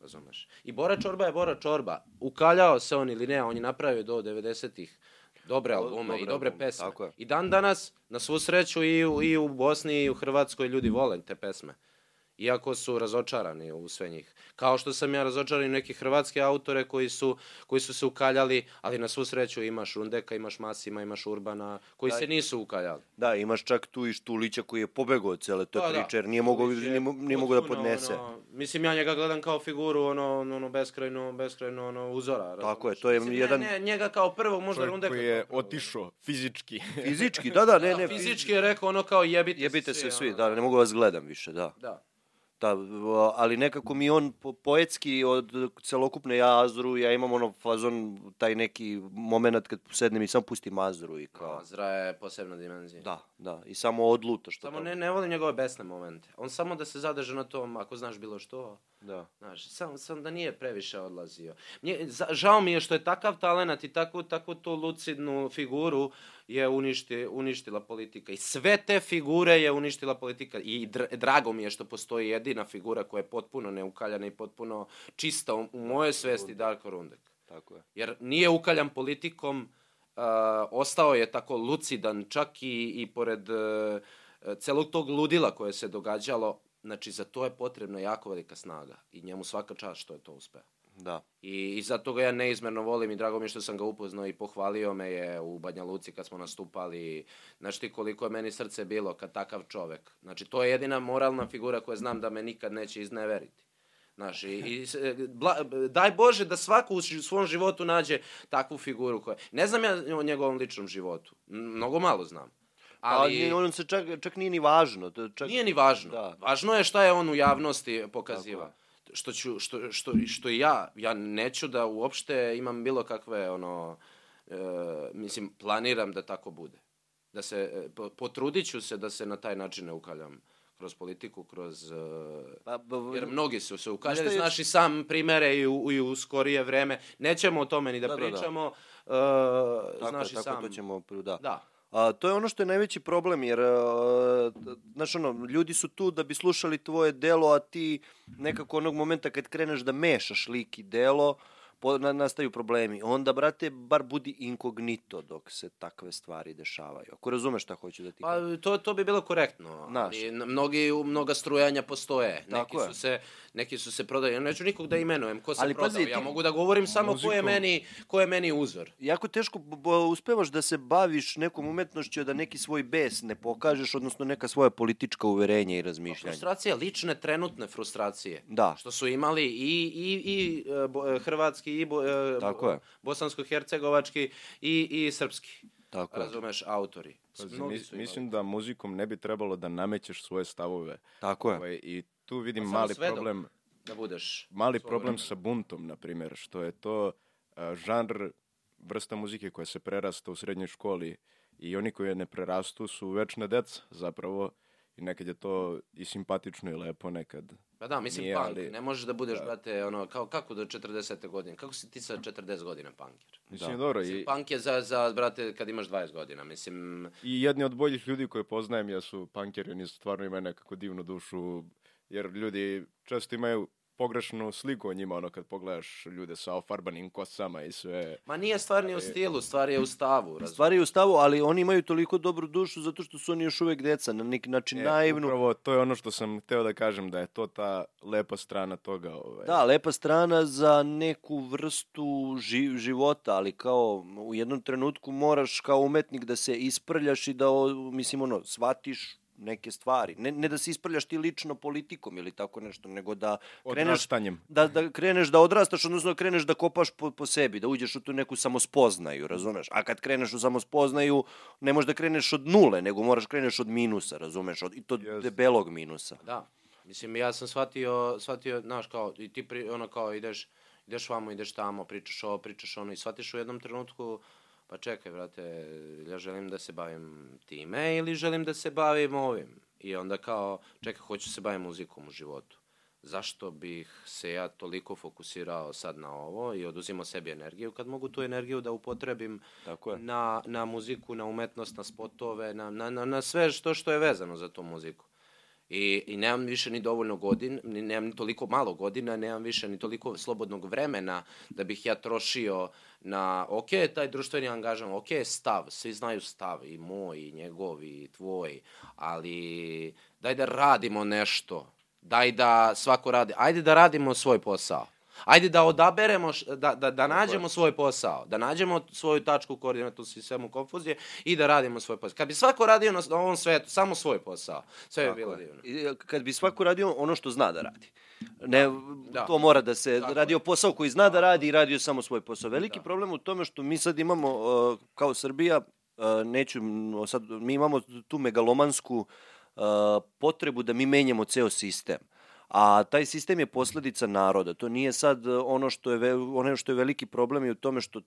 Razumeš? I Bora Čorba je Bora Čorba. Ukaljao se on ili ne, on je napravio do 90-ih dobre Do- albume i dobre dobre albume, pesme. tako je. I dan danas, na svu sreću, i u, i u Bosni i u Hrvatskoj ljudi vole te pesme. Iako su razočarani u sve njih. Kao što sam ja razočaran i u neke hrvatske autore koji su, koji su se ukaljali, ali na svu sreću imaš Rundeka, imaš Masima, imaš Urbana, koji Da. se nisu ukaljali. Da, imaš čak tu i Štulića koji je pobegao od cele te Da, da. priče jer nije mogao Štulić je nije, mo- nije mogao da potpuno, podnese. ono, mislim, ja njega gledam kao figuru, ono, ono, ono beskrajno, beskrajno, ono, uzora. Tako je, razumeš? to je Mislim, jedan- Ne, ne, njega kao prvog, možda Čovjek Rundeka. koji je kao prvog. otišao fizički. Fizički, da, da, ne, ne. Fizički je rekao ono kao jebite, se Jebite se svi, ono. da, ne mogu vas gledam više, da. Da. Da, v- ali nekako mi on po- poetski od celokupne ja Azru, ja imam ono fazon, taj neki moment kad sednem i samo pustim Azru i kao... Azra je posebna dimenzija. Da, da, i samo odluta što Samo ne, ne volim njegove besne momente. On samo da se zadrže na tom, ako znaš bilo što, Da. znaš, sam, sam da nije previše odlazio. Nje, za- žao mi je što je takav talenat i takvu, takvu tu lucidnu figuru je uništi, uništila politika. I sve te figure je uništila politika. I dr, drago mi je što postoji jedina figura koja je potpuno neukaljana i potpuno čista u, u moje svesti Darko Rundek. Tako je. Jer nije ukaljan politikom, uh, ostao je tako lucidan, čak i, i pored uh, celog tog ludila koje se događalo, znači za to je potrebna jako velika snaga i njemu svaka čast što je to uspeo. Da. I, I zato ga ja neizmerno volim i drago mi je što sam ga upoznao i pohvalio me je u Banja Luci kad smo nastupali. Znaš ti koliko je meni srce bilo kad takav čovek. Znači, to je jedina moralna figura koja znam da me nikad neće izneveriti. Znaš, i, i, s- e, bla- daj Bože da svako u ži- svom životu nađe takvu figuru koja... Ne znam ja o njegovom ličnom životu. M- Mnogo malo znam. Ali, Pa on se čak, čak nije ni važno. to je Čak... Nije ni važno. Da. Važno je šta je on u javnosti pokazivao. Tako Što, ću, što, što, što i ja, ja neću da uopšte imam bilo kakve, ono, e, mislim, planiram da tako bude. Da se, e, po- potrudit ću se da se na taj način ne ukaljam kroz politiku, kroz... e, Pa, b- b- jer mnogi su se Znaš ukaljali, šta je- znaš i sam primere i u, i u skorije vreme. Nećemo o tome ni da, Da, da, da. pričamo, e, tako, znaš i tako, sam. to ćemo, da. Da. A, to je ono što je najveći problem, jer, a, t- znaš, ono, ljudi su tu da bi slušali tvoje delo, a ti nekako onog momenta kad kreneš da mešaš lik i delo, po, na, nastaju problemi. Onda, brate, bar budi inkognito dok se takve stvari dešavaju. Ako razumeš šta hoću da ti kažem. Pa to to bi bilo korektno. Znaš. Ali n- mnogi mnoga strujanja postoje. Tako neki je. su se neki su se prodali. Ja neću nikog da imenujem ko se Ali Ali, prodao. pazi, ja ti- mogu da govorim samo ko je Muzikom. meni ko je meni uzor. Jako teško b- b- uspevaš da se baviš nekom umetnošću, a da neki svoj bes ne pokažeš, odnosno neka svoja politička uverenja i razmišljanja. Frustracije, lične trenutne frustracije. Da. Što su imali i, i, i e, bo- e, hrvatski, i bo, e, Tako je. bosansko-hercegovački, i, i srpski. Tako je. Razumeš, autori. Pazi, Mnogi mis- su imali. mislim da muzikom ne bi trebalo da namećeš svoje stavove. Tako je. Ovaj, I tu vidim Pa samo mali svedok. problem, da budeš. mali svoje problem vreme. sa buntom, na primjer, što je to a, žanr, vrsta muzike koja se prerasta u srednjoj školi i oni koji je ne prerastu su večna deca, zapravo. I nekad je to i simpatično i lepo, nekad Pa da, mislim Nije, punk, ali- ne možeš da budeš, da. brate, ono, kao, kako do 40. godine, kako si ti sa 40 godina punker? Mislim, dobro, i, Mislim, punk je za, za, brate, kad imaš 20 godina, mislim, i jedni od boljih ljudi koje poznajem jesu punkeri, oni stvarno imaju nekako divnu dušu, jer ljudi često imaju pogrešnu sliku o njima, ono kad pogledaš ljude sa ofarbanim kosama i sve. ma nije stvar ni u stilu, stvar je u stavu, razumiješ? Stvari je u stavu, ali oni imaju toliko dobru dušu zato što su oni još uvek deca, na neki način E, naivnu. Upravo, to je ono što sam hteo da kažem, da je to ta lepa strana toga. Ovaj. Da, lepa strana za neku vrstu ži, života, ali kao u jednom trenutku moraš kao umetnik da se isprljaš i da, o, mislim, ono, shvatiš neke stvari. Ne, ne da se isprljaš ti lično politikom ili tako nešto, nego da kreneš, Odrastanjem. da, da kreneš da odrastaš, odnosno da kreneš da kopaš po, po sebi, da uđeš u tu neku samospoznaju, razumeš? A kad kreneš u samospoznaju, ne možeš da kreneš od nule, nego moraš kreneš od minusa, razumeš? Od, I to Jeste. debelog minusa. Da. Mislim, ja sam shvatio, shvatio, znaš, kao, i ti pri, ono kao ideš, ideš vamo, ideš tamo, pričaš ovo, pričaš ono i shvatiš u jednom trenutku, pa čekaj, brate, ja želim da se bavim time ili želim da se bavim ovim. I onda kao, čekaj, hoću da se bavim muzikom u životu. Zašto bih se ja toliko fokusirao sad na ovo i oduzimao sebi energiju kad mogu tu energiju da upotrebim Tako je. na, na muziku, na umetnost, na spotove, na, na, na, na sve što, što je vezano za tu muziku. I, I nemam više ni dovoljno godin, ni, nemam ni toliko malo godina, nemam više ni toliko slobodnog vremena da bih ja trošio na, ok, taj društveni angažam, ok, stav, svi znaju stav, i moj, i njegov, i tvoj, ali daj da radimo nešto, daj da svako radi, ajde da radimo svoj posao. Ajde da odaberemo, š- da, da, da nađemo svoj posao, da nađemo svoju tačku koordinatu u sistemu konfuzije i da radimo svoj posao. Kad bi svako radio na s- na ovom svetu samo svoj posao, sve bi bilo divno. I, e, Kad bi svako radio ono što zna da radi. Ne, da. Da. to mora da se Tako radio posao koji zna da radi i radio samo svoj posao. Veliki da. problem u tome što mi sad imamo uh, kao Srbija uh, neću m, sad mi imamo tu megalomansku uh, potrebu da mi menjamo ceo sistem. A taj sistem je posledica naroda. To nije sad uh, ono što je ve, ono što je veliki problem je u tome što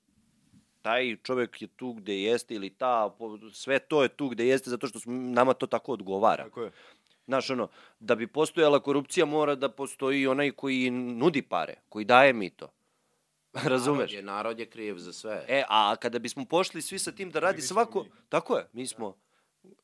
taj čovek je tu gde jeste ili ta po- sve to je tu gde jeste zato što smo- nama to tako odgovara. Da. Tako je. Znaš, ono, da bi postojala korupcija mora da postoji i onaj koji nudi pare, koji daje mito. Narod Razumeš? je, narod je kriv za sve. E, a kada bismo pošli svi sa tim da radi svako... Tako je, mi smo...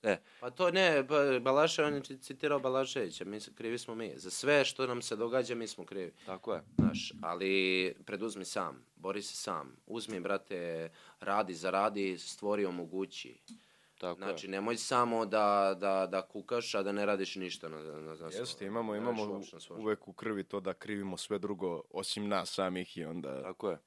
E, Pa to ne, ba- Balaše, on je ci- citirao Balaševića, mi, s- krivi smo mi. Za sve što nam se događa, mi smo krivi. tako je. Znaš, ali preduzmi sam, bori se sam. Uzmi, brate, radi, zaradi, stvori, omogući. Tako Znači, nemoj samo da, da, da kukaš, a da ne radiš ništa. Na, na, na, na Jeste, svom- imamo, ne imamo radiš u- uopšte na svom uvek u krvi to da krivimo sve drugo osim nas samih i je. onda, Tako je.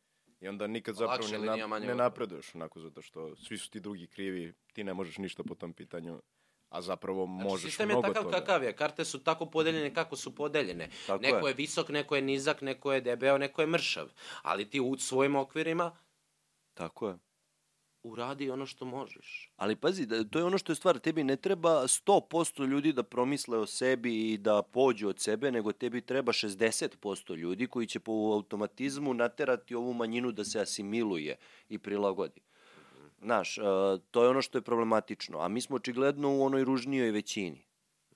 i onda nikad Lakše zapravo ne, linija, nap, manje ne otpora. napreduješ onako zato što svi su ti drugi krivi, ti ne možeš ništa po tom pitanju, a zapravo Znači, možeš sistem je mnogo takav toga. kakav je, karte su tako podeljene kako su podeljene. Tako neko je. je. visok, neko je nizak, neko je debeo, neko je mršav. Ali ti u svojim okvirima Tako je. uradi ono što možeš. Ali pazi, da, to je ono što je stvar, tebi ne treba 100% ljudi da promisle o sebi i da pođu od sebe, nego tebi treba 60% ljudi koji će po automatizmu naterati ovu manjinu da se asimiluje i prilagodi. Znaš, e, to je ono što je problematično, a mi smo očigledno u onoj ružnijoj većini,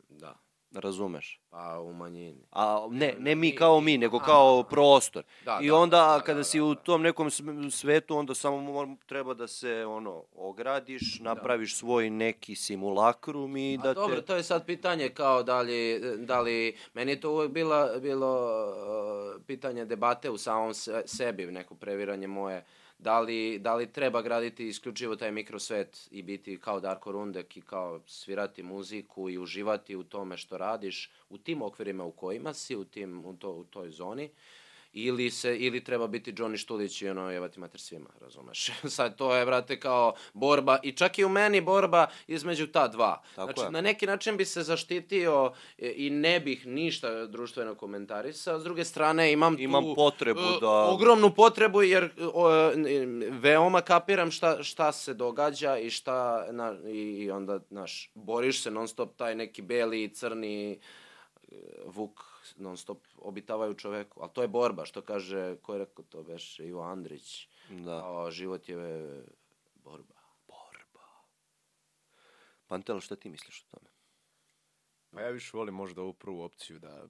Da, razumeš? pa u manjini. A ne, ne mi Mi- kao mi, nego kao prostor. Da, I da, onda da, da, kada da, si da, u da. tom nekom sm- svetu, onda samo mor- treba da se ono ogradiš, napraviš svoj neki simulakrum i da Da. A dobro, te to je sad pitanje kao da li, da li meni je to uvek bila, bilo uh, pitanje debate u samom se- sebi, neko previranje moje, da li, da li treba graditi isključivo taj mikrosvet i biti kao Darko Rundek i kao svirati muziku i uživati u tome što radiš, u tim okvirima u kojima si, u, tim, u, to, u toj zoni, ili se ili treba biti Johnny Štulić i ono jevati mater svima, razumeš? Sad to je brate kao borba i čak i u meni borba između ta dva. Tako znači je. na neki način bi se zaštitio e, i ne bih ništa društveno komentarisao. S druge strane imam Imam tu, potrebu e, da- ogromnu potrebu jer e, o, e, veoma kapiram šta šta se događa i šta na, i i onda naš boriš se non stop taj neki beli i crni e, Vuk non stop obitavaju čoveku, ali to je borba, što kaže, ko je rekao to, veš, Ivo Andrić, Da. kao život je e, borba. borba. Pantela, šta ti misliš o tome? Pa ja više volim možda ovu prvu opciju da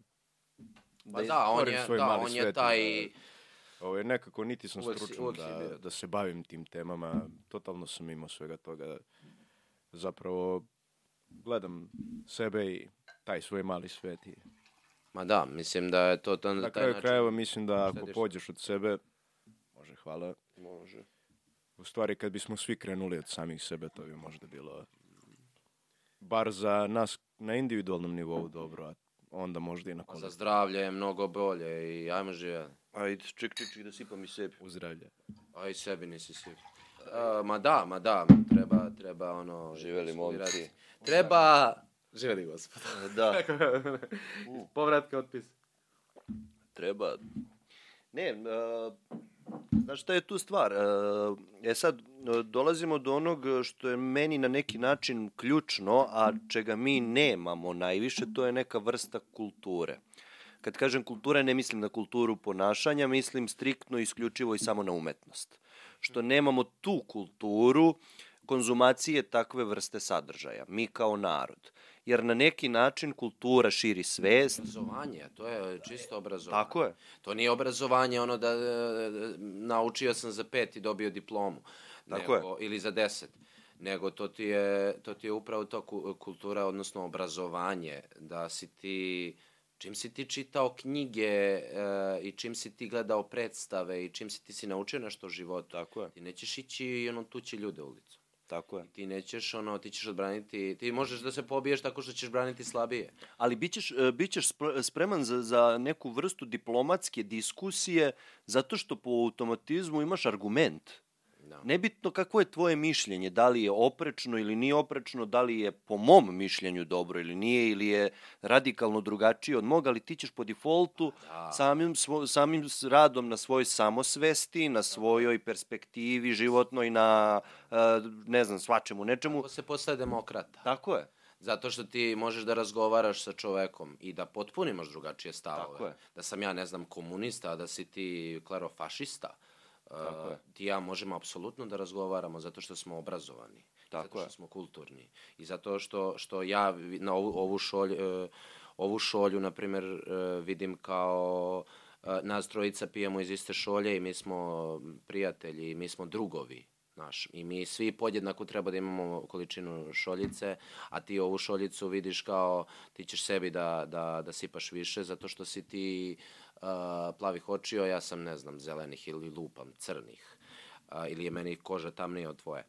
Pa da, on stvorim je, svoj da, mali on je svet, taj... Ovaj, nekako niti sam Uvek si- stručan uvek si da, bio. da se bavim tim temama. Totalno sam mimo svega toga. Zapravo gledam sebe i taj svoj mali svet. I Ma da, mislim da je to to na na taj kraju način. krajeva mislim da ako sediš. pođeš od sebe, može hvala, Može. U stvari, kad bismo svi krenuli od samih sebe, to bi možda bilo bar za nas na individualnom nivou dobro, a onda možda i na A Za kolektivu. zdravlje je mnogo bolje i ajmo živjeti. Ajde, ček, ček, ček, da sipam i sebi. Uzdravlje. A i sebi nisi svi. ma da, ma da, treba, treba ono... Živjeli studirati. momci. Treba... Živjeli gospod. Da, Povratka otpis. treba. Ne, uh, znaš šta je tu stvar? Uh, e sad, e, dolazimo do onog što je meni na neki način ključno, a čega mi nemamo najviše, to je neka vrsta kulture. Kad kažem kultura, ne mislim na kulturu ponašanja, mislim striktno, isključivo i samo na umetnost. Što nemamo tu kulturu konzumacije takve vrste sadržaja, mi kao narod. Jer na neki način kultura širi svest, Obrazovanje, to je čisto obrazovanje. Tako je. To nije obrazovanje ono da e, naučio sam za pet i dobio diplomu. Tako je. nego, Ili za deset. Nego to ti je, to ti je upravo to ku- kultura, odnosno obrazovanje. Da si ti, čim si ti čitao knjige e, i čim si ti gledao predstave i čim si ti si naučio nešto o životu, Tako je, ti nećeš ići i ono tući ljude ulicu. tako je. Ti nećeš ono, ti ćeš odbraniti, ti možeš da se pobiješ tako što ćeš braniti slabije. Ali bićeš, e, bićeš spre- spreman za, za neku vrstu diplomatske diskusije zato što po automatizmu imaš argument. Da. Nebitno kako je tvoje mišljenje, da li je oprečno ili nije oprečno, da li je po mom mišljenju dobro ili nije, ili je radikalno drugačije od moga, ali ti ćeš po defoltu Da. samim, svo, samim s- radom na svojoj samosvesti, na svojoj perspektivi životnoj, na e, ne znam, svačemu, nečemu. Kako se postaje demokrata? Tako je. Zato što ti možeš da razgovaraš sa čovekom i da potpuno imaš drugačije stavove. Tako je. Da sam ja, ne znam, komunista, a da si ti klerofašista. E, Tako je. Ti i ja možemo apsolutno da razgovaramo zato što smo obrazovani. Tako zato što je. smo kulturni. I zato što, što ja vi- na ovu, ovu šolju, e, ovu šolju, na primjer, e, vidim kao e, nas trojica pijemo iz iste šolje i mi smo prijatelji, i mi smo drugovi. Naš. I mi svi podjednako treba da imamo količinu šoljice, a ti ovu šoljicu vidiš kao ti ćeš sebi da, da, da sipaš više zato što si ti uh, plavih očio, ja sam ne znam zelenih ili lupam crnih a, ili je meni koža tamnija od tvoje.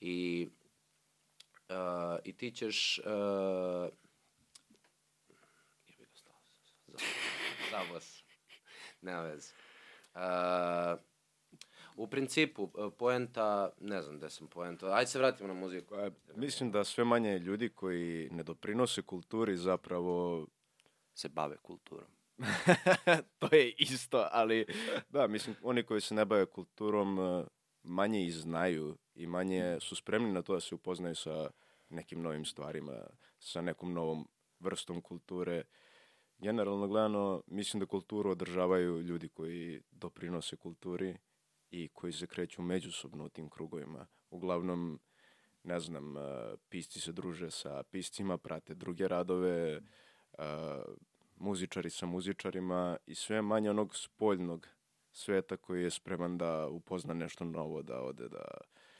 I, uh, i ti ćeš... Uh, jebi ga, stao sam, stao sam. Zabavao sam. Nema veze. Uh, u principu, e, poenta, ne znam gde sam poenta, ajde se vratimo na muziku. Pa, mislim da sve manje je ljudi koji ne doprinose kulturi zapravo Se bave kulturom. to je isto, ali da, mislim, oni koji se ne bave kulturom eh, manje i znaju i manje su spremni na to da se upoznaju sa nekim novim stvarima, sa nekom novom vrstom kulture. Generalno gledano, mislim da kulturu održavaju ljudi koji doprinose kulturi i koji se kreću međusobno u tim krugovima. Uglavnom, ne znam, eh, pisci se druže sa piscima, prate druge radove, eh, muzičari sa muzičarima i sve manje onog spoljnog sveta koji je spreman da upozna nešto novo, da ode, da...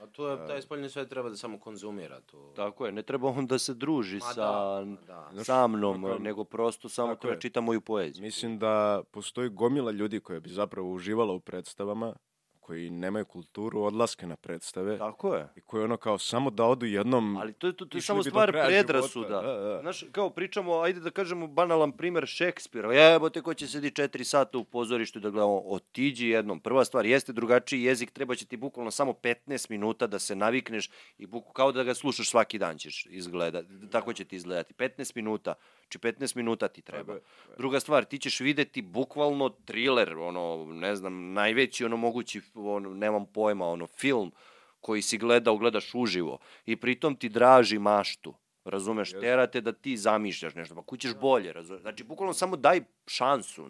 A tu je, taj spoljni svet treba da samo konzumira tu. Tako je, ne treba on da se druži Ma sa, da, ma da. sa mnom, Tako- nego prosto samo tako treba je. čita moju poeziju. Mislim da postoji gomila ljudi koja bi zapravo uživala u predstavama, koji nemaju kulturu odlaske na predstave Da. Tako je. i koji ono kao samo da odu jednom... Ali to je, to, to je Išli samo bi do stvar kraja predrasuda. života, da, da. Znaš, kao pričamo, ajde da kažemo banalan primer Šekspira. Jebote, ko će sedi četiri sata u pozorištu da gleda, on, otiđi jednom. Prva stvar, jeste drugačiji jezik, treba će ti bukvalno samo 15 minuta da se navikneš i buk, kao da ga slušaš svaki dan ćeš izgleda. Tako će ti izgledati. 15 minuta, či 15 minuta ti treba. Druga stvar, ti ćeš videti bukvalno thriller, ono, ne znam, najveći ono mogući, ono, nemam pojma, ono, film koji si gledao, gledaš uživo i pritom ti draži maštu. Razumeš, terate da ti zamišljaš nešto, pa kućeš Da. bolje, razumeš. Znači, bukvalno samo daj šansu.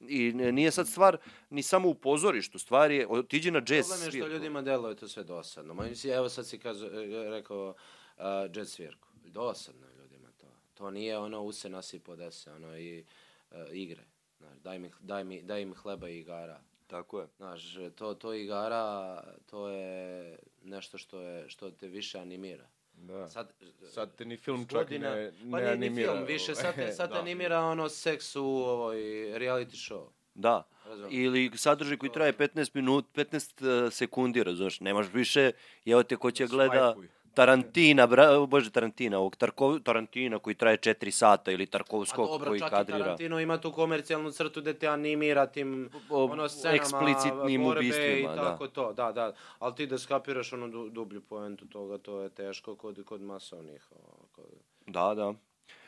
I n- nije sad stvar ni samo u pozorištu, stvar je, otiđi na jazz Problem je što svirku. ljudima deluje to sve dosadno. Ma, mislim, evo sad si kazo, e, rekao uh, jazz svirku. Dosadno je ljudima to. To nije ono use nasipo dese, ono i e, igre. Znaš, daj, mi, daj, mi, daj mi hleba i igara. Tako je. Znaš, to, to igara, to je nešto što, je, što te više animira. Da. Sad, Sad, te ni film čak Godina- ne, ne pa nije ni animira. film više, sad te, sad te Da. animira ono seks u ovoj reality show. Da. Razumem. Ili sadržaj koji traje 15 minut, 15 e, sekundi, razumeš, nemaš više, evo te Da ko će gleda Svajpuj. Tarantina, bra, bože Tarantina, ovog Tarko, Tarantina koji traje 4 sata ili A Tarkovskog Pa dobro, koji čak kadrira. i Tarantino ima tu komercijalnu crtu gdje te animira tim O- ono, scenama, eksplicitnim borbe ubistvima, i da. tako to, da, da. Ali ti da skapiraš ono du- dublju poentu toga, to je teško kod, kod masovnih. o, kod- Da, da.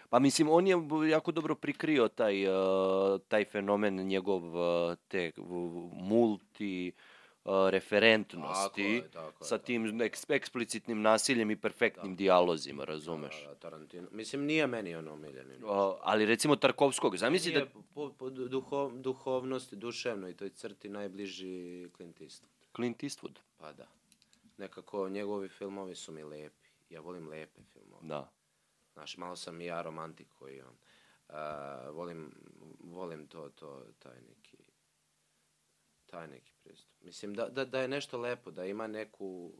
Pa mislim, on je b- jako dobro prikrio taj, e, taj fenomen njegov e, te v- multi e, referentnosti Tako je, tako je, da. sa tako tim eks- eksplicitnim nasiljem i perfektnim dijalozima, razumeš? Da, da, Tarantino. Mislim, nije meni ono omiljeni. O, ali recimo Tarkovskog, zamisli da... Nije po, po duho, duhovnosti, duševnoj toj crti najbliži Clint Eastwood. Clint Eastwood, Pa da. Nekako njegovi filmovi su mi lepi. Ja volim lepe filmove. da. Znaš, malo sam i ja romantik koji on. Uh, volim, volim to, to, taj neki, taj neki pristup. Mislim, da, da, da je nešto lepo, da ima neku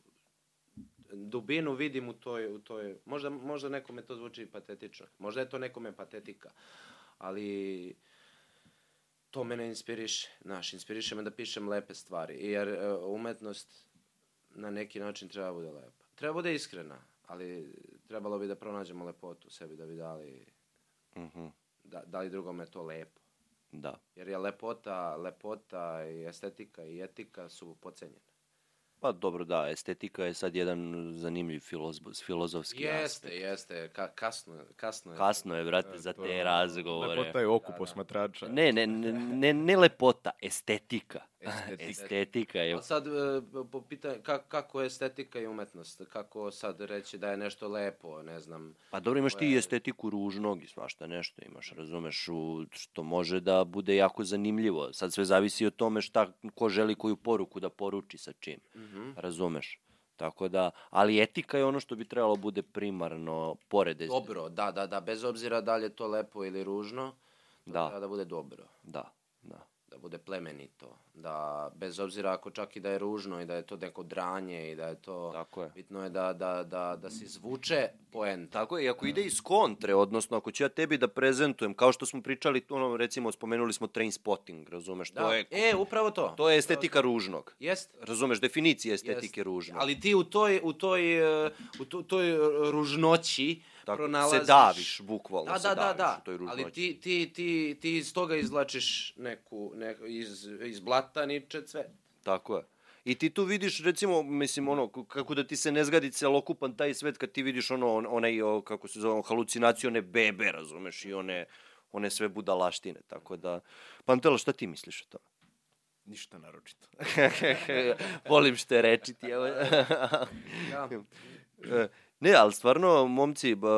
dubinu vidim u toj, u toj možda, možda nekome to zvuči patetično, možda je to nekome patetika, ali to mene inspiriše, znaš, inspiriše me da pišem lepe stvari, jer e, umetnost na neki način treba da bude lepa. Treba da bude iskrena, ali trebalo bi da pronađemo lepotu u sebi, da bi dali, Mhm, da, da li drugome to lepo. da. Jer je lepota, lepota i estetika i etika su pocenjene. Pa dobro, da, estetika je sad jedan zanimljiv filoz- filozofski Jeste, aspekt. jeste, ka, kasno, kasno je. Kasno je, brate, za E, to je te ono, razgovore. Lepota je oku Da, da. posmatrača. Ne, ne, ne, ne, ne lepota, estetika. Estetika. Estetika je... A sad, e, po pitanju, ka- kako je estetika i umetnost? Kako sad reći da je nešto lepo, ne znam. Pa dobro, imaš ti koja i je- estetiku ružnog i svašta nešto imaš, razumeš, u- što može da bude jako zanimljivo. Sad sve zavisi od tome šta, ko želi koju poruku da poruči sa čim, Mhm. razumeš. Tako da, ali etika je ono što bi trebalo bude primarno pored estetičke. Dobro, da, da, da, bez obzira da li je to lepo ili ružno, to Da. treba da bude dobro. Da, da. da bude plemenito, da bez obzira ako čak i da je ružno i da je to neko dranje i da je to Tako je. bitno je da, da, da, da se izvuče poenta. Tako je, i ako ide iz kontre, odnosno ako ću ja tebi da prezentujem, kao što smo pričali, ono, recimo, spomenuli smo Trainspotting, razumeš, Da. to je... e, upravo to. To je estetika ružnog. Jest. Razumeš, definicija jest. estetike ružnog. Ali ti u toj, u toj, e, u to- toj ružnoći Tako, pronalaziš... se daviš, bukvalno Da, se da, da, daviš da. u toj ružnoći. Ali ti, ti, ti, ti iz toga izvlačiš neku, neku iz, iz blata niče cvet. Tako je. I ti tu vidiš, recimo, mislim, ono, k- kako da ti se ne zgadi celokupan taj svet kad ti vidiš ono, on- onaj, o, kako se zove, halucinaciju, one bebe, razumeš, i one, one sve budalaštine, tako da... Pantela, šta ti misliš o tome? Ništa naročito. Volim što je rečiti. Evo. Da. E, ne, ali stvarno, momci, b-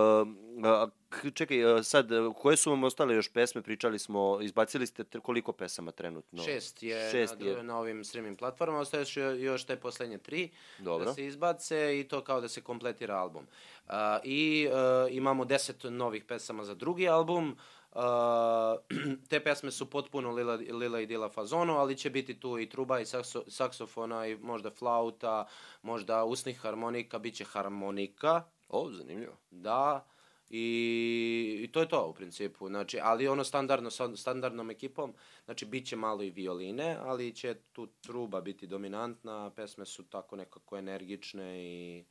a, k- čekaj, a, sad, e, koje su vam ostale još pesme? Pričali smo, izbacili ste tre- koliko pesama trenutno? Šest je, Šest na, je. na ovim streaming platformama, ostaje još, još te poslednje tri Dobro. da se izbace i to kao da se kompletira album. A, I e, imamo deset novih pesama za drugi album, A, te pesme su potpuno Lila, Lila i Dila fazono, ali će biti tu i truba i sakso, saksofona i možda flauta, možda usnih harmonika, bit će harmonika, O, zanimljivo. da, i, i to je to u principu, znači, ali ono standardno, sa standardnom ekipom, znači, bit će malo i violine, ali će tu truba biti dominantna, pesme su tako nekako energične i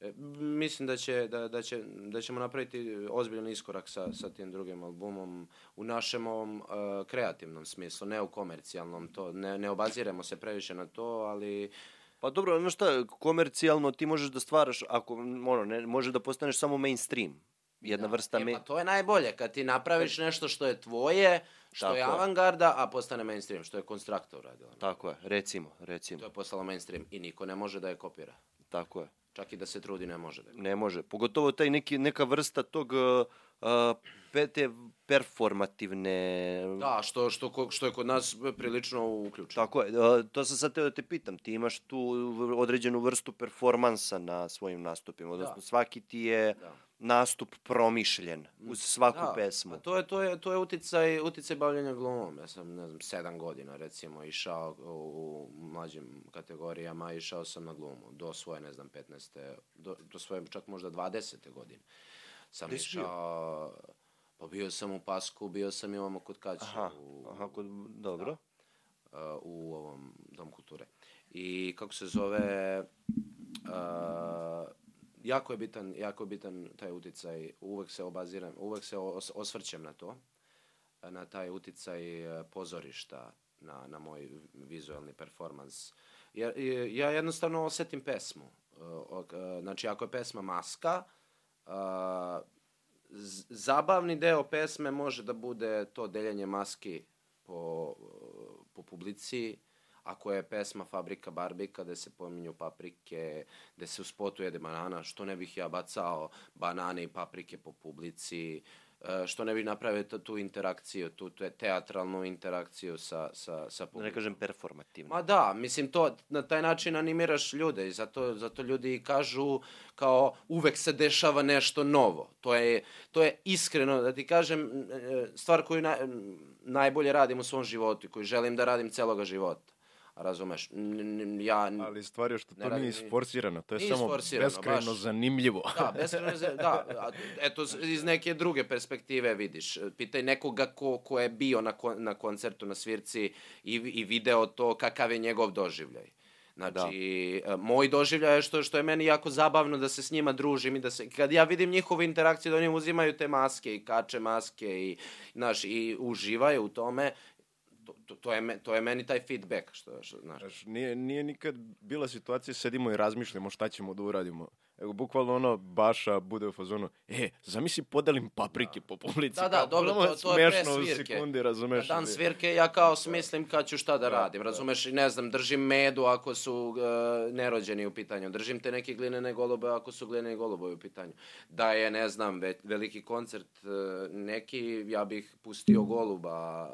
e, m, mislim da, će, da, da, će, da ćemo napraviti ozbiljan iskorak sa, sa tim drugim albumom u našem ovom e, kreativnom smislu, ne u komercijalnom, to, ne, ne obaziremo se previše na to, ali Pa dobro, ono šta, komercijalno ti možeš da stvaraš, ako, m, ono, ne, može da postaneš samo mainstream. Jedna vrsta... E, me- pa to je najbolje, kad ti napraviš nešto što je tvoje, što je Tako je. avangarda, a postane mainstream, što je Konstrakta uradila. Tako je, recimo, recimo, To je postalo mainstream i niko ne može da je kopira. tako je. Čak i da se trudi, ne može da je kopira. Ne može. Pogotovo taj neki, neka vrsta tog uh, pe- te performativne... Da, što, što, ko- što je kod nas prilično uključeno. Tako je, uh, to sam sad teo da te pitam, ti imaš tu v- određenu vrstu performansa na svojim nastupima, odnosno Da. svaki ti je Da. nastup promišljen uz svaku Da, pesmu. Pa to je, to je, to je uticaj, uticaj bavljenja glumom. Ja sam, ne znam, sedam godina recimo išao u, u mlađim kategorijama, išao sam na glumu do svoje, ne znam, 15. Do, do svoje čak možda 20. godine. Sam Gde si išao... Pa bio sam u Pasku, bio sam i ovamo kod Kaća. Aha, u, da, aha kod, dobro. uh, u ovom Dom kulture. I kako se zove, uh, jako je bitan, jako je bitan taj uticaj, uvek se obaziram, uvek se os, osvrćem na to, eh, na taj uticaj eh, pozorišta na, na moj vizualni performans. Ja, ja jednostavno osetim pesmu. Uh, ok, uh, Znači, ako je pesma maska, uh, z- zabavni deo pesme može da bude to deljenje maski po, uh, po publici, ako je pesma Fabrika Barbika, gde se pominju paprike, gde se u spotu jede banana, što ne bih ja bacao banane i paprike po publici, e, što ne bih napravio tu- tu interakciju, tu te- teatralnu interakciju sa, sa, sa Da ne publikom. kažem performativno. Ma da, mislim to na taj način animiraš ljude i zato zato ljudi i kažu kao uvek se dešava nešto novo. To je to je iskreno da ti kažem e, stvar koju na, najbolje radim u svom životu i koju želim da radim celoga života. Razumeš? N- n- ja Ali stvar je što Mm. Ne to radi nije ni- isforsirano, to je nije samo isforsirano, beskrajno baš. zanimljivo. Da, beskrajno je, da, a, eto, s- iz neke druge perspektive vidiš. Pitaj nekoga ko, ko je bio na, kon, na koncertu na svirci i, vi- i video to kakav je njegov doživljaj. Znači, da. moj doživljaj je što, što je meni jako zabavno da se s njima družim i da se, kad ja vidim njihove interakcije, da oni uzimaju te maske i kače maske i, znaš, i uživaju u tome, to, to, to, je, me, to je meni taj feedback, što, što znaš. Znaš, nije, nije nikad bila situacija, sedimo i razmišljamo šta ćemo da uradimo. Evo, bukvalno ono, Baša bude u fazonu, e, zamisli podelim paprike po publici. Da, da, Kao, dobro, ono to- to je pre smešno u svirke. sekundi, razumeš? Na dan ali- svirke ja kao smislim kad ću šta da radim, razumeš, i ne znam, držim medu ako su e, nerođeni u pitanju, držim te neke glinene golube ako su glineni golubovi u pitanju. Da je, ne znam, ve, veliki koncert e, neki, ja bih pustio goluba.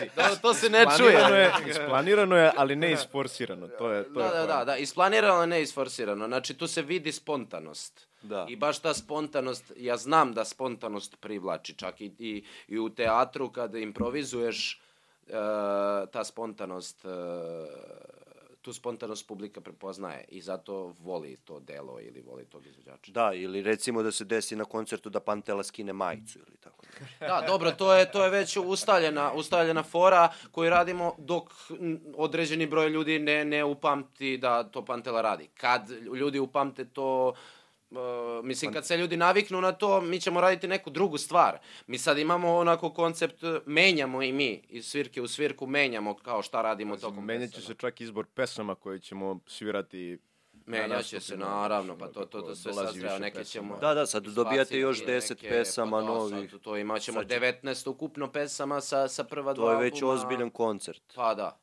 to, to se ne čuje. Isplanirano je, isplanirano je, ali ne isforsirano. To je, to Da, je da, poenta. da, da, isplanirano, ne isforsirano. Znači, tu se vidi spontanost. Da. I baš ta spontanost, ja znam da spontanost privlači, čak i, i, i u teatru kada improvizuješ, e, ta spontanost, e, tu spontanost publika prepoznaje i zato voli to delo ili voli tog izvođača. Da, ili recimo da se desi na koncertu da Pantela skine majicu ili tako. nešto. Da, dobro, to je, to je već ustaljena, ustaljena fora koju radimo dok n- određeni broj ljudi ne, ne upamti da to Pantela radi. Kad ljudi upamte to, e, mislim, kad se ljudi naviknu na to, mi ćemo raditi neku drugu stvar. Mi sad imamo onako koncept, e, menjamo i mi, iz svirke u svirku menjamo kao šta radimo tokom Menjat će predstave. se čak izbor pesama koje ćemo svirati Menjat će se, nastupima, naravno, znaš, pa ono, to, to, kako to sve da, dolazi sad treba, više neke pesama. ćemo... Da, da, sad dobijate izbaciti još neke, 10 pa pesama da, novih. Sad, to imaćemo Sad će- 19 ukupno pesama sa, sa prva dva To je već albuma. ozbiljan koncert. Pa da.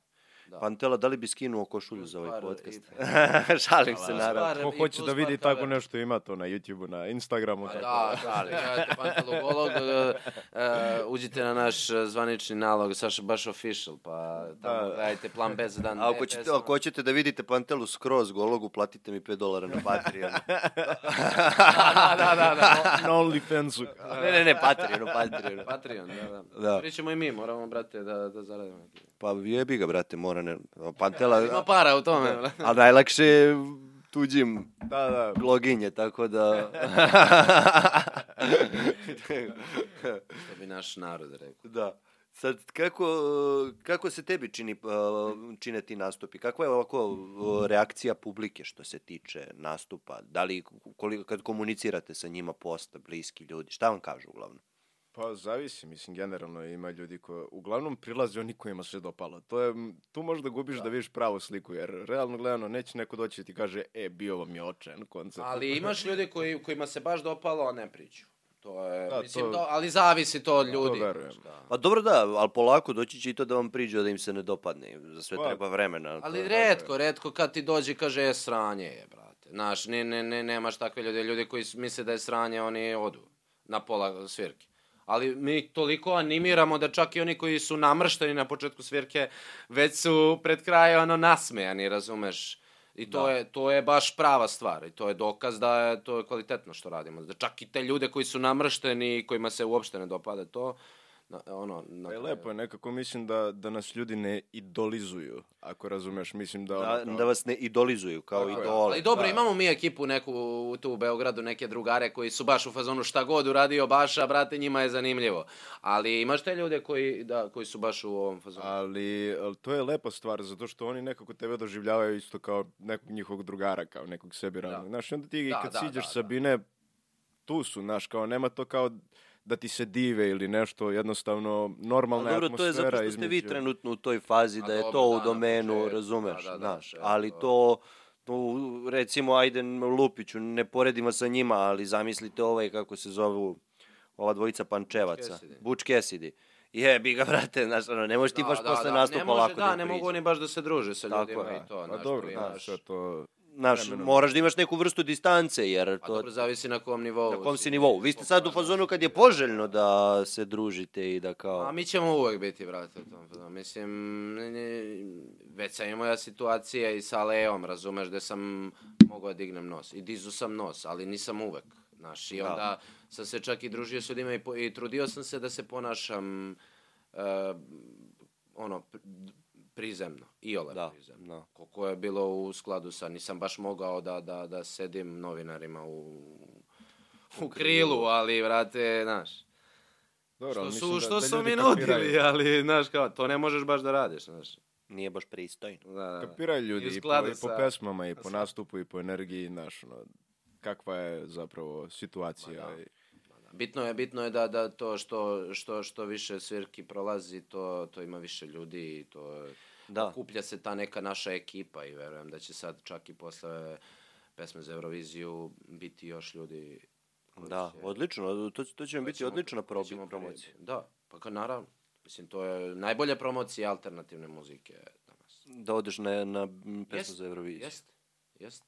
da. Pantela, da li bi skinuo košulju za ovaj Stvar- podcast? i- Šalim se, naravno. Stvar- Ko i hoće plus da vidi Pantela. tako nešto ima to na YouTube-u, na Instagramu. Pa tako. Da, da, da, pantalogolog, e, uđite na naš e, zvanični nalog, Saša Baš Official, pa tamo gledajte plan B za dan. A Da. D, ako hoćete, e- pesma. ako hoćete da vidite Pantelu skroz gologu, platite mi 5 dolara na Patreonu. da, da, da, da. Na OnlyFansu. ne, ne, ne, Patreonu, Patreonu. Patreon, da, da. Da. Pričamo i mi, moramo, brate, da, da zaradimo. neki. Pa jebi ga, brate, mora ne... Pantela, Ima para u tome, brate. a najlakše je tuđim Da, da. bloginje, tako da... To bi naš narod rekao. da. Sad, kako, e, kako se tebi čini, e, čine ti nastupi? Kakva je ovako e, reakcija publike što se tiče nastupa? Da li, koliko, kad komunicirate sa njima posle, bliski ljudi, šta vam kažu uglavnom? Pa zavisi, mislim, generalno ima ljudi koji... Uglavnom prilaze oni kojima se dopalo. To je, m, tu možda gubiš da, vidiš pravu sliku, jer realno gledano neće neko doći i ti kaže, e, bio vam je očajan koncert. Ali imaš ljudi koji, kojima se baš dopalo, a ne pričaju. To je, Da, mislim, to- to, ali zavisi to od ljudi. verujem. Da. Pa dobro da, ali polako doći će i to da vam priđe da im se ne dopadne. Za sve Pa, treba vremena. to Ali je- redko, redko kad ti dođe i kaže je sranje je, brate. Znaš, ne, ne, ne, nemaš takve ljude. Ljudi koji s- misle da je sranje, oni odu na pola svirke. Ali mi toliko animiramo da čak i oni koji su namršteni na početku svirke već su pred krajem ono nasmejani, razumeš? I Da. to, je, to je baš prava stvar i to je dokaz da je to je kvalitetno što radimo. Da čak i te ljude koji su namršteni i kojima se uopšte ne dopada to, na, ono, na, Pa je lepo je, nekako mislim da, da nas ljudi ne idolizuju, ako razumeš, mislim da... Da, ono kao- da vas ne idolizuju kao Tako je. idole. Ali dobro, da. imamo mi ekipu neku u- tu u Beogradu, neke drugare koji su baš u fazonu šta god uradio Baša, brate, njima je zanimljivo. Ali imaš te ljude koji, da, koji su baš u ovom fazonu. Ali, ali to je lepa stvar, zato što oni nekako tebe doživljavaju isto kao nekog njihovog drugara, kao nekog sebi ravnog. Znaš, i onda ti i Da, kad da, siđeš da, sa da. bine, tu su, znaš, kao nema to kao da ti se dive ili nešto, jednostavno normalna Ali Pa dobro, to atmosfera je zato što ste između... vi trenutno u toj fazi A da je dobro, to da, u na domenu, početku, razumeš, da, da, da, znaš, da, ali to- to, to, recimo, ajde Lupiću, ne poredimo sa njima, ali zamislite ovaj, kako se zovu, ova dvojica Pančevaca, Cassidy. Buč Kesidi. Jebi ga, vrate, znaš, ono, ne možeš ti baš posle ne nastupa može, lako da, da, ne priđeš. mogu oni baš da se druže sa Tako ljudima je, i to. Pa znaš, dobro, tu da, imaš- sve to... Znaš, vremenom. moraš da imaš neku vrstu distance, jer Pa to, dobro, zavisi na kom nivou. na Pa, kom si nivou. Vi ste sad u fazonu kad je poželjno da se družite i da kao... A mi ćemo uvek biti, brate, u tom fazonu. Mislim, ne, ne, već sam imao ja situacije i sa Leom, razumeš, gde sam mogao da dignem nos. I dizu sam nos, ali nisam uvek. Znaš, i Da. onda sam se čak i družio s ljudima i, po, i trudio sam se da se ponašam e, ono, pr- prizemno, iole Da, prizemno. da. Koliko je bilo u skladu sa, nisam baš mogao da, da, da sedim novinarima u, u krilu, ali, vrate, znaš. Dobro, Što ali su, mislim da- što da su ljudi mi kapiraju. nudili, ali, znaš, kao, to ne možeš baš da radiš, znaš. Nije baš pristojno. Da, da. Kapiraju ljudi I u i po, skladu i po sa- pesmama, i po nastupu, i po energiji, znaš, ono, kakva je zapravo situacija. Pa da. i- Bitno je, bitno je da, da to što, što, što više svirki prolazi, to, to ima više ljudi i to je... Da. Kuplja se ta neka naša ekipa i verujem da će sad čak i posle pesme za Euroviziju biti još ljudi koji Da, će- odlično, to, to će vam koji biti ćemo- odlična koji probi- ćemo promocija. pri- Da, pa ka, naravno. Mislim, to je najbolja promocija alternativne muzike danas. Da odeš na, na m, pesmu Jeste, za Euroviziju. Jeste, jeste.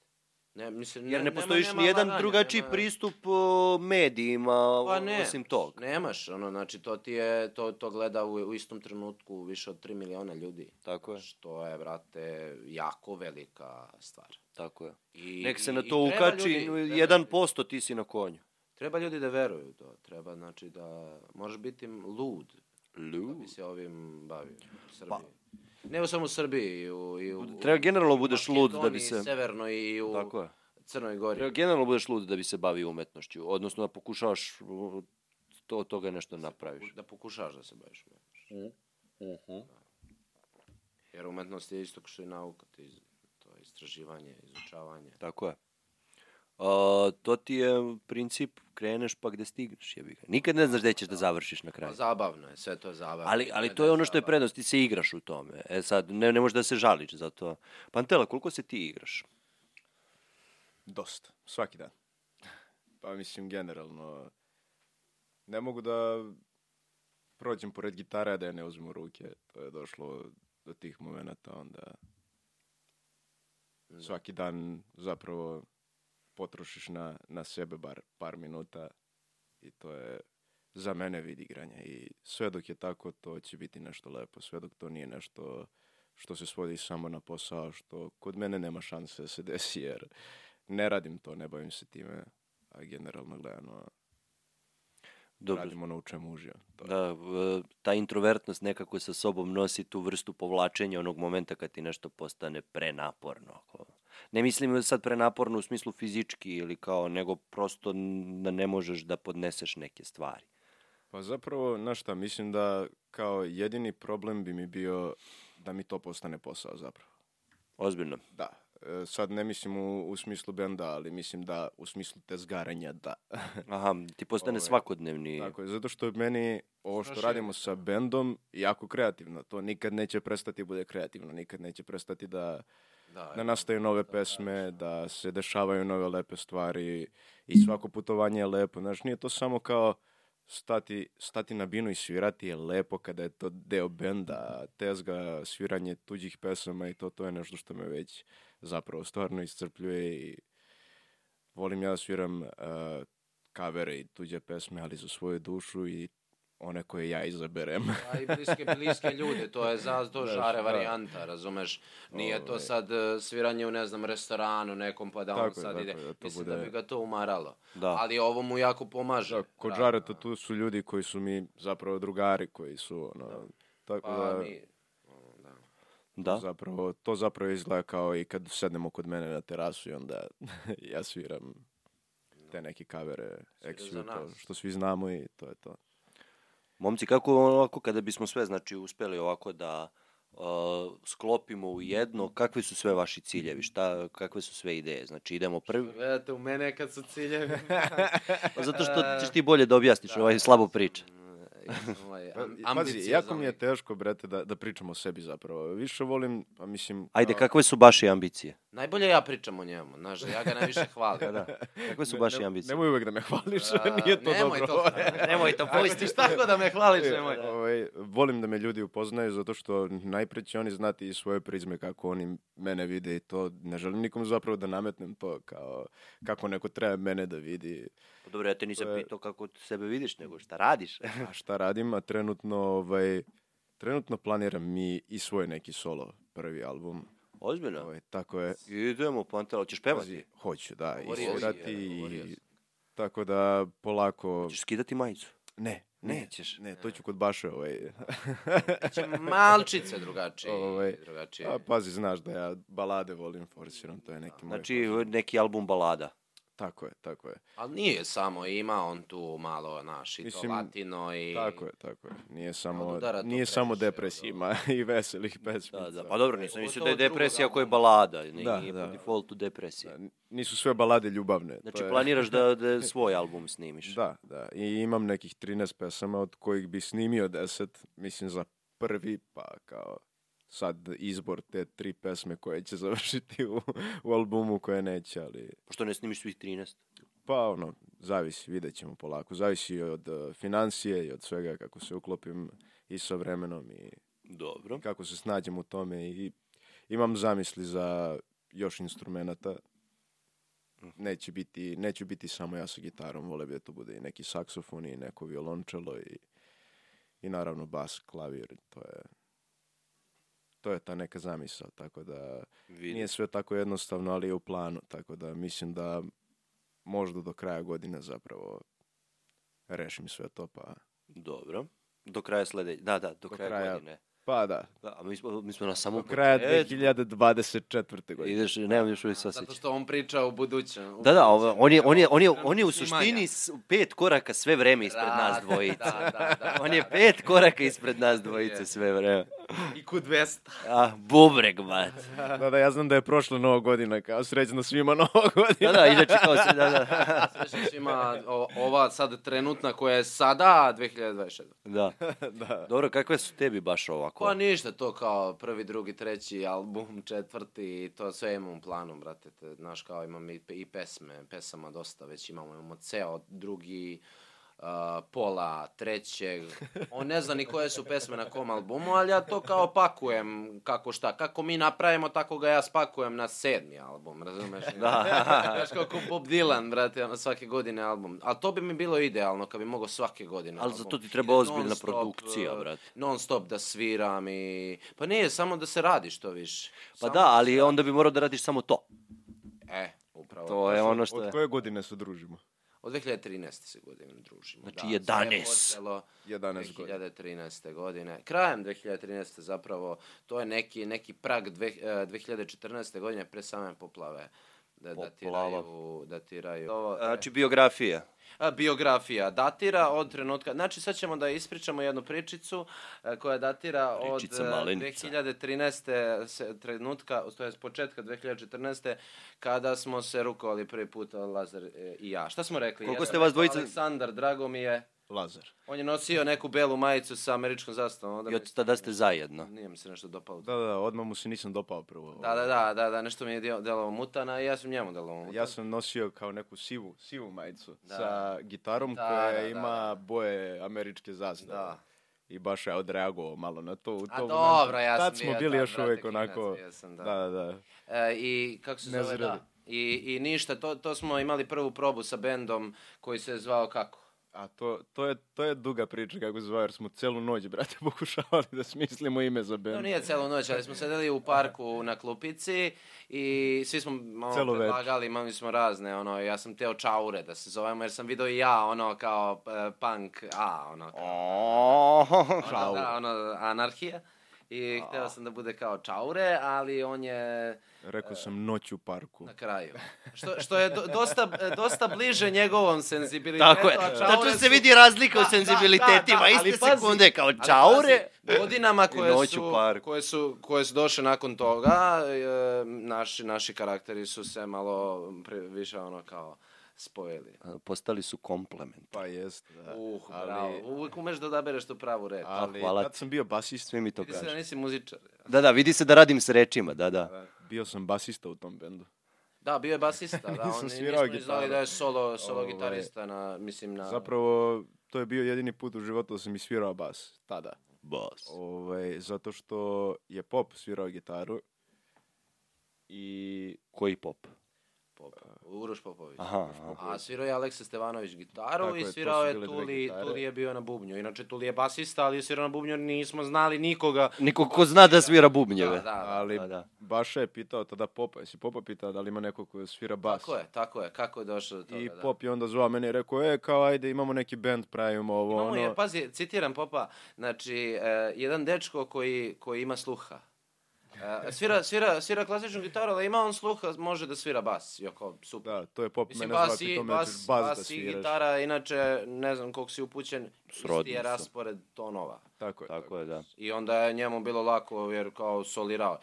Ne, mislim, Jer ne nema- postojiš nema nijedan varanja, drugačiji nema- pristup o, medijima Pa o- ne, osim tog. Nemaš, ono, znači to ti je, to, to gleda u, u istom trenutku više od 3 miliona ljudi. Tako je, Što je, brate, jako velika stvar. tako je. I, Nek se i- na i to treba ukači, ljudi- treba jedan ljudi- posto ti si na konju. Treba ljudi da veruju u to. Treba, znači, da možeš biti lud. Da bi se ovim bavio u Srbiji. Ne u samo u Srbiji, i u, i u, Pa- Treba u generalno budeš lud da bi Makedoniji, se... Severnoj i u Tako je. Crnoj Gori. Treba generalno budeš lud da bi se bavio umetnošću, odnosno da pokušavaš o, to, od toga nešto napraviš. Da pokušaš da se baviš umetnošću. Mm, mm-hmm. Da. Jer umetnost je isto kao što i nauka, to je, iz- to je istraživanje, izučavanje. Tako je. A, to ti je princip, kreneš pa gde stigneš, jebi ga. Nikad ne znaš gde ćeš da završiš na Pa kraju. zabavno je, sve to je zabavno. Ali, ali Ne to je da ono što je zabavno. prednost, ti se igraš u tome. E sad, ne, ne možeš da se žališ za to. Pantela, koliko se ti igraš? Dosta. Svaki dan. Pa mislim, generalno, ne mogu da prođem pored gitare, a da je ne uzmem u ruke. To je došlo do tih momenta, onda svaki dan zapravo potrošiš na, na sebe bar par minuta i to je za mene vid igranja i sve dok je tako to će biti nešto lepo, sve dok to nije nešto što se svodi samo na posao, što kod mene nema šanse da se desi jer ne radim to, ne bavim se time, a generalno gledano Dobro. radim ono u čemu uživam. To je- Da, v- ta introvertnost nekako sa sobom nosi tu vrstu povlačenja onog momenta kad ti nešto postane prenaporno. Ako- Ne mislim sad prenaporno u smislu fizički ili kao, nego prosto n- da ne možeš da podneseš neke stvari. Pa zapravo, znaš šta, mislim da kao jedini problem bi mi bio da mi to postane posao zapravo. Ozbiljno. Da. E, Sad ne mislim u, u smislu benda, ali mislim da u smislu tezgaranja da. Aha, ti postane Ovaj, svakodnevni. Tako je, zato što je meni ovo što radimo sa bendom jako kreativno. To nikad neće prestati da bude kreativno, nikad neće prestati da, Da, da nastaju nove pesme, da se dešavaju nove lepe stvari i svako putovanje je lepo. Znaš, nije to samo kao stati, stati na binu i svirati je lepo kada je to deo benda, a tezga, sviranje tuđih pesama i to, to je nešto što me već zapravo stvarno iscrpljuje i e, volim ja da sviram uh, kavere i tuđe pesme, ali za svoju dušu i one koje ja izaberem. Pa i bliske, bliske ljude, to je za to da. žare varijanta, razumeš? Nije to sad e, sviranje u, ne znam, restoranu nekom, pa da on Ovaj. Tako je, sad tako ide. je, da to Mislim da bude- bi ga to umaralo. Da. Ali ovo mu jako pomaže. Da, kod Da. Žareta tu su ljudi koji su mi zapravo drugari, koji su, ono, tako Pa da, mi- Da. zapravo, to zapravo izgleda kao i kad sednemo kod mene na terasu i onda ja sviram te neke kavere, za nas. što svi znamo i to je to. Momci, kako ovako kada bismo sve znači uspeli ovako da uh, sklopimo u jedno, kakvi su sve vaši ciljevi, šta, kakve su sve ideje? Znači idemo prvi, Gledajte u mene kad su ciljevi. Pa zato što ćeš ti bolje da objasniš, ovaj slabo priča. Ovaj, Pa, am- Pazi, jako mi je ambiciozan. teško, brate, da, da pričam o sebi zapravo. Više volim, pa mislim... Ajde, kao- kakve su baše ambicije? Najbolje ja pričam o njemu, znaš, da ja ga najviše hvalim. Da, kakve su Ne- baše ne- ambicije? Nemoj uvek da me hvališ, A, nije to nemoj dobro. To, nemoj to, pustiš tako da me hvališ, nemoj. E, ovaj, volim da me ljudi upoznaju zato što najpre će oni znati i svoje prizme kako oni mene vide i to. Ne želim nikom zapravo da nametnem to kao kako neko treba mene da vidi. Pa Dobro, ja te nisam To je- pitao kako sebe vidiš, nego šta radiš. A šta radim, a trenutno, ovaj, trenutno planiram i, i svoj neki solo prvi album. Da. Ozbiljno. Ovaj, tako je. Idemo, Pantala, hoćeš pevati? Pazi, hoću, da, i Govorio si, svirati je, govorio i... si. Tako da polako... Hoćeš skidati majicu? Ne, Nećeš. Ne, to ću kod Baše ovaj... Biće Znači, malčice drugačije. Ovaj, Znači, drugačije. A, pazi, znaš da ja balade volim forsiram, to je neki moj... Znači, neki album balada. Tako je, tako je. Ali nije samo, ima on tu malo, naš, i Mislim, to latino i... Tako je, tako je. Nije Od samo, udara to nije samo previše, depresija, ima i veselih pesmica. Da, da, pa dobro, nisam Pogotovo mislio da je drugog depresija ako je albuma. balada, nije Da, po da. defaultu depresija. Da, n- Nisu sve balade ljubavne. to Znači, je- planiraš da, da svoj album snimiš. Da, da. I imam nekih 13 pesama od kojih bi snimio 10, mislim za prvi, pa kao sad izbor te tri pesme koje će završiti u, u albumu koje neće, ali Pošto ne snimiš svih 13. pa ono, zavisi, vidjet ćemo polako. Zavisi i od eh, financije i od svega kako se uklopim i sa vremenom i Dobro. kako se snađem u tome i imam zamisli za još instrumenta. Neće biti, neću biti samo ja sa gitarom, vole bi da to bude i neki saksofon i neko violončelo i, i naravno bas, klavir, to je to je ta neka zamisao, tako da Vidim. nije sve tako jednostavno, ali je u planu, tako da mislim da možda do kraja godine zapravo rešim sve to, pa Dobro. Do kraja sledeće. Da, da, do, kraja, kraja. godine. pa da, Da, a mi smo, mi smo na samom do kraja početku. 2024. godine. Ideš, nemam još uvijek Zato sasjeća. što on priča o budućem. Da, da, ovo- on je, on je, on je, Trenutno on je u snimanja. suštini s- pet koraka sve vreme ispred nas Da, dvojice. da, da, da, on je da. pet koraka ispred nas dvojice Je. sve vreme. I kod Vesta. Ah, bubreg, mat. Da, da, ja znam da je prošla nova godina, kao srećno svima nova godina. Da, da, inače kao se, da, da. Svešić ima o- ova sad trenutna koja je sada 2026. da. Dobro, kakve su tebi baš ovako? Pa ništa, to kao prvi, drugi, treći album, četvrti, i to sve imam u planu, brate. te, Znaš, kao imam i, pe- i pesme, pesama dosta već imamo, imamo ceo, drugi, uh, pola, trećeg. On ne zna ni koje su pesme na kom albumu, ali ja to kao pakujem, kako šta. Kako mi napravimo, tako ga ja spakujem na sedmi album, razumeš? Da. Znaš, kao ko Bob Dylan, brate, ono, svake godine album. Ali to bi mi bilo idealno, kad bi mogao svake godine Ali album. za to ti treba Ide ozbiljna non-stop, produkcija, eh, brate. non stop da sviram i... Pa nije, samo da se radi što više. Pa Samo da, ali onda bi morao da radiš samo to. E, upravo. To je ono što Od je. koje godine se družimo? Od 2013. se godine družimo. da, Znači, sve je 11. počelo 11 godina. 2013. godine. Krajem 2013. zapravo, to je neki, neki prag dve, eh, 2014. godine pre same poplave. Da, Poplava. datiraju, datiraju. Ovo, Znači, biografija. A, biografija datira od trenutka, znači sad ćemo da ispričamo jednu pričicu e, koja datira Pričica od e, malenica. 2013. Se, trenutka, to je početka 2014. kada smo se rukovali prvi put Lazar e, i ja. Šta smo rekli? Koliko Ja ste sam vas rekao, dvojica- Aleksandar, drago mi je. Lazar. On je nosio neku belu majicu sa američkom zastavom. onda I mi- od tada ste zajedno. Nije mi se nešto dopalo. Da, da, odmah mu se nisam dopao prvo. Da, da, da, da, da, nešto mi je djel- delovao mutana i ja sam njemu delovao mutana. Ja sam nosio kao neku sivu, sivu majicu Da. sa gitarom Da, koja da, da, ima da. boje američke zastave. Da. I baš je odreagovao malo na to. U A tom dobro, momentu. ja sam Tad smo bio, bili da, još brate, uvek klinac onako... bio sam, da. da, da. da. E, i kako se zove, Nezreli. da. I, I ništa, to, to smo imali prvu probu sa bendom koji se zvao kako? A to, to, je, to je duga priča kako se zove, jer smo celu noć, brate, pokušavali da smislimo ime za band. No nije celu noć, ali smo sedeli u parku na klupici i svi smo malo Celo večer. predlagali, imali smo razne, ono, ja sam teo čaure da se zovemo, jer sam video i ja, ono, kao e, punk, a, ono, kao, O, ono, da, ono, anarhija. I htio sam da bude kao čaure, ali on je Rekao sam noć u parku. na kraju. Što, što je do- dosta, e, dosta bliže njegovom senzibilitetu. Tako je. a čaure Zato su- se vidi razlika u Da, da, senzibilitetima. da, da, ali Iste pazi, sekunde kao ali čaure. pazi, Godinama I koje noć su, u parku. koje su, koje su došle nakon toga, e, naši, naši karakteri su se malo pre, više ono kao spojili. Postali su komplement. Pa jest, da. Uh, bravo. Uvijek umeš da odabereš tu pravu reč. Ali hvala tad ti. sam bio basist, Sve mi to Vidi se da kaže. nisi muzičar. Da, da, vidi se da radim s rečima, da, da. bio sam basista u tom bendu. Da, bio je basista. da, Nisam on, mi svirao smo znali gitaru. da je solo, solo Ovaj. gitarista na, mislim, na... Zapravo, to je bio jedini put u životu da sam i svirao bas, tada. Bos. Ovaj, zato što je pop svirao gitaru i Koji pop? Pop, E, Uroš Popović. Aha. A svirao je Aleksa Stevanović gitaru Tako je, i to svirao su je bile dve Tuli, gitare. Tuli je bio na bubnju. Inače, Tuli je basista, ali je svirao na bubnju, jer nismo znali nikoga. Niko ko zna da svira Da, bubnjeve. da, da. Ali Da, da. Baša je pitao tada Popa, jesi Popa pitao da li ima neko koji svira bas? Tako je, tako je, kako je došlo do toga. I da. Pop je onda zvao mene i rekao, e, kao, ajde, imamo neki band, pravimo ovo, Imamo, ono. je, pa- pazi, citiram Popa, znači, e, jedan dečko koji, koji ima sluha. E, svira, svira, svira klasičnu gitaru, ali ima on sluha, može da svira bas. Jo, kao, super. Da, to je Pop Mislim, mene zvao, bas, i, pitao me, bas, bas, bas, da i sviraš. gitara, inače, ne znam koliko si upućen, isti Srodni je su. raspored tonova. Tako je, tako Tako je. je, da. I onda je njemu bilo lako, jer kao solirao.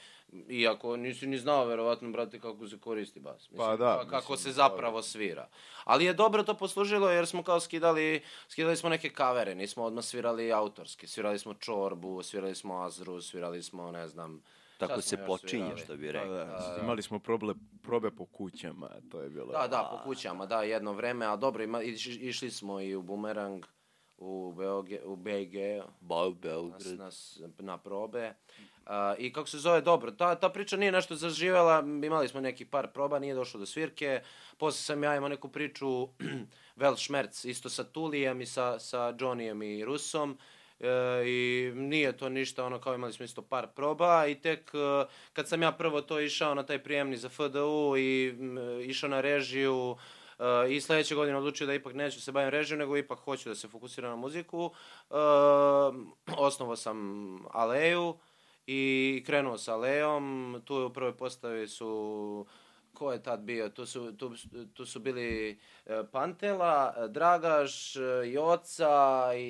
Iako nisi ni znao, verovatno, brate, kako se koristi bas. Mislim, Pa da, ka- Kako mislim, se zapravo svira. Ali je dobro to poslužilo, jer smo kao skidali, skidali smo neke kavere, nismo odmah svirali autorski. Svirali smo Čorbu, svirali smo Azru, svirali smo, ne znam... šta Tako smo se još počinje, svirali. što bi Da, rekao. da, imali smo proble, probe po kućama, to je bilo. Da, da, po kućama, da, jedno vreme, a dobro, ima, iš- išli smo i u Bumerang, u, Beoge, u BG, Ba, nas, Beograd. nas na probe. A, I kako se zove, dobro, ta, ta priča nije nešto zaživela, imali smo neki par proba, nije došlo do svirke. Posle sam ja imao neku priču, Vel Šmerc, isto sa Tulijem i sa, sa Johnnyjem i Rusom. E, I nije to ništa, ono kao imali smo isto par proba i tek e, kad sam ja prvo to išao na taj prijemni za FDU i m, e, išao na režiju, Uh, I sledeće godine odlučio da ipak neću se bavim režijom, nego ipak hoću da se fokusiram na muziku. Uh, osnovao sam Aleju i krenuo sa Alejom. Tu je u prvoj postavi su... Ko je tad bio? Tu su, tu, tu su bili e, Pantela, e, Dragaš, e, Joca i,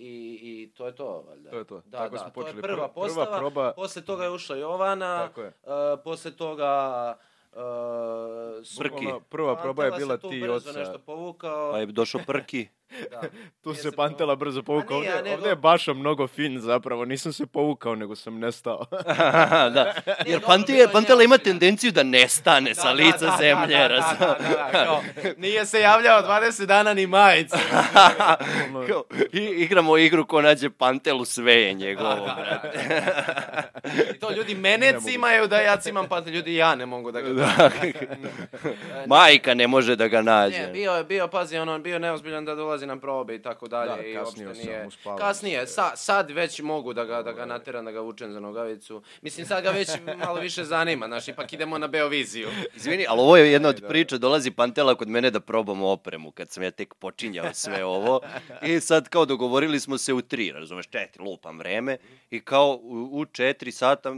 i, i to je to, valjda. To je to. Da, Tako da, smo to je počeli. prva Prva- prva postava. proba- Posle toga je ušla Jovana. Tako je. e, posle toga... e, su- Brki. Bukvalno, Prva proba je Pantela bila se tu ti i brzo oca. nešto povukao. Pa je došao Prki. Da. Tu Jer se se Pantela brzo povukao. A nije, Ovdje, nego- ovdje je Baša mnogo fin zapravo. Nisam se povukao, nego sam nestao. da. Nije Jer dobro, Pante- bilo je Pantela ima neozbiljno. tendenciju da nestane sa lica zemlje. Da, da, raz- da, da, da, kao, nije se javljao 20 dana ni majica. Kao, i, igramo igru ko nađe Pantelu, sve je njegovo. I to ljudi mene cimaju da ja cimam pante, ljudi ja ne mogu da ga... Da. Majka ne može da ga nađe. Ne, bio je, bio, pazi, ono, bio je neozbiljan da dolazi na probe i tako dalje. Da, i kasnio uopšte sam, nije... uspavao Kasnije, se. Ovaj. sa, sad već mogu da ga, da ga nateram, da ga vučem za nogavicu. Mislim, sad ga već malo više zanima, znaš, ipak idemo na Beoviziju. Izvini, ali ovo je jedna od priča, dolazi Pantela kod mene da probamo opremu, kad sam ja tek počinjao sve ovo. I sad kao dogovorili smo se u tri, razumeš, četiri, lupam vreme. I kao u, u četiri sata,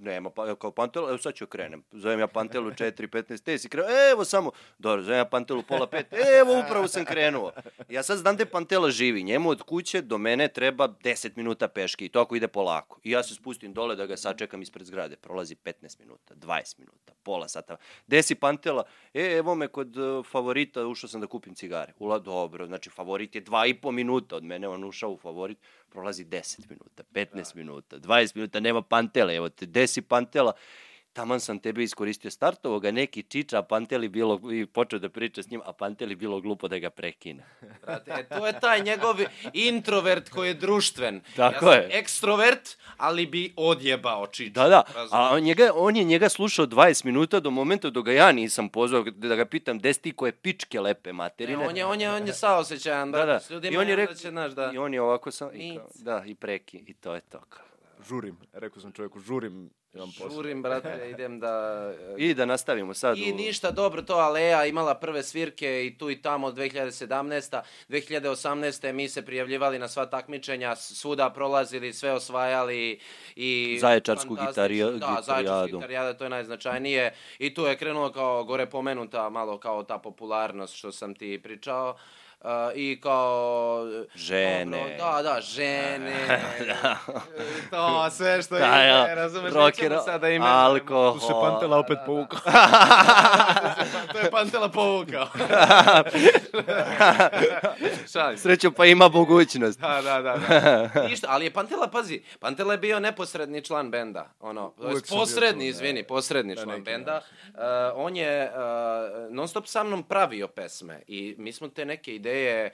nema, pa, kao Pantela, evo sad ću krenem. Zovem ja Pantelu 4.15, te si krenuo, evo samo, dobro, zovem ja Pantelu pola pet, e, evo upravo sam krenuo. Ja sad znam gde Pantela živi, njemu od kuće do mene treba 10 minuta peške i to ako ide polako. I ja se spustim dole da ga sačekam ispred zgrade, prolazi 15 minuta, 20 minuta, pola sata. Desi Pantela, e, evo me kod e, favorita, ušao sam da kupim cigare. Ula, dobro, znači favorit je dva i po minuta od mene, on ušao u favorit, prolazi 10 minuta, 15 minuta, 20 minuta, nema Pantela, evo te, desi Pantela taman sam tebe iskoristio startovoga, neki čiča, a Panteli bilo, i počeo da priča s njim, a Panteli bilo glupo da ga prekine. Brate, e, to je taj njegov introvert koji je društven. Tako ja sam je. ekstrovert, ali bi odjebao čič. Da, da, a Razumeš? on, njega, on je njega slušao 20 minuta do momenta do ga ja nisam pozvao da ga pitam gde si ti koje pičke lepe Ne, materine. on je, on je, on je saosećajan, da, brate, da. s ljudima, I on je onda rekao, će, znaš, da... i on je ovako sam, i Nic. kao, da, i preki, i to je to. kao. da Žurim. Rekao sam čovjeku, žurim. Imam posao. Žurim, brate, idem da... I da nastavimo sad. I u- ništa, dobro, to Aleja imala prve svirke i tu i tamo 2017. 2018. mi se prijavljivali na sva takmičenja, svuda prolazili, sve osvajali i... Zaječarsku fantastično- gitarija- Da, zaječarsku gitarijadu. gitarijada, to je najznačajnije. I tu je krenulo kao gore pomenuta, malo kao ta popularnost što sam ti pričao. Uh, I kao... Žene. Dobro, da, da, žene. to, sve što Da, ide, ja, razumeš, rocker, nećemo da sada imenujemo. alkohol. Tu se Pantela Da, opet povukao. to je Pantela povukao. Šalim se. Srećo pa ima mogućnost. Da, da, da. da. Ništa, ali je Pantela, pazi, Pantela je bio neposredni član benda. Ono, to Uvek jest sam bio posredni, tu, da. izvini, posredni Da, član neki benda. E, on je e, non stop sa mnom pravio pesme i mi smo te neke ideje e,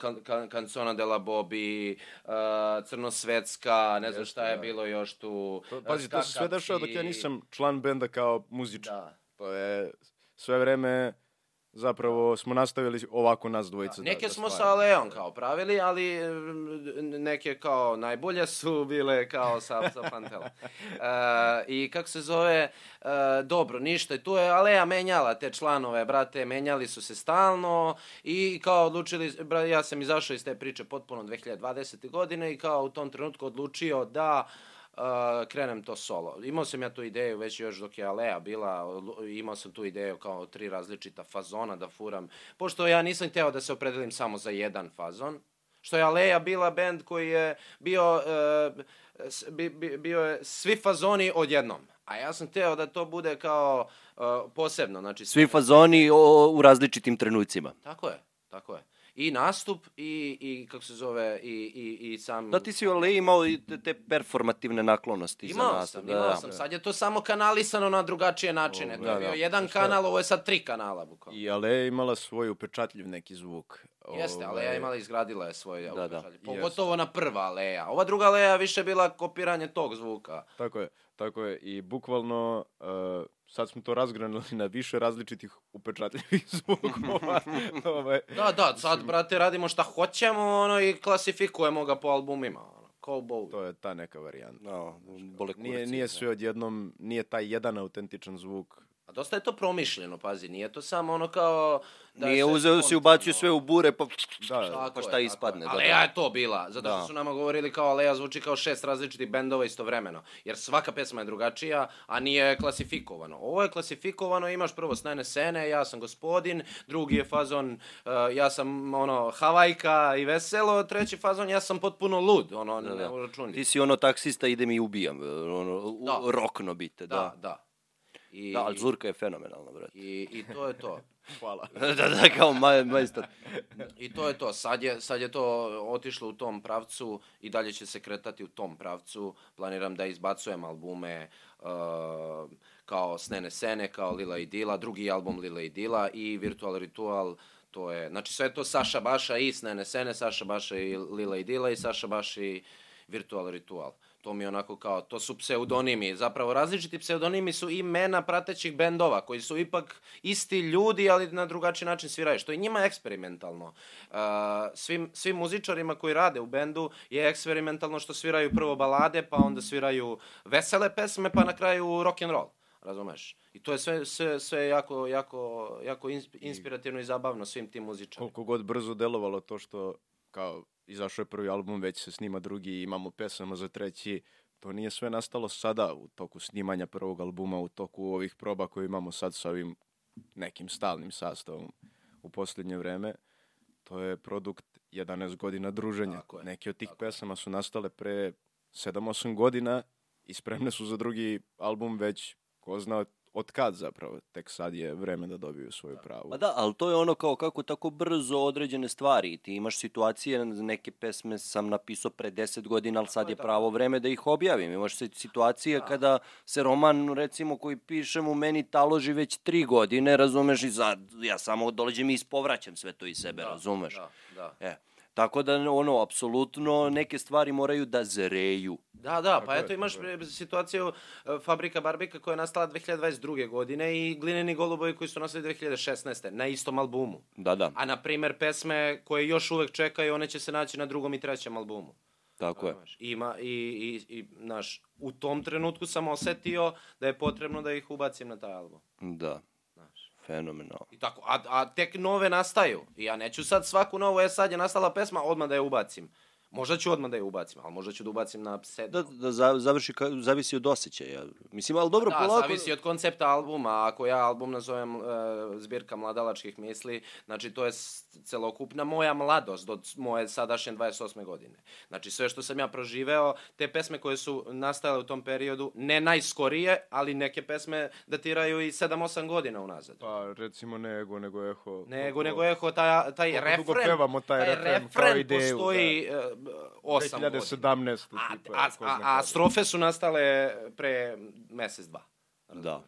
kan, kan, Cancona de la Bobby, e, Crnosvetska, ne znam šta je bilo još tu. uh, To- da. Pa, Pazi, to se sve skakavci. dešava dok ja nisam član benda kao muzičar. Da. To je sve vreme zapravo smo nastavili ovako nas dvojica. da- Neke da smo sa stvaramo. Leon kao pravili, ali e, neke kao najbolje su bile kao sa, sa Pantelom. E, I kako se zove, e, dobro, ništa. I tu je Aleja menjala te članove, brate, menjali su se stalno i kao odlučili, bra, ja sam izašao iz te priče potpuno 2020. godine i kao u tom trenutku odlučio da uh, krenem to solo. Imao sam ja tu ideju već još dok je Alea bila, odlu- imao sam tu ideju kao tri različita fazona da furam. Pošto ja nisam hteo da se opredelim samo za jedan fazon, što je Aleja bila band koji je bio, uh, s- bi, bi, bio je svi fazoni odjednom. A ja sam hteo da to bude kao uh, posebno, znači Svi fazoni o, u različitim trenucima. Tako je, tako je. I nastup i, i kako se zove, i, i, i sam... Da, ti si ali imao i te- te performativne naklonosti za Imao nas. sam, da, imao da. sam. Sad je to samo kanalisano na drugačije načine. to je da, bio da. jedan kanal, ovo je sad tri kanala bukvalno. I Ale je imala svoj upečatljiv neki zvuk. Jeste, Ovaj, Aleja imala, izgradila je svoj da, da. Pogotovo na prva Aleja. Ova druga Aleja više bila kopiranje tog zvuka. Tako je, tako je. I bukvalno uh, sad smo to razgranili na više različitih upečatljivih zvukova. ovaj, Da, da, sad, brate, radimo šta hoćemo ono, i klasifikujemo ga po albumima. Ono. Kao Bowie. to je ta neka varijanta. No, bolekurci, Nije, da. nije sve odjednom, nije taj jedan autentičan zvuk. A dosta je to promišljeno, pazi, nije to samo ono kao... da Nije se uzeo si spontano- ubacio sve u bure pa Da, Tako pa je, šta tako ispadne, je. da, Aleja da. je to bila, zato što Da. su nama govorili kao Aleja zvuči kao šest različitih bendova istovremeno. Jer svaka pesma je drugačija, a nije klasifikovano. Ovo je klasifikovano, imaš prvo snajne sene, ja sam gospodin, drugi je fazon, eh, ja sam ono, havajka i veselo, treći fazon, ja sam potpuno lud, ono, Da, ne da. računi. Ti si ono taksista, idem i ubijam. Ono, Da. da. Rokno bite, da. Da, Da, da. I, da ali Zurka je fenomenalna, brate. I, I to je to. Hvala. da, da, kao maj, majstor. I to je to. Sad je, sad je to otišlo u tom pravcu i dalje će se kretati u tom pravcu. Planiram da izbacujem albume uh, kao Snene Sene, kao Lila i Dila, drugi album Lila i Dila i Virtual Ritual. To je, znači sve je to Saša Baša i Snene Sene, Saša Baša i Lila i Dila i Saša Baš i Virtual Ritual. To mi je onako kao, to su pseudonimi. Zapravo različiti pseudonimi su imena pratećih bendova koji su ipak isti ljudi, ali na drugačiji način sviraju, što je njima eksperimentalno. Uh, svim, svim muzičarima koji rade u bendu je eksperimentalno što sviraju prvo balade, pa onda sviraju vesele pesme, pa na kraju rock and roll. Razumeš? I to je sve, sve, sve jako, jako, jako insp- inspirativno i zabavno svim tim muzičarima. koliko god brzo delovalo to što kao izašao je prvi album, već se snima drugi i imamo pesama za treći, to nije sve nastalo sada u toku snimanja prvog albuma, u toku ovih proba koje imamo sad sa ovim nekim stalnim sastavom u posljednje vreme. To je produkt 11 godina druženja. Tako je, Neki od tih pesama su nastale pre 7-8 godina i spremne su za drugi album već ko zna od kad zapravo, tek sad je vreme da dobiju svoju pravu. Pa da, ali to je ono kao kako tako brzo određene stvari. Ti imaš situacije, neke pesme sam napisao pre 10 godina, ali sad je pravo vreme da ih objavim. Imaš se Da. situacije kada se roman, recimo, koji pišem u meni taloži već 3 godine, razumeš, i za, ja samo dođem i ispovraćam sve to iz sebe, razumeš? Da, da. E, tako da, ono, apsolutno neke stvari moraju da zreju. Da, da, pa eto imaš pre- situaciju e, Fabrika Barbika koja je nastala 2022. godine i Glineni golubovi koji su nastali 2016. na istom albumu. Da, da, A na primer pesme koje još uvek čekaju, one će se naći na drugom i trećem albumu. tako je. Znaš, Ima i, i, i naš, u tom trenutku sam osetio da je potrebno da ih ubacim na taj album. Da, Znaš. fenomenalno. I tako, a, a tek nove nastaju. I ja neću sad svaku novu, e sad je nastala pesma, odmah da je ubacim. Možda ću odmah da je ubacim, ali možda ću da ubacim na sedmu. Da, da za- završi, ka- zavisi od osjećaja. Mislim, ali dobro, da, polako... zavisi od koncepta albuma. Ako ja album nazovem e, zbirka mladalačkih misli, znači to je s- celokupna moja mladost do c- moje sadašnje 28. godine. Znači sve što sam ja proživeo, te pesme koje su nastajale u tom periodu, ne najskorije, ali neke pesme datiraju i 7-8 godina unazad. Pa recimo ne ego, nego eho. Nego, nego je ko taj, taj koliko refren, dugo pevamo taj refren kao refren ideju, da. postoji e, b- osam godina. 2017. A, tipa, a, ko zna a, a kada. strofe su nastale pre mesec, dva. Da.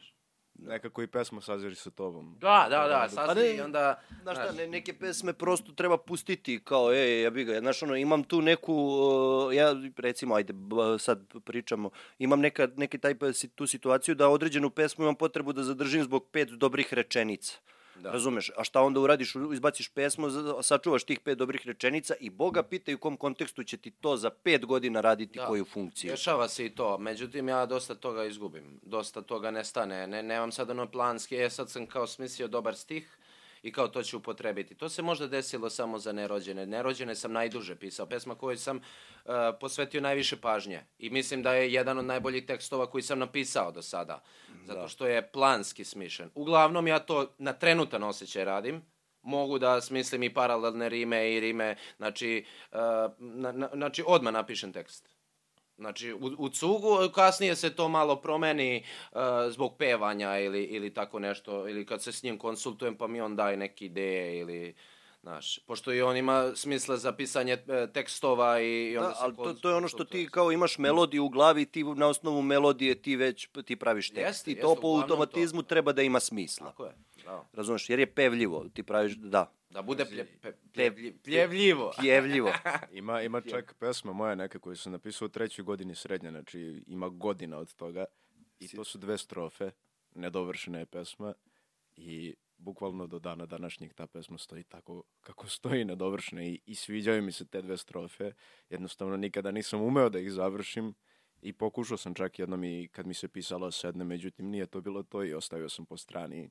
Nekako i pesma sazveri sa tobom. Da, da, da, Pa sasvim ne- i onda... Znaš šta, ne, neke pesme prosto treba pustiti kao, e, ja bi ga, znaš ono, imam tu neku, uh, ja recimo, ajde, b, sad pričamo, imam neka, neke taj, pa si- tu situaciju da određenu pesmu imam potrebu da zadržim zbog pet dobrih rečenica. Da. Razumeš? A šta onda uradiš? U- Izbaciš pesmu, za- sačuvaš tih pet dobrih rečenica i Boga pita i u kom kontekstu će ti to za pet godina raditi da. koju funkciju. Dešava se i to, međutim ja dosta toga izgubim, dosta toga nestane, ne, nemam sad ono planski, e sad sam kao smislio dobar stih i kao to ću upotrebiti. To se možda desilo samo za nerođene. Nerođene sam najduže pisao, pesma koju sam uh, posvetio najviše pažnje i mislim da je jedan od najboljih tekstova koji sam napisao do sada, zato što je planski smišen. Uglavnom ja to na trenutan osjećaj radim, mogu da smislim i paralelne rime i rime, znači, uh, na, na, znači odmah napišem tekst. Znači, u, u cugu kasnije se to malo promeni uh, zbog pevanja ili, ili tako nešto, ili kad se s njim konsultujem pa mi on daje neke ideje ili, znaš, pošto i on ima smisla za pisanje e, tekstova i, i onda Da, se ali to, to je ono što ti konsultujem. kao imaš melodiju u glavi, ti na osnovu melodije ti već ti praviš tekst. Jeste, I to jeste, po uglavnom to. automatizmu treba da ima smisla. Tako je, da. Razumeš, jer je pevljivo, ti praviš, da, Da bude plje, pe, pljevlji- pljevljivo. pjevljivo. Ima, ima čak pesma moja neka koju sam napisao u trećoj godini srednje, znači ima godina od toga. I to su dve strofe, nedovršena je pesma i bukvalno do dana današnjeg ta pesma stoji tako kako stoji nedovršena i, i sviđaju mi se te dve strofe. Jednostavno nikada nisam umeo da ih završim i pokušao sam čak jednom i kad mi se pisalo sedne, međutim nije to bilo to i ostavio sam po strani.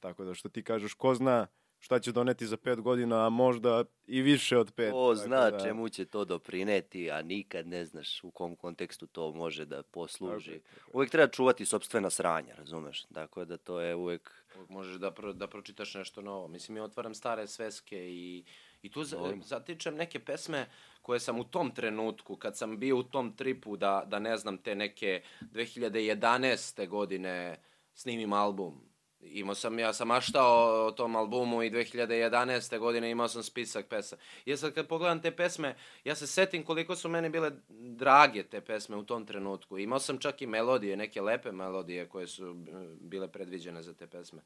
Tako da što ti kažeš, ko zna šta će doneti za pet godina, a možda i više od pet. Ko tako zna da- čemu će to doprineti, a nikad ne znaš u kom kontekstu to može da posluži. Uvek treba čuvati sobstvena sranja, razumeš? Tako da to je uvek... Uvijek možeš da, pro, da pročitaš nešto novo. Mislim, ja otvaram stare sveske i, i tu za, zatičem neke pesme koje sam u tom trenutku, kad sam bio u tom tripu da, da ne znam, te neke 2011. godine snimim album. Imao sam, ja sam maštao o tom albumu i 2011. godine imao sam spisak pesama. Ja sad kad pogledam te pesme, ja se setim koliko su meni bile drage te pesme u tom trenutku. Imao sam čak i melodije, neke lepe melodije koje su e, bile predviđene za te pesme.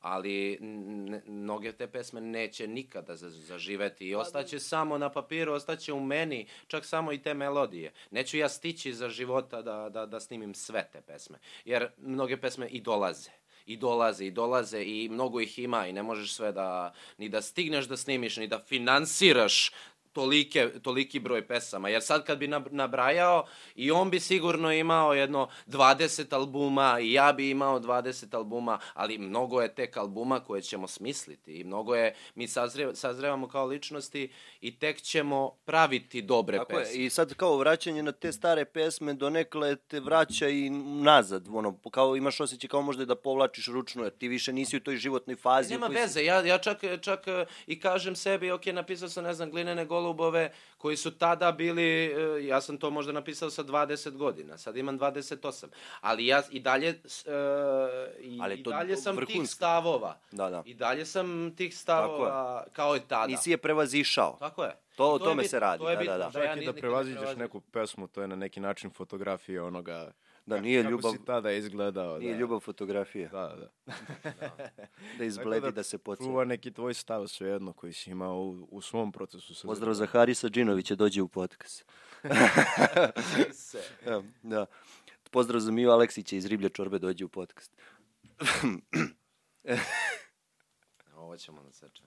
Ali n- n- mnoge te pesme neće nikada za- zaživeti i ostaće samo na papiru, ostaće u meni, čak samo i te melodije. Neću ja stići za života da, da, da snimim sve te pesme, jer mnoge pesme i dolaze i dolaze i dolaze i mnogo ih ima i ne možeš sve da ni da stigneš da snimiš ni da finansiraš tolike, toliki broj pesama. Jer sad kad bi nab- nabrajao i on bi sigurno imao jedno 20 albuma i ja bi imao 20 albuma, ali mnogo je tek albuma koje ćemo smisliti i mnogo je, mi sazre, sazrevamo kao ličnosti i tek ćemo praviti dobre Tako pesme. je, i sad kao vraćanje na te stare pesme donekle te vraća i nazad, ono, kao imaš osjećaj kao možda da povlačiš ručno, jer ti više nisi u toj životnoj fazi. u Nema kojoj si- veze, ja, ja čak, čak e, i kažem sebi, ok, napisao sam, ne znam, glinene golubove koji su tada bili, e, ja sam to možda napisao sa 20 godina, sad imam 28, ali ja i dalje, s- e, i, Ali je i to dalje sam tih vrhunski. stavova. Da, da. I dalje sam tih stavova kao i tada. Nisi je prevazišao. Tako je. To- o I je tome bitno, se radi, to je da, bitno, da, da. ja Čak i da nikad ne prevaziđeš prelazim. neku pesmu, to je na neki način fotografija onoga... Da, kako- nije kako ljubav- si tada izgledao. Nije da. ljubav fotografija. Da, da. Da Tako izbledi, da se podsjeti. Čuva neki tvoj stav svejedno koji si imao u, u svom procesu. Sa Pozdrav za Harisa Džinovića, dođe u podcast. E, da. Pozdrav za Miju Aleksića iz Riblje čorbe, dođe u podcast. Ovo ćemo da sačem.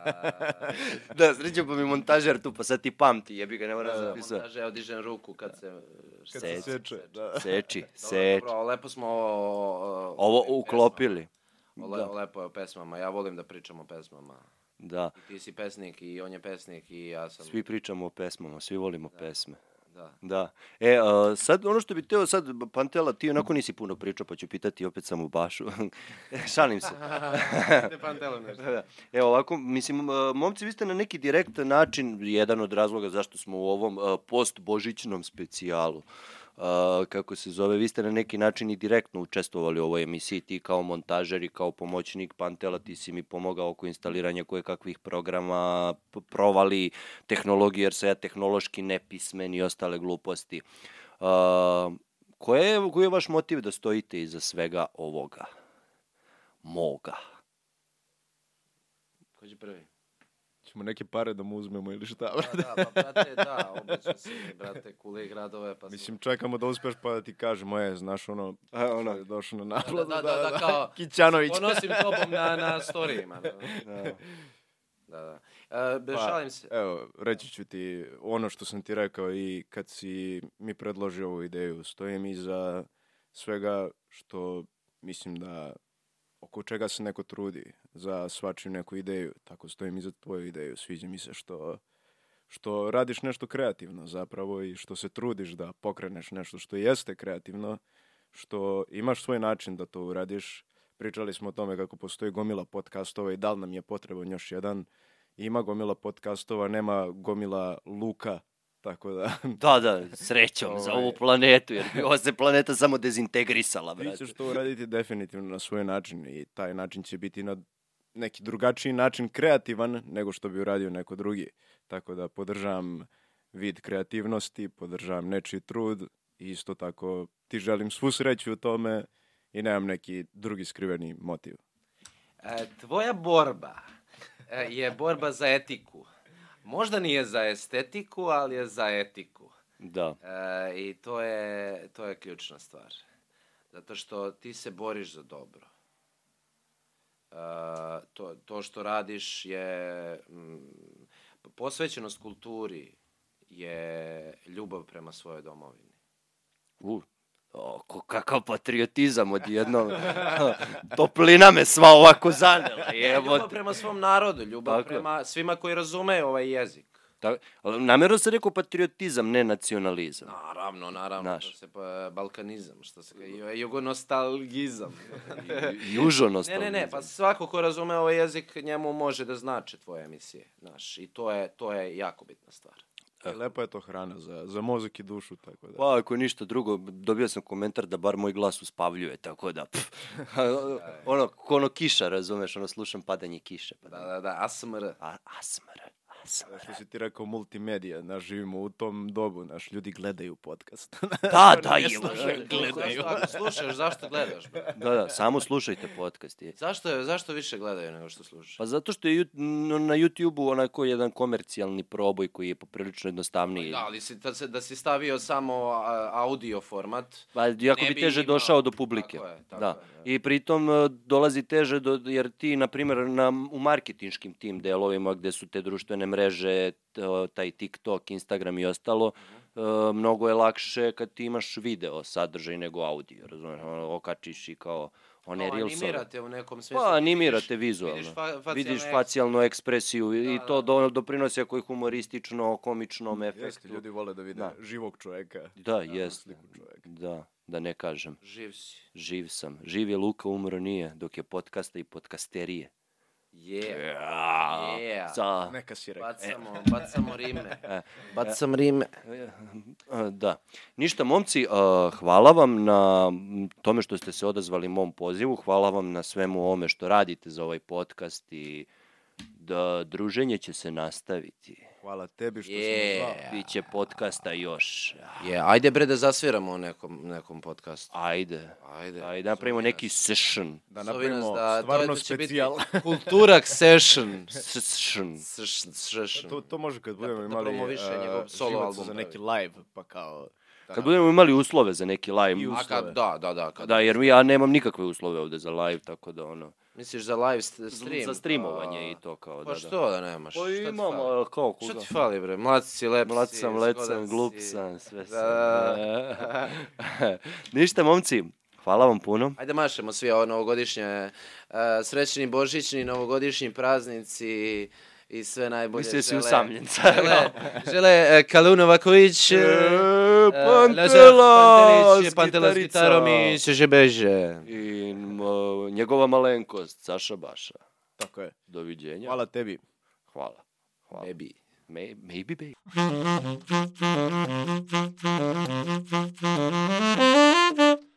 da, srećo pa mi montažer tu, pa sad ti pamti, jebi ga, ne moram zapisati. Montaže, evo dižem ruku kad se... Kad Seči. se Seč. seče, da. Seči, Dobro, seči. dobro, lepo smo o, o, Ovo uklopili. o, le, lepo je o pesmama. Ja volim da pričam o pesmama. Da, I ti si pesnik i on je pesnik i ja sam... svi pričamo o pesmama, svi volimo pesme. Da. Da. E, a, sad ono što bi teo sad, Pantela, ti onako nisi puno pričao, pa ću pitati opet samo Bašu. Šalim se. Te pantelem Da, da. Evo ovako, mislim, e, momci, vi ste na neki direktan način, jedan od razloga zašto smo u ovom e, post-božićnom specijalu, e, kako se zove, vi ste na neki način i direktno učestvovali u ovoj emisiji, ti kao montažer i kao pomoćnik Pantela, ti si mi pomogao oko instaliranja koje kakvih programa, p- provali tehnologije, jer sam ja tehnološki nepismen i ostale gluposti. E, koje je, koji je vaš motiv da stojite iza svega ovoga? Moga. Ko će prvi? Ćemo neke pare da mu uzmemo ili šta. Da, da, pa brate, da, obećao si mi, brate, kule i gradove, pa sam- Mislim, čekamo da uspeš pa da ti kažemo, e, znaš ono, E, ono. ono je došao na naplatu, da, da, da, kao- Kićanović. Ponosim tobom na, na storijima. Da, Da. Pa. da. da. E, be- šalim se. Pa, Evo, reći ću ti ono što sam ti rekao i kad si mi predložio ovu ideju, stojim iza svega što mislim da oko čega se neko trudi za svačiju neku ideju, tako stojim iza tvoju ideju, sviđa mi se što što radiš nešto kreativno zapravo i što se trudiš da pokreneš nešto što jeste kreativno, što imaš svoj način da to uradiš. Pričali smo o tome kako postoji gomila podcastova i da li nam je potreban još jedan. Ima gomila podcastova, nema gomila luka, tako da... Da, da, srećom za Ovaj. ovu planetu, jer bi ova se planeta samo dezintegrisala, Ti Pa brate. ćeš to uraditi definitivno na svoj način i taj način će biti na neki drugačiji način kreativan nego što bi uradio neko drugi. Tako da podržavam vid kreativnosti, podržavam nečiji trud i isto tako ti želim svu sreću u tome i nemam neki drugi skriveni motiv. E, tvoja borba e, je borba za etiku. Možda nije za estetiku, ali je za etiku. Da, E, I to je, to je ključna stvar. Zato što ti se boriš za dobro. E, to, to što radiš je... mm, posvećenost kulturi je ljubav prema svojoj domovini. u, o, ko, kakav patriotizam odjednom. Toplina me sva ovako zanela, Ljubav jevo. prema svom narodu, ljubav E, Tako je. prema svima koji razumeju ovaj jezik. Ta, ali namjerno se rekao patriotizam, ne nacionalizam. Naravno, naravno. Naš. Naš. Se, pa, balkanizam, što se kaže, jugonostalgizam. Južonost. ne, ne, ne, pa svako ko razume ovaj jezik, njemu može da znači tvoje emisije, znaš, i to je, to je jako bitna stvar. I lepa je to hrana za, za mozak i dušu, tako da. Pa ako ništa drugo, dobio sam komentar da bar moj glas uspavljuje, tako da, pff, ono, ko ono kiša, razumeš, ono, slušam padanje kiše. Pa, Da, da, da, ASMR. A, asmr, asmr. Što si ti rekao, multimedija, naš živimo u tom dobu, naš ljudi gledaju podcast. Da, da, je, Gledaju. Ako slušaš, zašto gledaš, brate? Da, da, samo slušajte podcast. Je. Zašto, je- zašto više gledaju nego što slušaju? Pa zato što je ju- n- na YouTube-u onako jedan komercijalni proboj koji je poprilično jednostavniji. Da, ali si, da, se, da si stavio samo a, audio format, Pa jako ne bi bi teže imao. došao do publike. Tako je, tako da. je, I pritom e, dolazi teže do, jer ti, na primjer, na, u marketinškim tim delovima gde su te društvene mreže, t- o, taj TikTok, Instagram i ostalo, Mhm. e, mnogo je lakše kad ti imaš video sadržaj nego audio, razumiješ, ono, okačiš i kao one Kao reelsove. animirate u nekom smislu. Pa animirate Vidiš- vizualno. Vidiš, Vidiš, fa, facijalne facijalnu ekspresiju i Da, to do, doprinosi ako je humoristično, komičnom Jeste, efektu. ljudi vole da vide Da. živog čoveka. Da, jeste. sliku čoveka. Da, da ne kažem. Živ si. Živ sam. Živ je Luka, umro nije, dok je podcasta i podcasterije. Yeah. Yeah. Za... Neka si "E, rekao. Bacamo, bacamo rime. Bacam rime. E, Da. Ništa, momci, e, hvala vam na m, tome što ste se odazvali mom pozivu, hvala vam na svemu ovome što radite za ovaj podcast i da druženje će se nastaviti. Hvala tebi što Je. si me zvao. Biće podcasta još. Je, ajde bre da zasviramo u nekom, nekom podcastu. Ajde. Ajde. Ajde, Da, napravimo neki session. Da Zove nas napravimo da- to- stvarno to će biti specijal. Kulturak session. Session. Session, session. Pa To, to može kad budemo da imali promoviše eh, njegov solo živac album za neki pravi. live, pa kao... Da. Kad budemo imali uslove za neki live. A kad, da, da, da. Kad, Da, jer mi- ja nemam nikakve uslove ovde za live, tako da ono... Misliš za live st- stream? Za streamovanje i A, to kao, da, Pa da. što da nemaš? Pa Šta ti imam, fali? ali kao koga. Što ti fali bre? Mlad si, lep Mlad si, sam, led zgodan sam, si. glup sam, sve sam. Da. da. Ništa, momci, hvala vam puno. Ajde mašemo svi ovo novogodišnje, e, srećni božićni, novogodišnji praznici i sve najbolje. Mislio da si Žele- usamljen. Žele, žele e, Kalun Novaković, e, e, Lazar Pantelas, Pantelić, Pantelas gitarom i Žebeže. I m, njegova malenkost, Saša Baša. Tako je. Doviđenja. Hvala tebi. Hvala. Hvala. Baby. May- Maybe, baby.